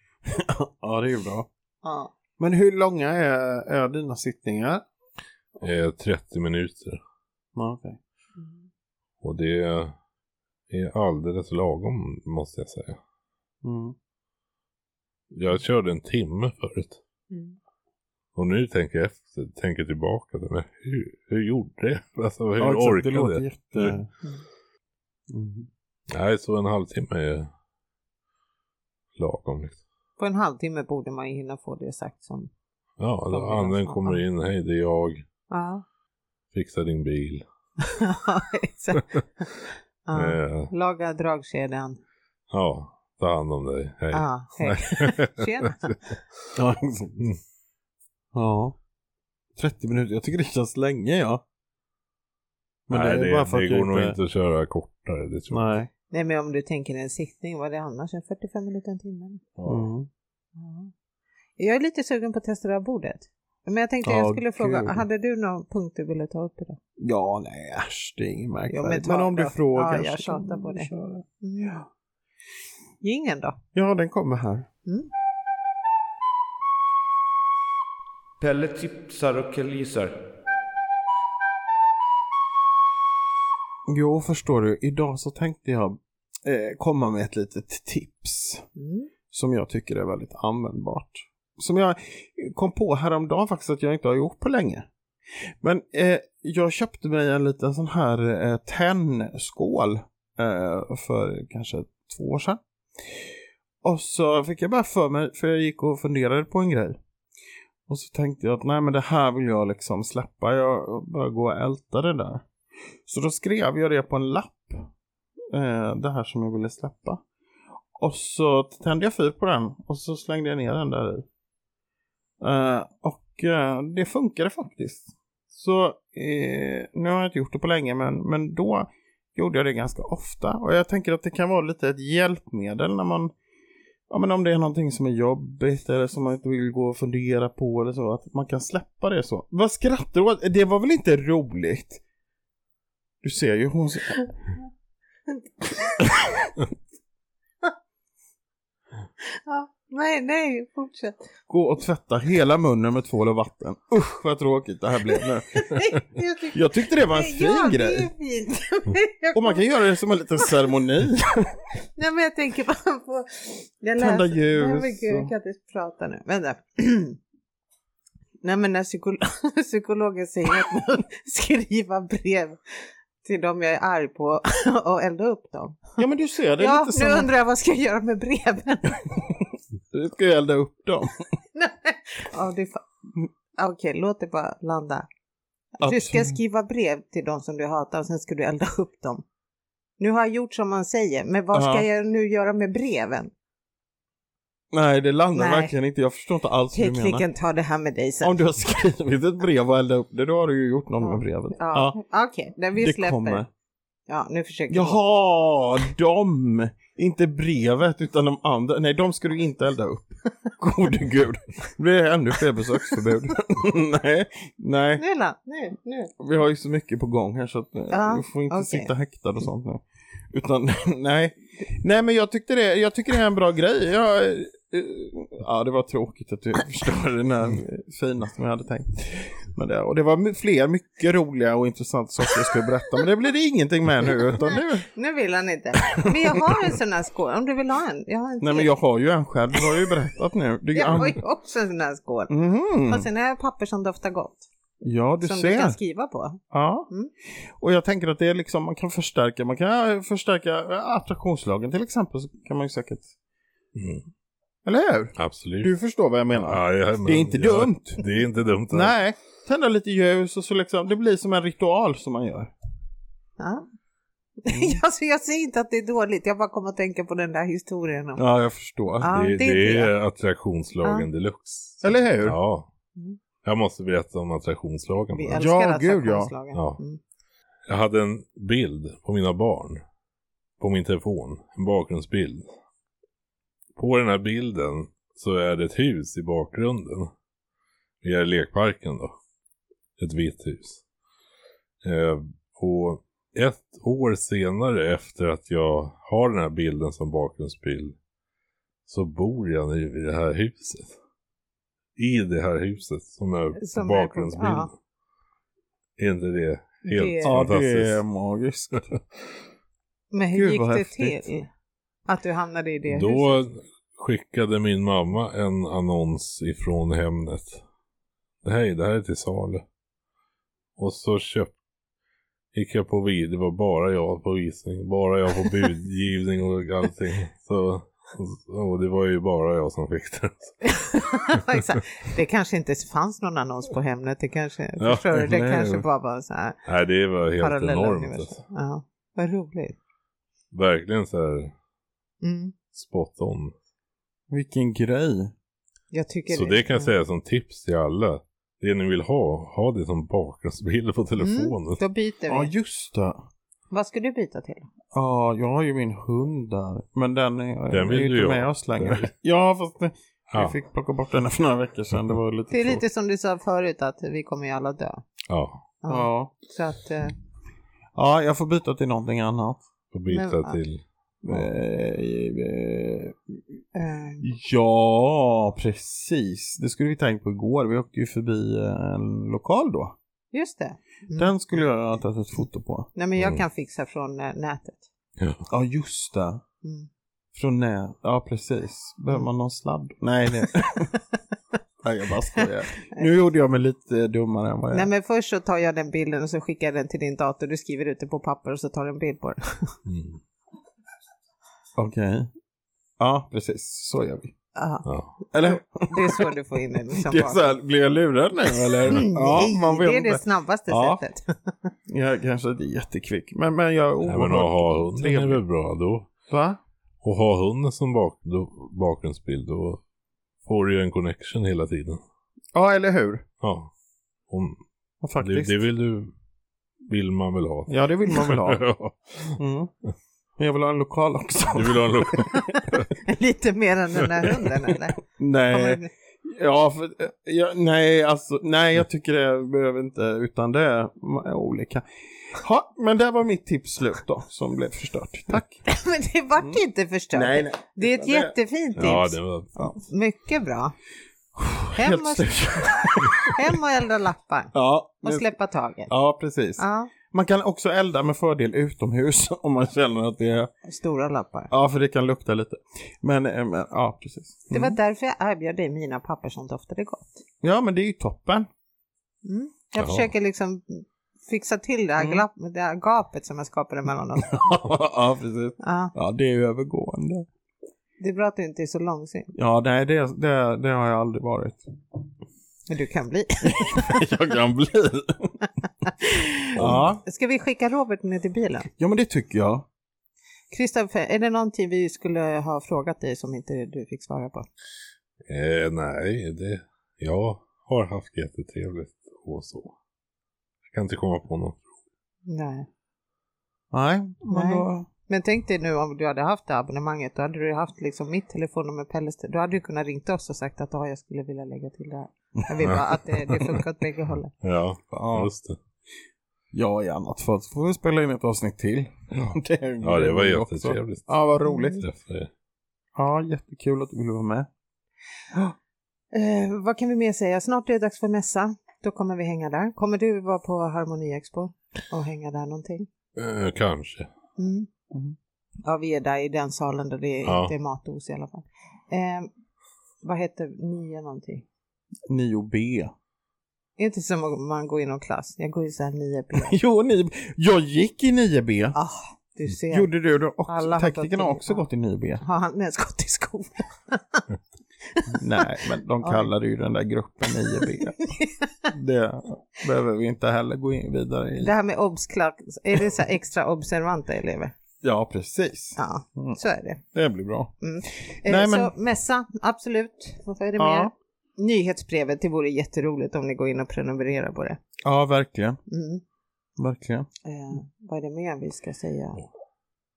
[SPEAKER 1] (laughs) ja, det är ju bra.
[SPEAKER 2] Ja.
[SPEAKER 1] Men hur långa är, är dina sittningar?
[SPEAKER 3] Eh, 30 minuter.
[SPEAKER 1] Ja, okej.
[SPEAKER 2] Mm.
[SPEAKER 3] Och det är alldeles lagom måste jag säga.
[SPEAKER 1] Mm.
[SPEAKER 3] Jag körde en timme förut.
[SPEAKER 2] Mm.
[SPEAKER 3] Och nu tänker jag efter, tänker tillbaka. till mig. Hur, hur gjorde jag? (laughs) Alltså hur
[SPEAKER 1] Ja, exakt,
[SPEAKER 3] orkade
[SPEAKER 1] det låter
[SPEAKER 3] jag?
[SPEAKER 1] jätte...
[SPEAKER 3] Mm.
[SPEAKER 1] Mm.
[SPEAKER 3] Nej, så en halvtimme är lagom. Liksom.
[SPEAKER 2] På en halvtimme borde man ju hinna få det sagt som...
[SPEAKER 3] Ja, då
[SPEAKER 2] Ja,
[SPEAKER 3] anden
[SPEAKER 2] nästan.
[SPEAKER 3] kommer in. Hej, det är jag.
[SPEAKER 2] (laughs) Ja,
[SPEAKER 3] Fixa din bil.
[SPEAKER 2] exakt. ja.
[SPEAKER 3] Eh,
[SPEAKER 2] Laga dragkedjan.
[SPEAKER 3] ja, ta hand om dig. Hej. (laughs)
[SPEAKER 2] Ja, hej. (laughs) Tjena.
[SPEAKER 1] Ja, exakt. Mm. ja. 30 minuter, jag tycker det känns länge ja.
[SPEAKER 3] Nej, det, det,
[SPEAKER 1] jag
[SPEAKER 3] går nog inte att köra kortare. Det tror jag.
[SPEAKER 1] Nej.
[SPEAKER 2] Nej, men om du tänker en sittning, vad är det annars? En 45 minuter, en timme?
[SPEAKER 3] Ja.
[SPEAKER 1] Mm.
[SPEAKER 2] Ja. Jag är lite sugen på att testa det här bordet. Men jag tänkte
[SPEAKER 1] Ja,
[SPEAKER 2] jag skulle fråga,
[SPEAKER 1] kul.
[SPEAKER 2] hade du någon punkt du ville ta upp idag?
[SPEAKER 1] Ja, nej äsch, det är inget
[SPEAKER 2] Jo, men
[SPEAKER 1] märkvärdigt.
[SPEAKER 2] ta
[SPEAKER 1] men, om
[SPEAKER 2] det
[SPEAKER 1] du
[SPEAKER 2] då.
[SPEAKER 1] frågar.
[SPEAKER 2] Ja, jag
[SPEAKER 1] så
[SPEAKER 2] tjatar
[SPEAKER 1] kan
[SPEAKER 2] på
[SPEAKER 1] vi
[SPEAKER 2] det. Mm.
[SPEAKER 1] köra.
[SPEAKER 2] Ja. Ingen då?
[SPEAKER 1] Ja, den kommer här.
[SPEAKER 4] Pelle tipsar och Kalle gissar.
[SPEAKER 1] Jo, förstår du. Idag så tänkte jag eh, komma med ett litet tips
[SPEAKER 2] Mm.
[SPEAKER 1] som jag tycker är väldigt användbart. Som jag kom på häromdagen faktiskt att jag inte har gjort på länge. Men eh, jag köpte mig en liten sån här eh, tennskål eh, för kanske två år sedan. Och så fick jag bara för mig, för jag gick och funderade på en grej. Och så tänkte jag att nej men det här vill jag liksom släppa, jag bara gå och älta det där. Så då skrev jag det på en lapp. Eh, det här som jag ville släppa. Och så tände jag fyr på den och så slängde jag ner den där i. Eh, och eh, det funkade faktiskt. Så eh, nu har jag inte gjort det på länge men, men då gjorde jag det ganska ofta. Och jag tänker att det kan vara lite ett hjälpmedel när man Ja men om det är någonting som är jobbigt eller som man inte vill gå och fundera på eller så, att man kan släppa det så. Vad skrattar du åt? Det var väl inte roligt? Du ser ju hon...
[SPEAKER 2] Ja. Nej, nej, fortsätt. (laughs)
[SPEAKER 1] Gå och tvätta hela munnen med tvål och vatten. Usch vad tråkigt det här blev nu.
[SPEAKER 2] jag tycker...
[SPEAKER 1] Jag tyckte det var (laughs) en
[SPEAKER 2] ja,
[SPEAKER 1] fin
[SPEAKER 2] det är
[SPEAKER 1] grej.
[SPEAKER 2] fint.
[SPEAKER 1] (laughs)
[SPEAKER 2] Jag
[SPEAKER 1] Och man kan
[SPEAKER 2] kom-
[SPEAKER 1] göra det som en liten ceremoni.
[SPEAKER 2] Nej, men jag tänker bara på... Jag
[SPEAKER 1] Tända
[SPEAKER 2] läser-
[SPEAKER 1] ljus
[SPEAKER 2] Nej, men gud, jag
[SPEAKER 1] och-
[SPEAKER 2] kan inte prata nu. Vänta. (clears throat) Nej, men när psykolo- (laughs) psykologen säger att man (laughs) skriva brev till dem jag är arg på (laughs) och elda upp dem.
[SPEAKER 1] (laughs) Ja men du ser, det är
[SPEAKER 2] Ja,
[SPEAKER 1] lite
[SPEAKER 2] nu
[SPEAKER 1] som...
[SPEAKER 2] undrar jag vad ska jag göra med breven? (laughs)
[SPEAKER 1] Du ska ju elda upp dem.
[SPEAKER 2] Ja, det är fa- Mm, Okej, låt det bara landa. Du ska
[SPEAKER 1] Absolut.
[SPEAKER 2] skriva brev till de som du hatar och sen ska du elda upp dem. Nu har jag gjort som man säger, men vad ska
[SPEAKER 1] Ja.
[SPEAKER 2] jag nu göra med breven?
[SPEAKER 1] Nej, det landar
[SPEAKER 2] Nej.
[SPEAKER 1] verkligen inte. Jag förstår inte alls hur du menar.
[SPEAKER 2] Tekniken tar det här med dig sen.
[SPEAKER 1] Om du har skrivit ett brev och eldat upp det, då har du ju gjort något med brevet. Ja,
[SPEAKER 2] Ja, okej, den vi
[SPEAKER 1] det
[SPEAKER 2] släpper.
[SPEAKER 1] kommer.
[SPEAKER 2] Ja, nu försöker jag.
[SPEAKER 1] Jaha, de! Inte brevet, utan de andra. Nej, de ska du inte elda upp. (laughs) Gode gud. Det blir ännu fler besöksförbud. (laughs) nej, nej.
[SPEAKER 2] Nu, la, nu, nu.
[SPEAKER 1] Vi har ju så mycket på gång här så att eh,
[SPEAKER 2] Ja,
[SPEAKER 1] vi får inte
[SPEAKER 2] okej.
[SPEAKER 1] sitta häktad och sånt nu. Utan (laughs) nej. Nej men jag tyckte det, jag tycker det är en bra grej. Jag, eh, ja det var tråkigt att du (laughs) förstörde den här eh, fina som jag hade tänkt. Men det, och det var my- fler mycket roliga och intressanta saker jag skulle berätta. Men det blir det ingenting med nu utan nu.
[SPEAKER 2] Nu vill
[SPEAKER 1] (laughs)
[SPEAKER 2] han inte. Men jag har en sån här skål, om du vill ha en. Jag har en
[SPEAKER 1] Nej men
[SPEAKER 2] till.
[SPEAKER 1] jag har ju en själv, du har ju berättat nu. Du,
[SPEAKER 2] jag har ju också en sån här skål.
[SPEAKER 1] Mhm.
[SPEAKER 2] Och sen har jag papper som doftar gott.
[SPEAKER 1] Ja du
[SPEAKER 2] som
[SPEAKER 1] ser.
[SPEAKER 2] du kan skriva på.
[SPEAKER 1] Ja.
[SPEAKER 2] Mm.
[SPEAKER 1] Och jag tänker att det är liksom, man kan förstärka, man kan förstärka eh, attraktionslagen till exempel så kan man ju säkert,
[SPEAKER 3] Mm,
[SPEAKER 1] eller hur?
[SPEAKER 3] absolut.
[SPEAKER 1] Du förstår vad jag menar.
[SPEAKER 3] Ja, ja, men-
[SPEAKER 1] det är inte
[SPEAKER 3] ja,
[SPEAKER 1] dumt.
[SPEAKER 3] Det är inte dumt. alls.
[SPEAKER 1] Nej, tända lite ljus och så liksom, det blir som en ritual som man gör.
[SPEAKER 2] Ja.
[SPEAKER 1] Mm.
[SPEAKER 2] (laughs) alltså, jag säger inte att det är dåligt, jag bara kommer att tänka på den där historien. Om.
[SPEAKER 1] Ja, jag förstår.
[SPEAKER 2] Ja,
[SPEAKER 3] det,
[SPEAKER 2] det är
[SPEAKER 3] det
[SPEAKER 2] det.
[SPEAKER 3] är attraktionslagen deluxe.
[SPEAKER 1] Eller hur?
[SPEAKER 3] Ja.
[SPEAKER 2] Mm.
[SPEAKER 3] Jag måste berätta om attraktionslagen.
[SPEAKER 2] Vi
[SPEAKER 3] bara.
[SPEAKER 2] älskar
[SPEAKER 1] Ja, gud, ja.
[SPEAKER 2] attraktionslagen.
[SPEAKER 3] Ja.
[SPEAKER 2] Mm.
[SPEAKER 3] Jag hade en bild på mina barn. På min telefon. En bakgrundsbild. På den här bilden så är det ett hus i bakgrunden. Vi är i lekparken då. Ett vitt hus. Eh, och ett år senare efter att jag har den här bilden som bakgrundsbild. så bor jag nu i det här huset. I det här huset som är
[SPEAKER 2] Som
[SPEAKER 3] på
[SPEAKER 2] är-
[SPEAKER 3] bakgrundsbilden.
[SPEAKER 2] ja.
[SPEAKER 3] Är inte det helt
[SPEAKER 2] Det-
[SPEAKER 1] Ja,
[SPEAKER 3] fantastiskt?
[SPEAKER 1] det är
[SPEAKER 3] (laughs)
[SPEAKER 1] magiskt.
[SPEAKER 2] Men hur
[SPEAKER 1] Gud,
[SPEAKER 2] gick
[SPEAKER 1] vad
[SPEAKER 2] det
[SPEAKER 1] häftigt.
[SPEAKER 2] till? Att du hamnade i det huset?
[SPEAKER 3] Då skickade min mamma en annons ifrån Hemnet. Det här, är- det här är till salu. Och så köpte Gick jag på vid, det var bara jag på visning, bara jag på budgivning
[SPEAKER 2] (laughs)
[SPEAKER 3] och allting. Så, och det var ju bara jag som fick det.
[SPEAKER 2] (laughs) Exakt. det kanske inte fanns någon annons på Hemnet. Det kanske,
[SPEAKER 3] Ja,
[SPEAKER 2] förstår du? Det
[SPEAKER 3] nej,
[SPEAKER 2] kanske
[SPEAKER 3] men-
[SPEAKER 2] bara var så här
[SPEAKER 3] Nej, det var helt
[SPEAKER 2] parallella
[SPEAKER 3] enormt.
[SPEAKER 2] universum.
[SPEAKER 3] Alltså.
[SPEAKER 2] Ja, vad roligt.
[SPEAKER 3] Verkligen så här
[SPEAKER 2] Mm.
[SPEAKER 3] spot on.
[SPEAKER 1] Vilken grej.
[SPEAKER 2] Jag tycker
[SPEAKER 3] Så det kan jag säga som tips till alla. Det ni vill ha, ha det som bakgrundsbild på telefonen.
[SPEAKER 2] Mm, då byter vi.
[SPEAKER 1] Ja, just det.
[SPEAKER 2] Vad ska du byta till?
[SPEAKER 1] Ja, jag har ju min hund där. Men den är,
[SPEAKER 3] Den vill
[SPEAKER 1] är
[SPEAKER 3] du
[SPEAKER 1] inte
[SPEAKER 3] ha.
[SPEAKER 1] med oss
[SPEAKER 3] Den (laughs)
[SPEAKER 1] längre.
[SPEAKER 3] vill-
[SPEAKER 1] Ja, fast det,
[SPEAKER 3] Ja.
[SPEAKER 1] vi fick plocka bort den för några veckor sedan. Det var lite
[SPEAKER 2] Det är
[SPEAKER 1] tråkigt.
[SPEAKER 2] lite som du sa förut att vi kommer ju alla dö.
[SPEAKER 3] Ja,
[SPEAKER 2] Ja.
[SPEAKER 1] Ja.
[SPEAKER 2] Så att, eh,
[SPEAKER 1] ja, jag får byta till någonting annat.
[SPEAKER 3] och byta
[SPEAKER 2] Men-
[SPEAKER 3] till.
[SPEAKER 1] Eh, eh,
[SPEAKER 2] eh,
[SPEAKER 1] Ja, precis. Det skulle vi tänkt på igår. Vi åkte ju förbi eh, en lokal då.
[SPEAKER 2] just det. Mm.
[SPEAKER 1] Den skulle jag ha tagit ett foto på.
[SPEAKER 2] Nej men jag
[SPEAKER 3] Mm.
[SPEAKER 2] kan fixa från eh, nätet.
[SPEAKER 1] Ja, just det.
[SPEAKER 2] Mm.
[SPEAKER 1] Från nä... Ja, precis. Behöver man någon sladd? Nej,
[SPEAKER 2] (laughs)
[SPEAKER 1] det... Nej, jag bara skojar. Nu gjorde jag mig lite dummare än vad jag
[SPEAKER 2] Nej men först så tar jag den bilden och så skickar jag den till din dator. Du skriver ut det på papper och så tar du en bild på den.
[SPEAKER 3] Mm.
[SPEAKER 1] Okej. Ja, precis. Så gör vi.
[SPEAKER 2] Ja,
[SPEAKER 3] Ja.
[SPEAKER 1] Eller?
[SPEAKER 2] det är så du får in den. Liksom
[SPEAKER 3] (laughs)
[SPEAKER 1] Det är så
[SPEAKER 2] bara.
[SPEAKER 1] här, blir (laughs) jag lurad nu eller?
[SPEAKER 2] Mm, (laughs) Nej,
[SPEAKER 1] ja, man vet
[SPEAKER 2] det är
[SPEAKER 1] inte.
[SPEAKER 2] det snabbaste
[SPEAKER 1] Ja.
[SPEAKER 2] sättet.
[SPEAKER 1] Jag kanske inte är jättekvick. Men, men jag är
[SPEAKER 3] Nej, men att ha
[SPEAKER 1] oerhört
[SPEAKER 3] hunden är väl bra då.
[SPEAKER 1] Va?
[SPEAKER 3] Och ha hunden som bak, då, bakgrundsbild då får du ju en connection hela tiden.
[SPEAKER 1] Ja, eller hur?
[SPEAKER 3] Ja. Om,
[SPEAKER 1] Ja,
[SPEAKER 3] det,
[SPEAKER 1] Faktiskt.
[SPEAKER 3] det vill du, vill man väl ha.
[SPEAKER 1] Ja, det vill man väl
[SPEAKER 3] (laughs)
[SPEAKER 1] ha.
[SPEAKER 3] Ja.
[SPEAKER 1] Mm. Men jag vill ha en lokal också.
[SPEAKER 3] Du vill
[SPEAKER 1] (laughs)
[SPEAKER 3] ha en lokal.
[SPEAKER 2] (laughs) Lite mer än den där hunden eller? Kommer
[SPEAKER 1] Nej,
[SPEAKER 2] det-
[SPEAKER 1] ja, för, ja, nej, alltså, nej, jag tycker det behöver inte, utan det är ma- olika. Ha, men det var mitt tips slut då, som blev förstört. Tack.
[SPEAKER 2] (laughs) Men det vart inte förstört.
[SPEAKER 1] Nej, nej.
[SPEAKER 2] Det är ett
[SPEAKER 1] Det-
[SPEAKER 2] jättefint tips.
[SPEAKER 3] Ja, det var... (laughs)
[SPEAKER 2] Mycket bra. Hem
[SPEAKER 1] Helt
[SPEAKER 2] och,
[SPEAKER 1] slut.
[SPEAKER 2] hem och elda lappar
[SPEAKER 1] Ja,
[SPEAKER 2] och
[SPEAKER 1] nu-
[SPEAKER 2] släppa taget.
[SPEAKER 1] ja, precis.
[SPEAKER 2] Ja,
[SPEAKER 1] Man kan också elda med fördel utomhus (laughs) om man känner att det är,
[SPEAKER 2] stora lappar.
[SPEAKER 1] ja, för det kan lukta lite. Men, eh, men ja, precis.
[SPEAKER 2] Det
[SPEAKER 1] Mm.
[SPEAKER 2] var därför jag erbjöd dig mina papper som doftade gott.
[SPEAKER 1] Ja, men det är ju toppen.
[SPEAKER 2] Mm. Jag
[SPEAKER 3] Jaha.
[SPEAKER 2] försöker liksom fixa till det här,
[SPEAKER 1] Mm.
[SPEAKER 2] glapp, det här gapet som jag skapade
[SPEAKER 1] (laughs)
[SPEAKER 2] mellan oss.
[SPEAKER 1] ja, precis.
[SPEAKER 2] Ja,
[SPEAKER 1] Ja, det är ju övergående.
[SPEAKER 2] det är bra att du inte är så långsint,
[SPEAKER 1] Ja, nej, det, det, det har jag aldrig varit.
[SPEAKER 2] men du kan bli.
[SPEAKER 1] jag kan bli. ja.
[SPEAKER 2] Ska vi skicka Robert ner till bilen?
[SPEAKER 1] ja, men det tycker jag.
[SPEAKER 2] Kristoffer, är det någonting vi skulle ha frågat dig som inte du fick svara på?
[SPEAKER 3] Eh, nej, det... Jag har haft jättetrevligt och så. Jag kan inte komma på något.
[SPEAKER 2] Nej.
[SPEAKER 1] Nej, men
[SPEAKER 2] Nej.
[SPEAKER 1] då...
[SPEAKER 2] Men tänk dig nu om du hade haft det abonnemanget, då hade du haft liksom mitt telefonnummer Pelles, då hade du kunnat ringt oss och sagt att ja, jag skulle vilja lägga till det här. Jag vill bara att det, det funkar åt bägge hållen.
[SPEAKER 3] Ja,
[SPEAKER 1] Ja.
[SPEAKER 3] just det.
[SPEAKER 1] Ja, i annat fall så får vi spela in ett avsnitt till. (laughs) det, är ju
[SPEAKER 3] Ja, det var
[SPEAKER 1] kul också.
[SPEAKER 3] jättetrevligt.
[SPEAKER 1] Ja, vad roligt.
[SPEAKER 3] Träffa er.
[SPEAKER 1] Ja, jättekul att du ville vara med.
[SPEAKER 2] Eh, vad kan vi mer säga? Snart är det dags för mässa. Då kommer vi hänga där. Kommer du vara på Harmoniexpo och hänga där någonting?
[SPEAKER 3] Eh, kanske.
[SPEAKER 2] Mm.
[SPEAKER 1] Mm.
[SPEAKER 2] Ja, vi är där i den salen där det
[SPEAKER 3] Ja.
[SPEAKER 2] inte är matos i alla fall. Eh, vad heter nya någonting?
[SPEAKER 1] 9B.
[SPEAKER 2] Det är inte som om man går i någon klass. Jag går i så här 9B.
[SPEAKER 1] (laughs) Jo, 9B. Jag gick i 9B.
[SPEAKER 2] ah, du ser.
[SPEAKER 1] Gjorde du det också?
[SPEAKER 2] Alla har
[SPEAKER 1] Teknikerna har
[SPEAKER 2] gått i-
[SPEAKER 1] också gått i 9B.
[SPEAKER 2] Har han ens gått i skolan?
[SPEAKER 1] (laughs) Nej, men de
[SPEAKER 2] Ja.
[SPEAKER 1] kallade ju den där gruppen
[SPEAKER 2] (laughs)
[SPEAKER 1] 9B. det behöver vi inte heller gå in vidare i.
[SPEAKER 2] Det här med obs-klack, är det så här extra observanta elever?
[SPEAKER 1] Ja, precis.
[SPEAKER 2] Ja,
[SPEAKER 1] Mm.
[SPEAKER 2] så är det.
[SPEAKER 1] Det blir bra.
[SPEAKER 2] Eh,
[SPEAKER 1] Nej,
[SPEAKER 2] Så mässa, absolut. Vad är det
[SPEAKER 1] Ja.
[SPEAKER 2] mer? Nyhetsbrevet, det vore jätteroligt om ni går in och prenumererar på det.
[SPEAKER 1] Ja, verkligen.
[SPEAKER 2] Mm.
[SPEAKER 1] Verkligen.
[SPEAKER 2] Eh, vad är det mer vi ska säga?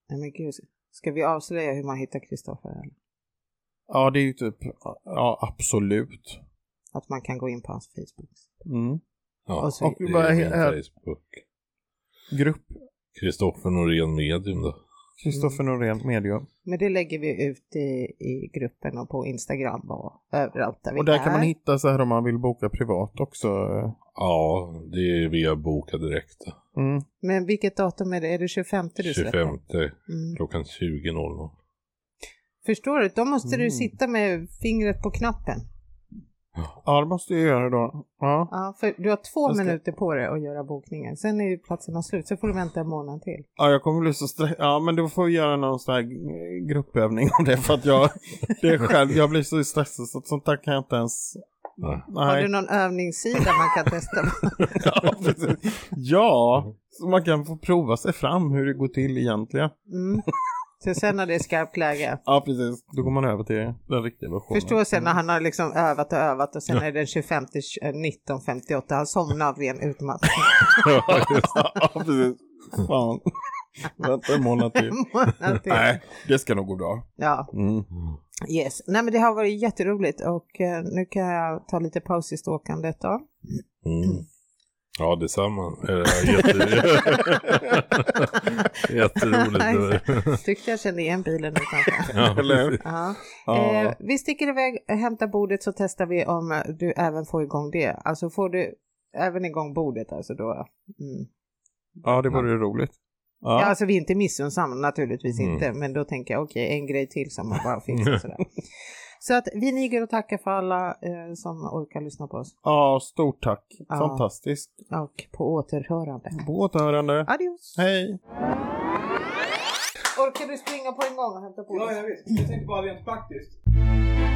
[SPEAKER 2] Nej men gud, ska vi avslöja hur man hittar Kristoffer? eller?
[SPEAKER 1] Ja, det är ju typ, ja absolut.
[SPEAKER 2] Att man kan gå in på hans Facebook.
[SPEAKER 1] Mm.
[SPEAKER 3] Ja,
[SPEAKER 2] Och så-
[SPEAKER 3] det
[SPEAKER 1] Vad
[SPEAKER 3] är
[SPEAKER 1] är-
[SPEAKER 3] min
[SPEAKER 1] är-
[SPEAKER 3] Facebook.
[SPEAKER 1] Grupp.
[SPEAKER 3] Kristoffer Norén Medium då.
[SPEAKER 1] Kristoffer
[SPEAKER 2] Mm.
[SPEAKER 1] Norén, medium.
[SPEAKER 2] Men det lägger vi ut i, i gruppen och på Instagram och överallt där vi
[SPEAKER 1] Och där kan man
[SPEAKER 2] är.
[SPEAKER 1] hitta så här om man vill boka privat också.
[SPEAKER 3] Ja, det är via Boka Direkt.
[SPEAKER 1] Mm.
[SPEAKER 2] Men vilket datum är det? Är det 25 du släpper?
[SPEAKER 3] 25
[SPEAKER 2] Mm.
[SPEAKER 3] klockan 20.00.
[SPEAKER 2] Förstår du? Då måste
[SPEAKER 1] Mm.
[SPEAKER 2] du sitta med fingret på knappen.
[SPEAKER 1] Ja, det måste jag göra då. Ja.
[SPEAKER 2] Ja, för du har två
[SPEAKER 1] Jag ska-
[SPEAKER 2] minuter på dig att göra bokningen. Sen är ju platserna slut, så får du vänta en månad till.
[SPEAKER 1] ja, jag kommer bli så stressad. Ja, men då får vi göra någon sån här eh, gruppövning om det. För att
[SPEAKER 2] (laughs)
[SPEAKER 1] jag, det är själv, jag blir så stressad så att sånt där kan jag inte ens...
[SPEAKER 3] Nej.
[SPEAKER 2] Har
[SPEAKER 1] Nej.
[SPEAKER 2] du någon övningssida man kan testa?
[SPEAKER 1] (laughs) Ja, precis. ja, så man kan få prova sig fram hur det går till egentligen.
[SPEAKER 2] (laughs) Mm. Så sen när det är skarpt läge.
[SPEAKER 1] Ja, precis. Då går man över till den riktiga versionen.
[SPEAKER 2] Förstår sen
[SPEAKER 1] Mm.
[SPEAKER 2] när han har liksom övat och övat och sen är det den 25 1958. eh, Han somnar av ren utmattning.
[SPEAKER 1] ja, precis. Fan. Vänta en månad till.
[SPEAKER 2] En (laughs) månad till.
[SPEAKER 1] Nej, det ska nog gå bra.
[SPEAKER 2] Ja,
[SPEAKER 1] Mm.
[SPEAKER 2] yes. Nej men det har varit jätteroligt och eh, nu kan jag ta lite paus i ståkandet då.
[SPEAKER 3] Mm. Ja, detsamma. Eh,
[SPEAKER 2] (laughs)
[SPEAKER 3] jätte- (laughs) Jätteroligt.
[SPEAKER 2] Tyckte jag kände igen bilen
[SPEAKER 1] (laughs)
[SPEAKER 2] utanför.
[SPEAKER 3] ja,
[SPEAKER 1] Eller hur?
[SPEAKER 2] Ja. Eh,
[SPEAKER 1] Ja.
[SPEAKER 2] vi sticker iväg, eh, hämtar bordet så testar vi om eh, du även får igång det. Alltså får du även igång bordet alltså då. Mm.
[SPEAKER 1] ja, det vore ju roligt.
[SPEAKER 2] Ja.
[SPEAKER 1] Ja.
[SPEAKER 2] alltså vi är inte missunnsamma naturligtvis
[SPEAKER 3] Mm.
[SPEAKER 2] inte, men då tänker jag okej, en grej till som man bara fixar sådär. Så att vi niger och tackar för alla eh, som orkar lyssna på oss
[SPEAKER 1] ja, stort tack.
[SPEAKER 2] Ja.
[SPEAKER 1] Fantastiskt.
[SPEAKER 2] och på återhörande.
[SPEAKER 1] På återhörande.
[SPEAKER 2] Adios!
[SPEAKER 1] Hej.
[SPEAKER 2] Orkar du springa på en gång och hämta bordet?
[SPEAKER 1] visst. Jag tänkte bara rent praktiskt.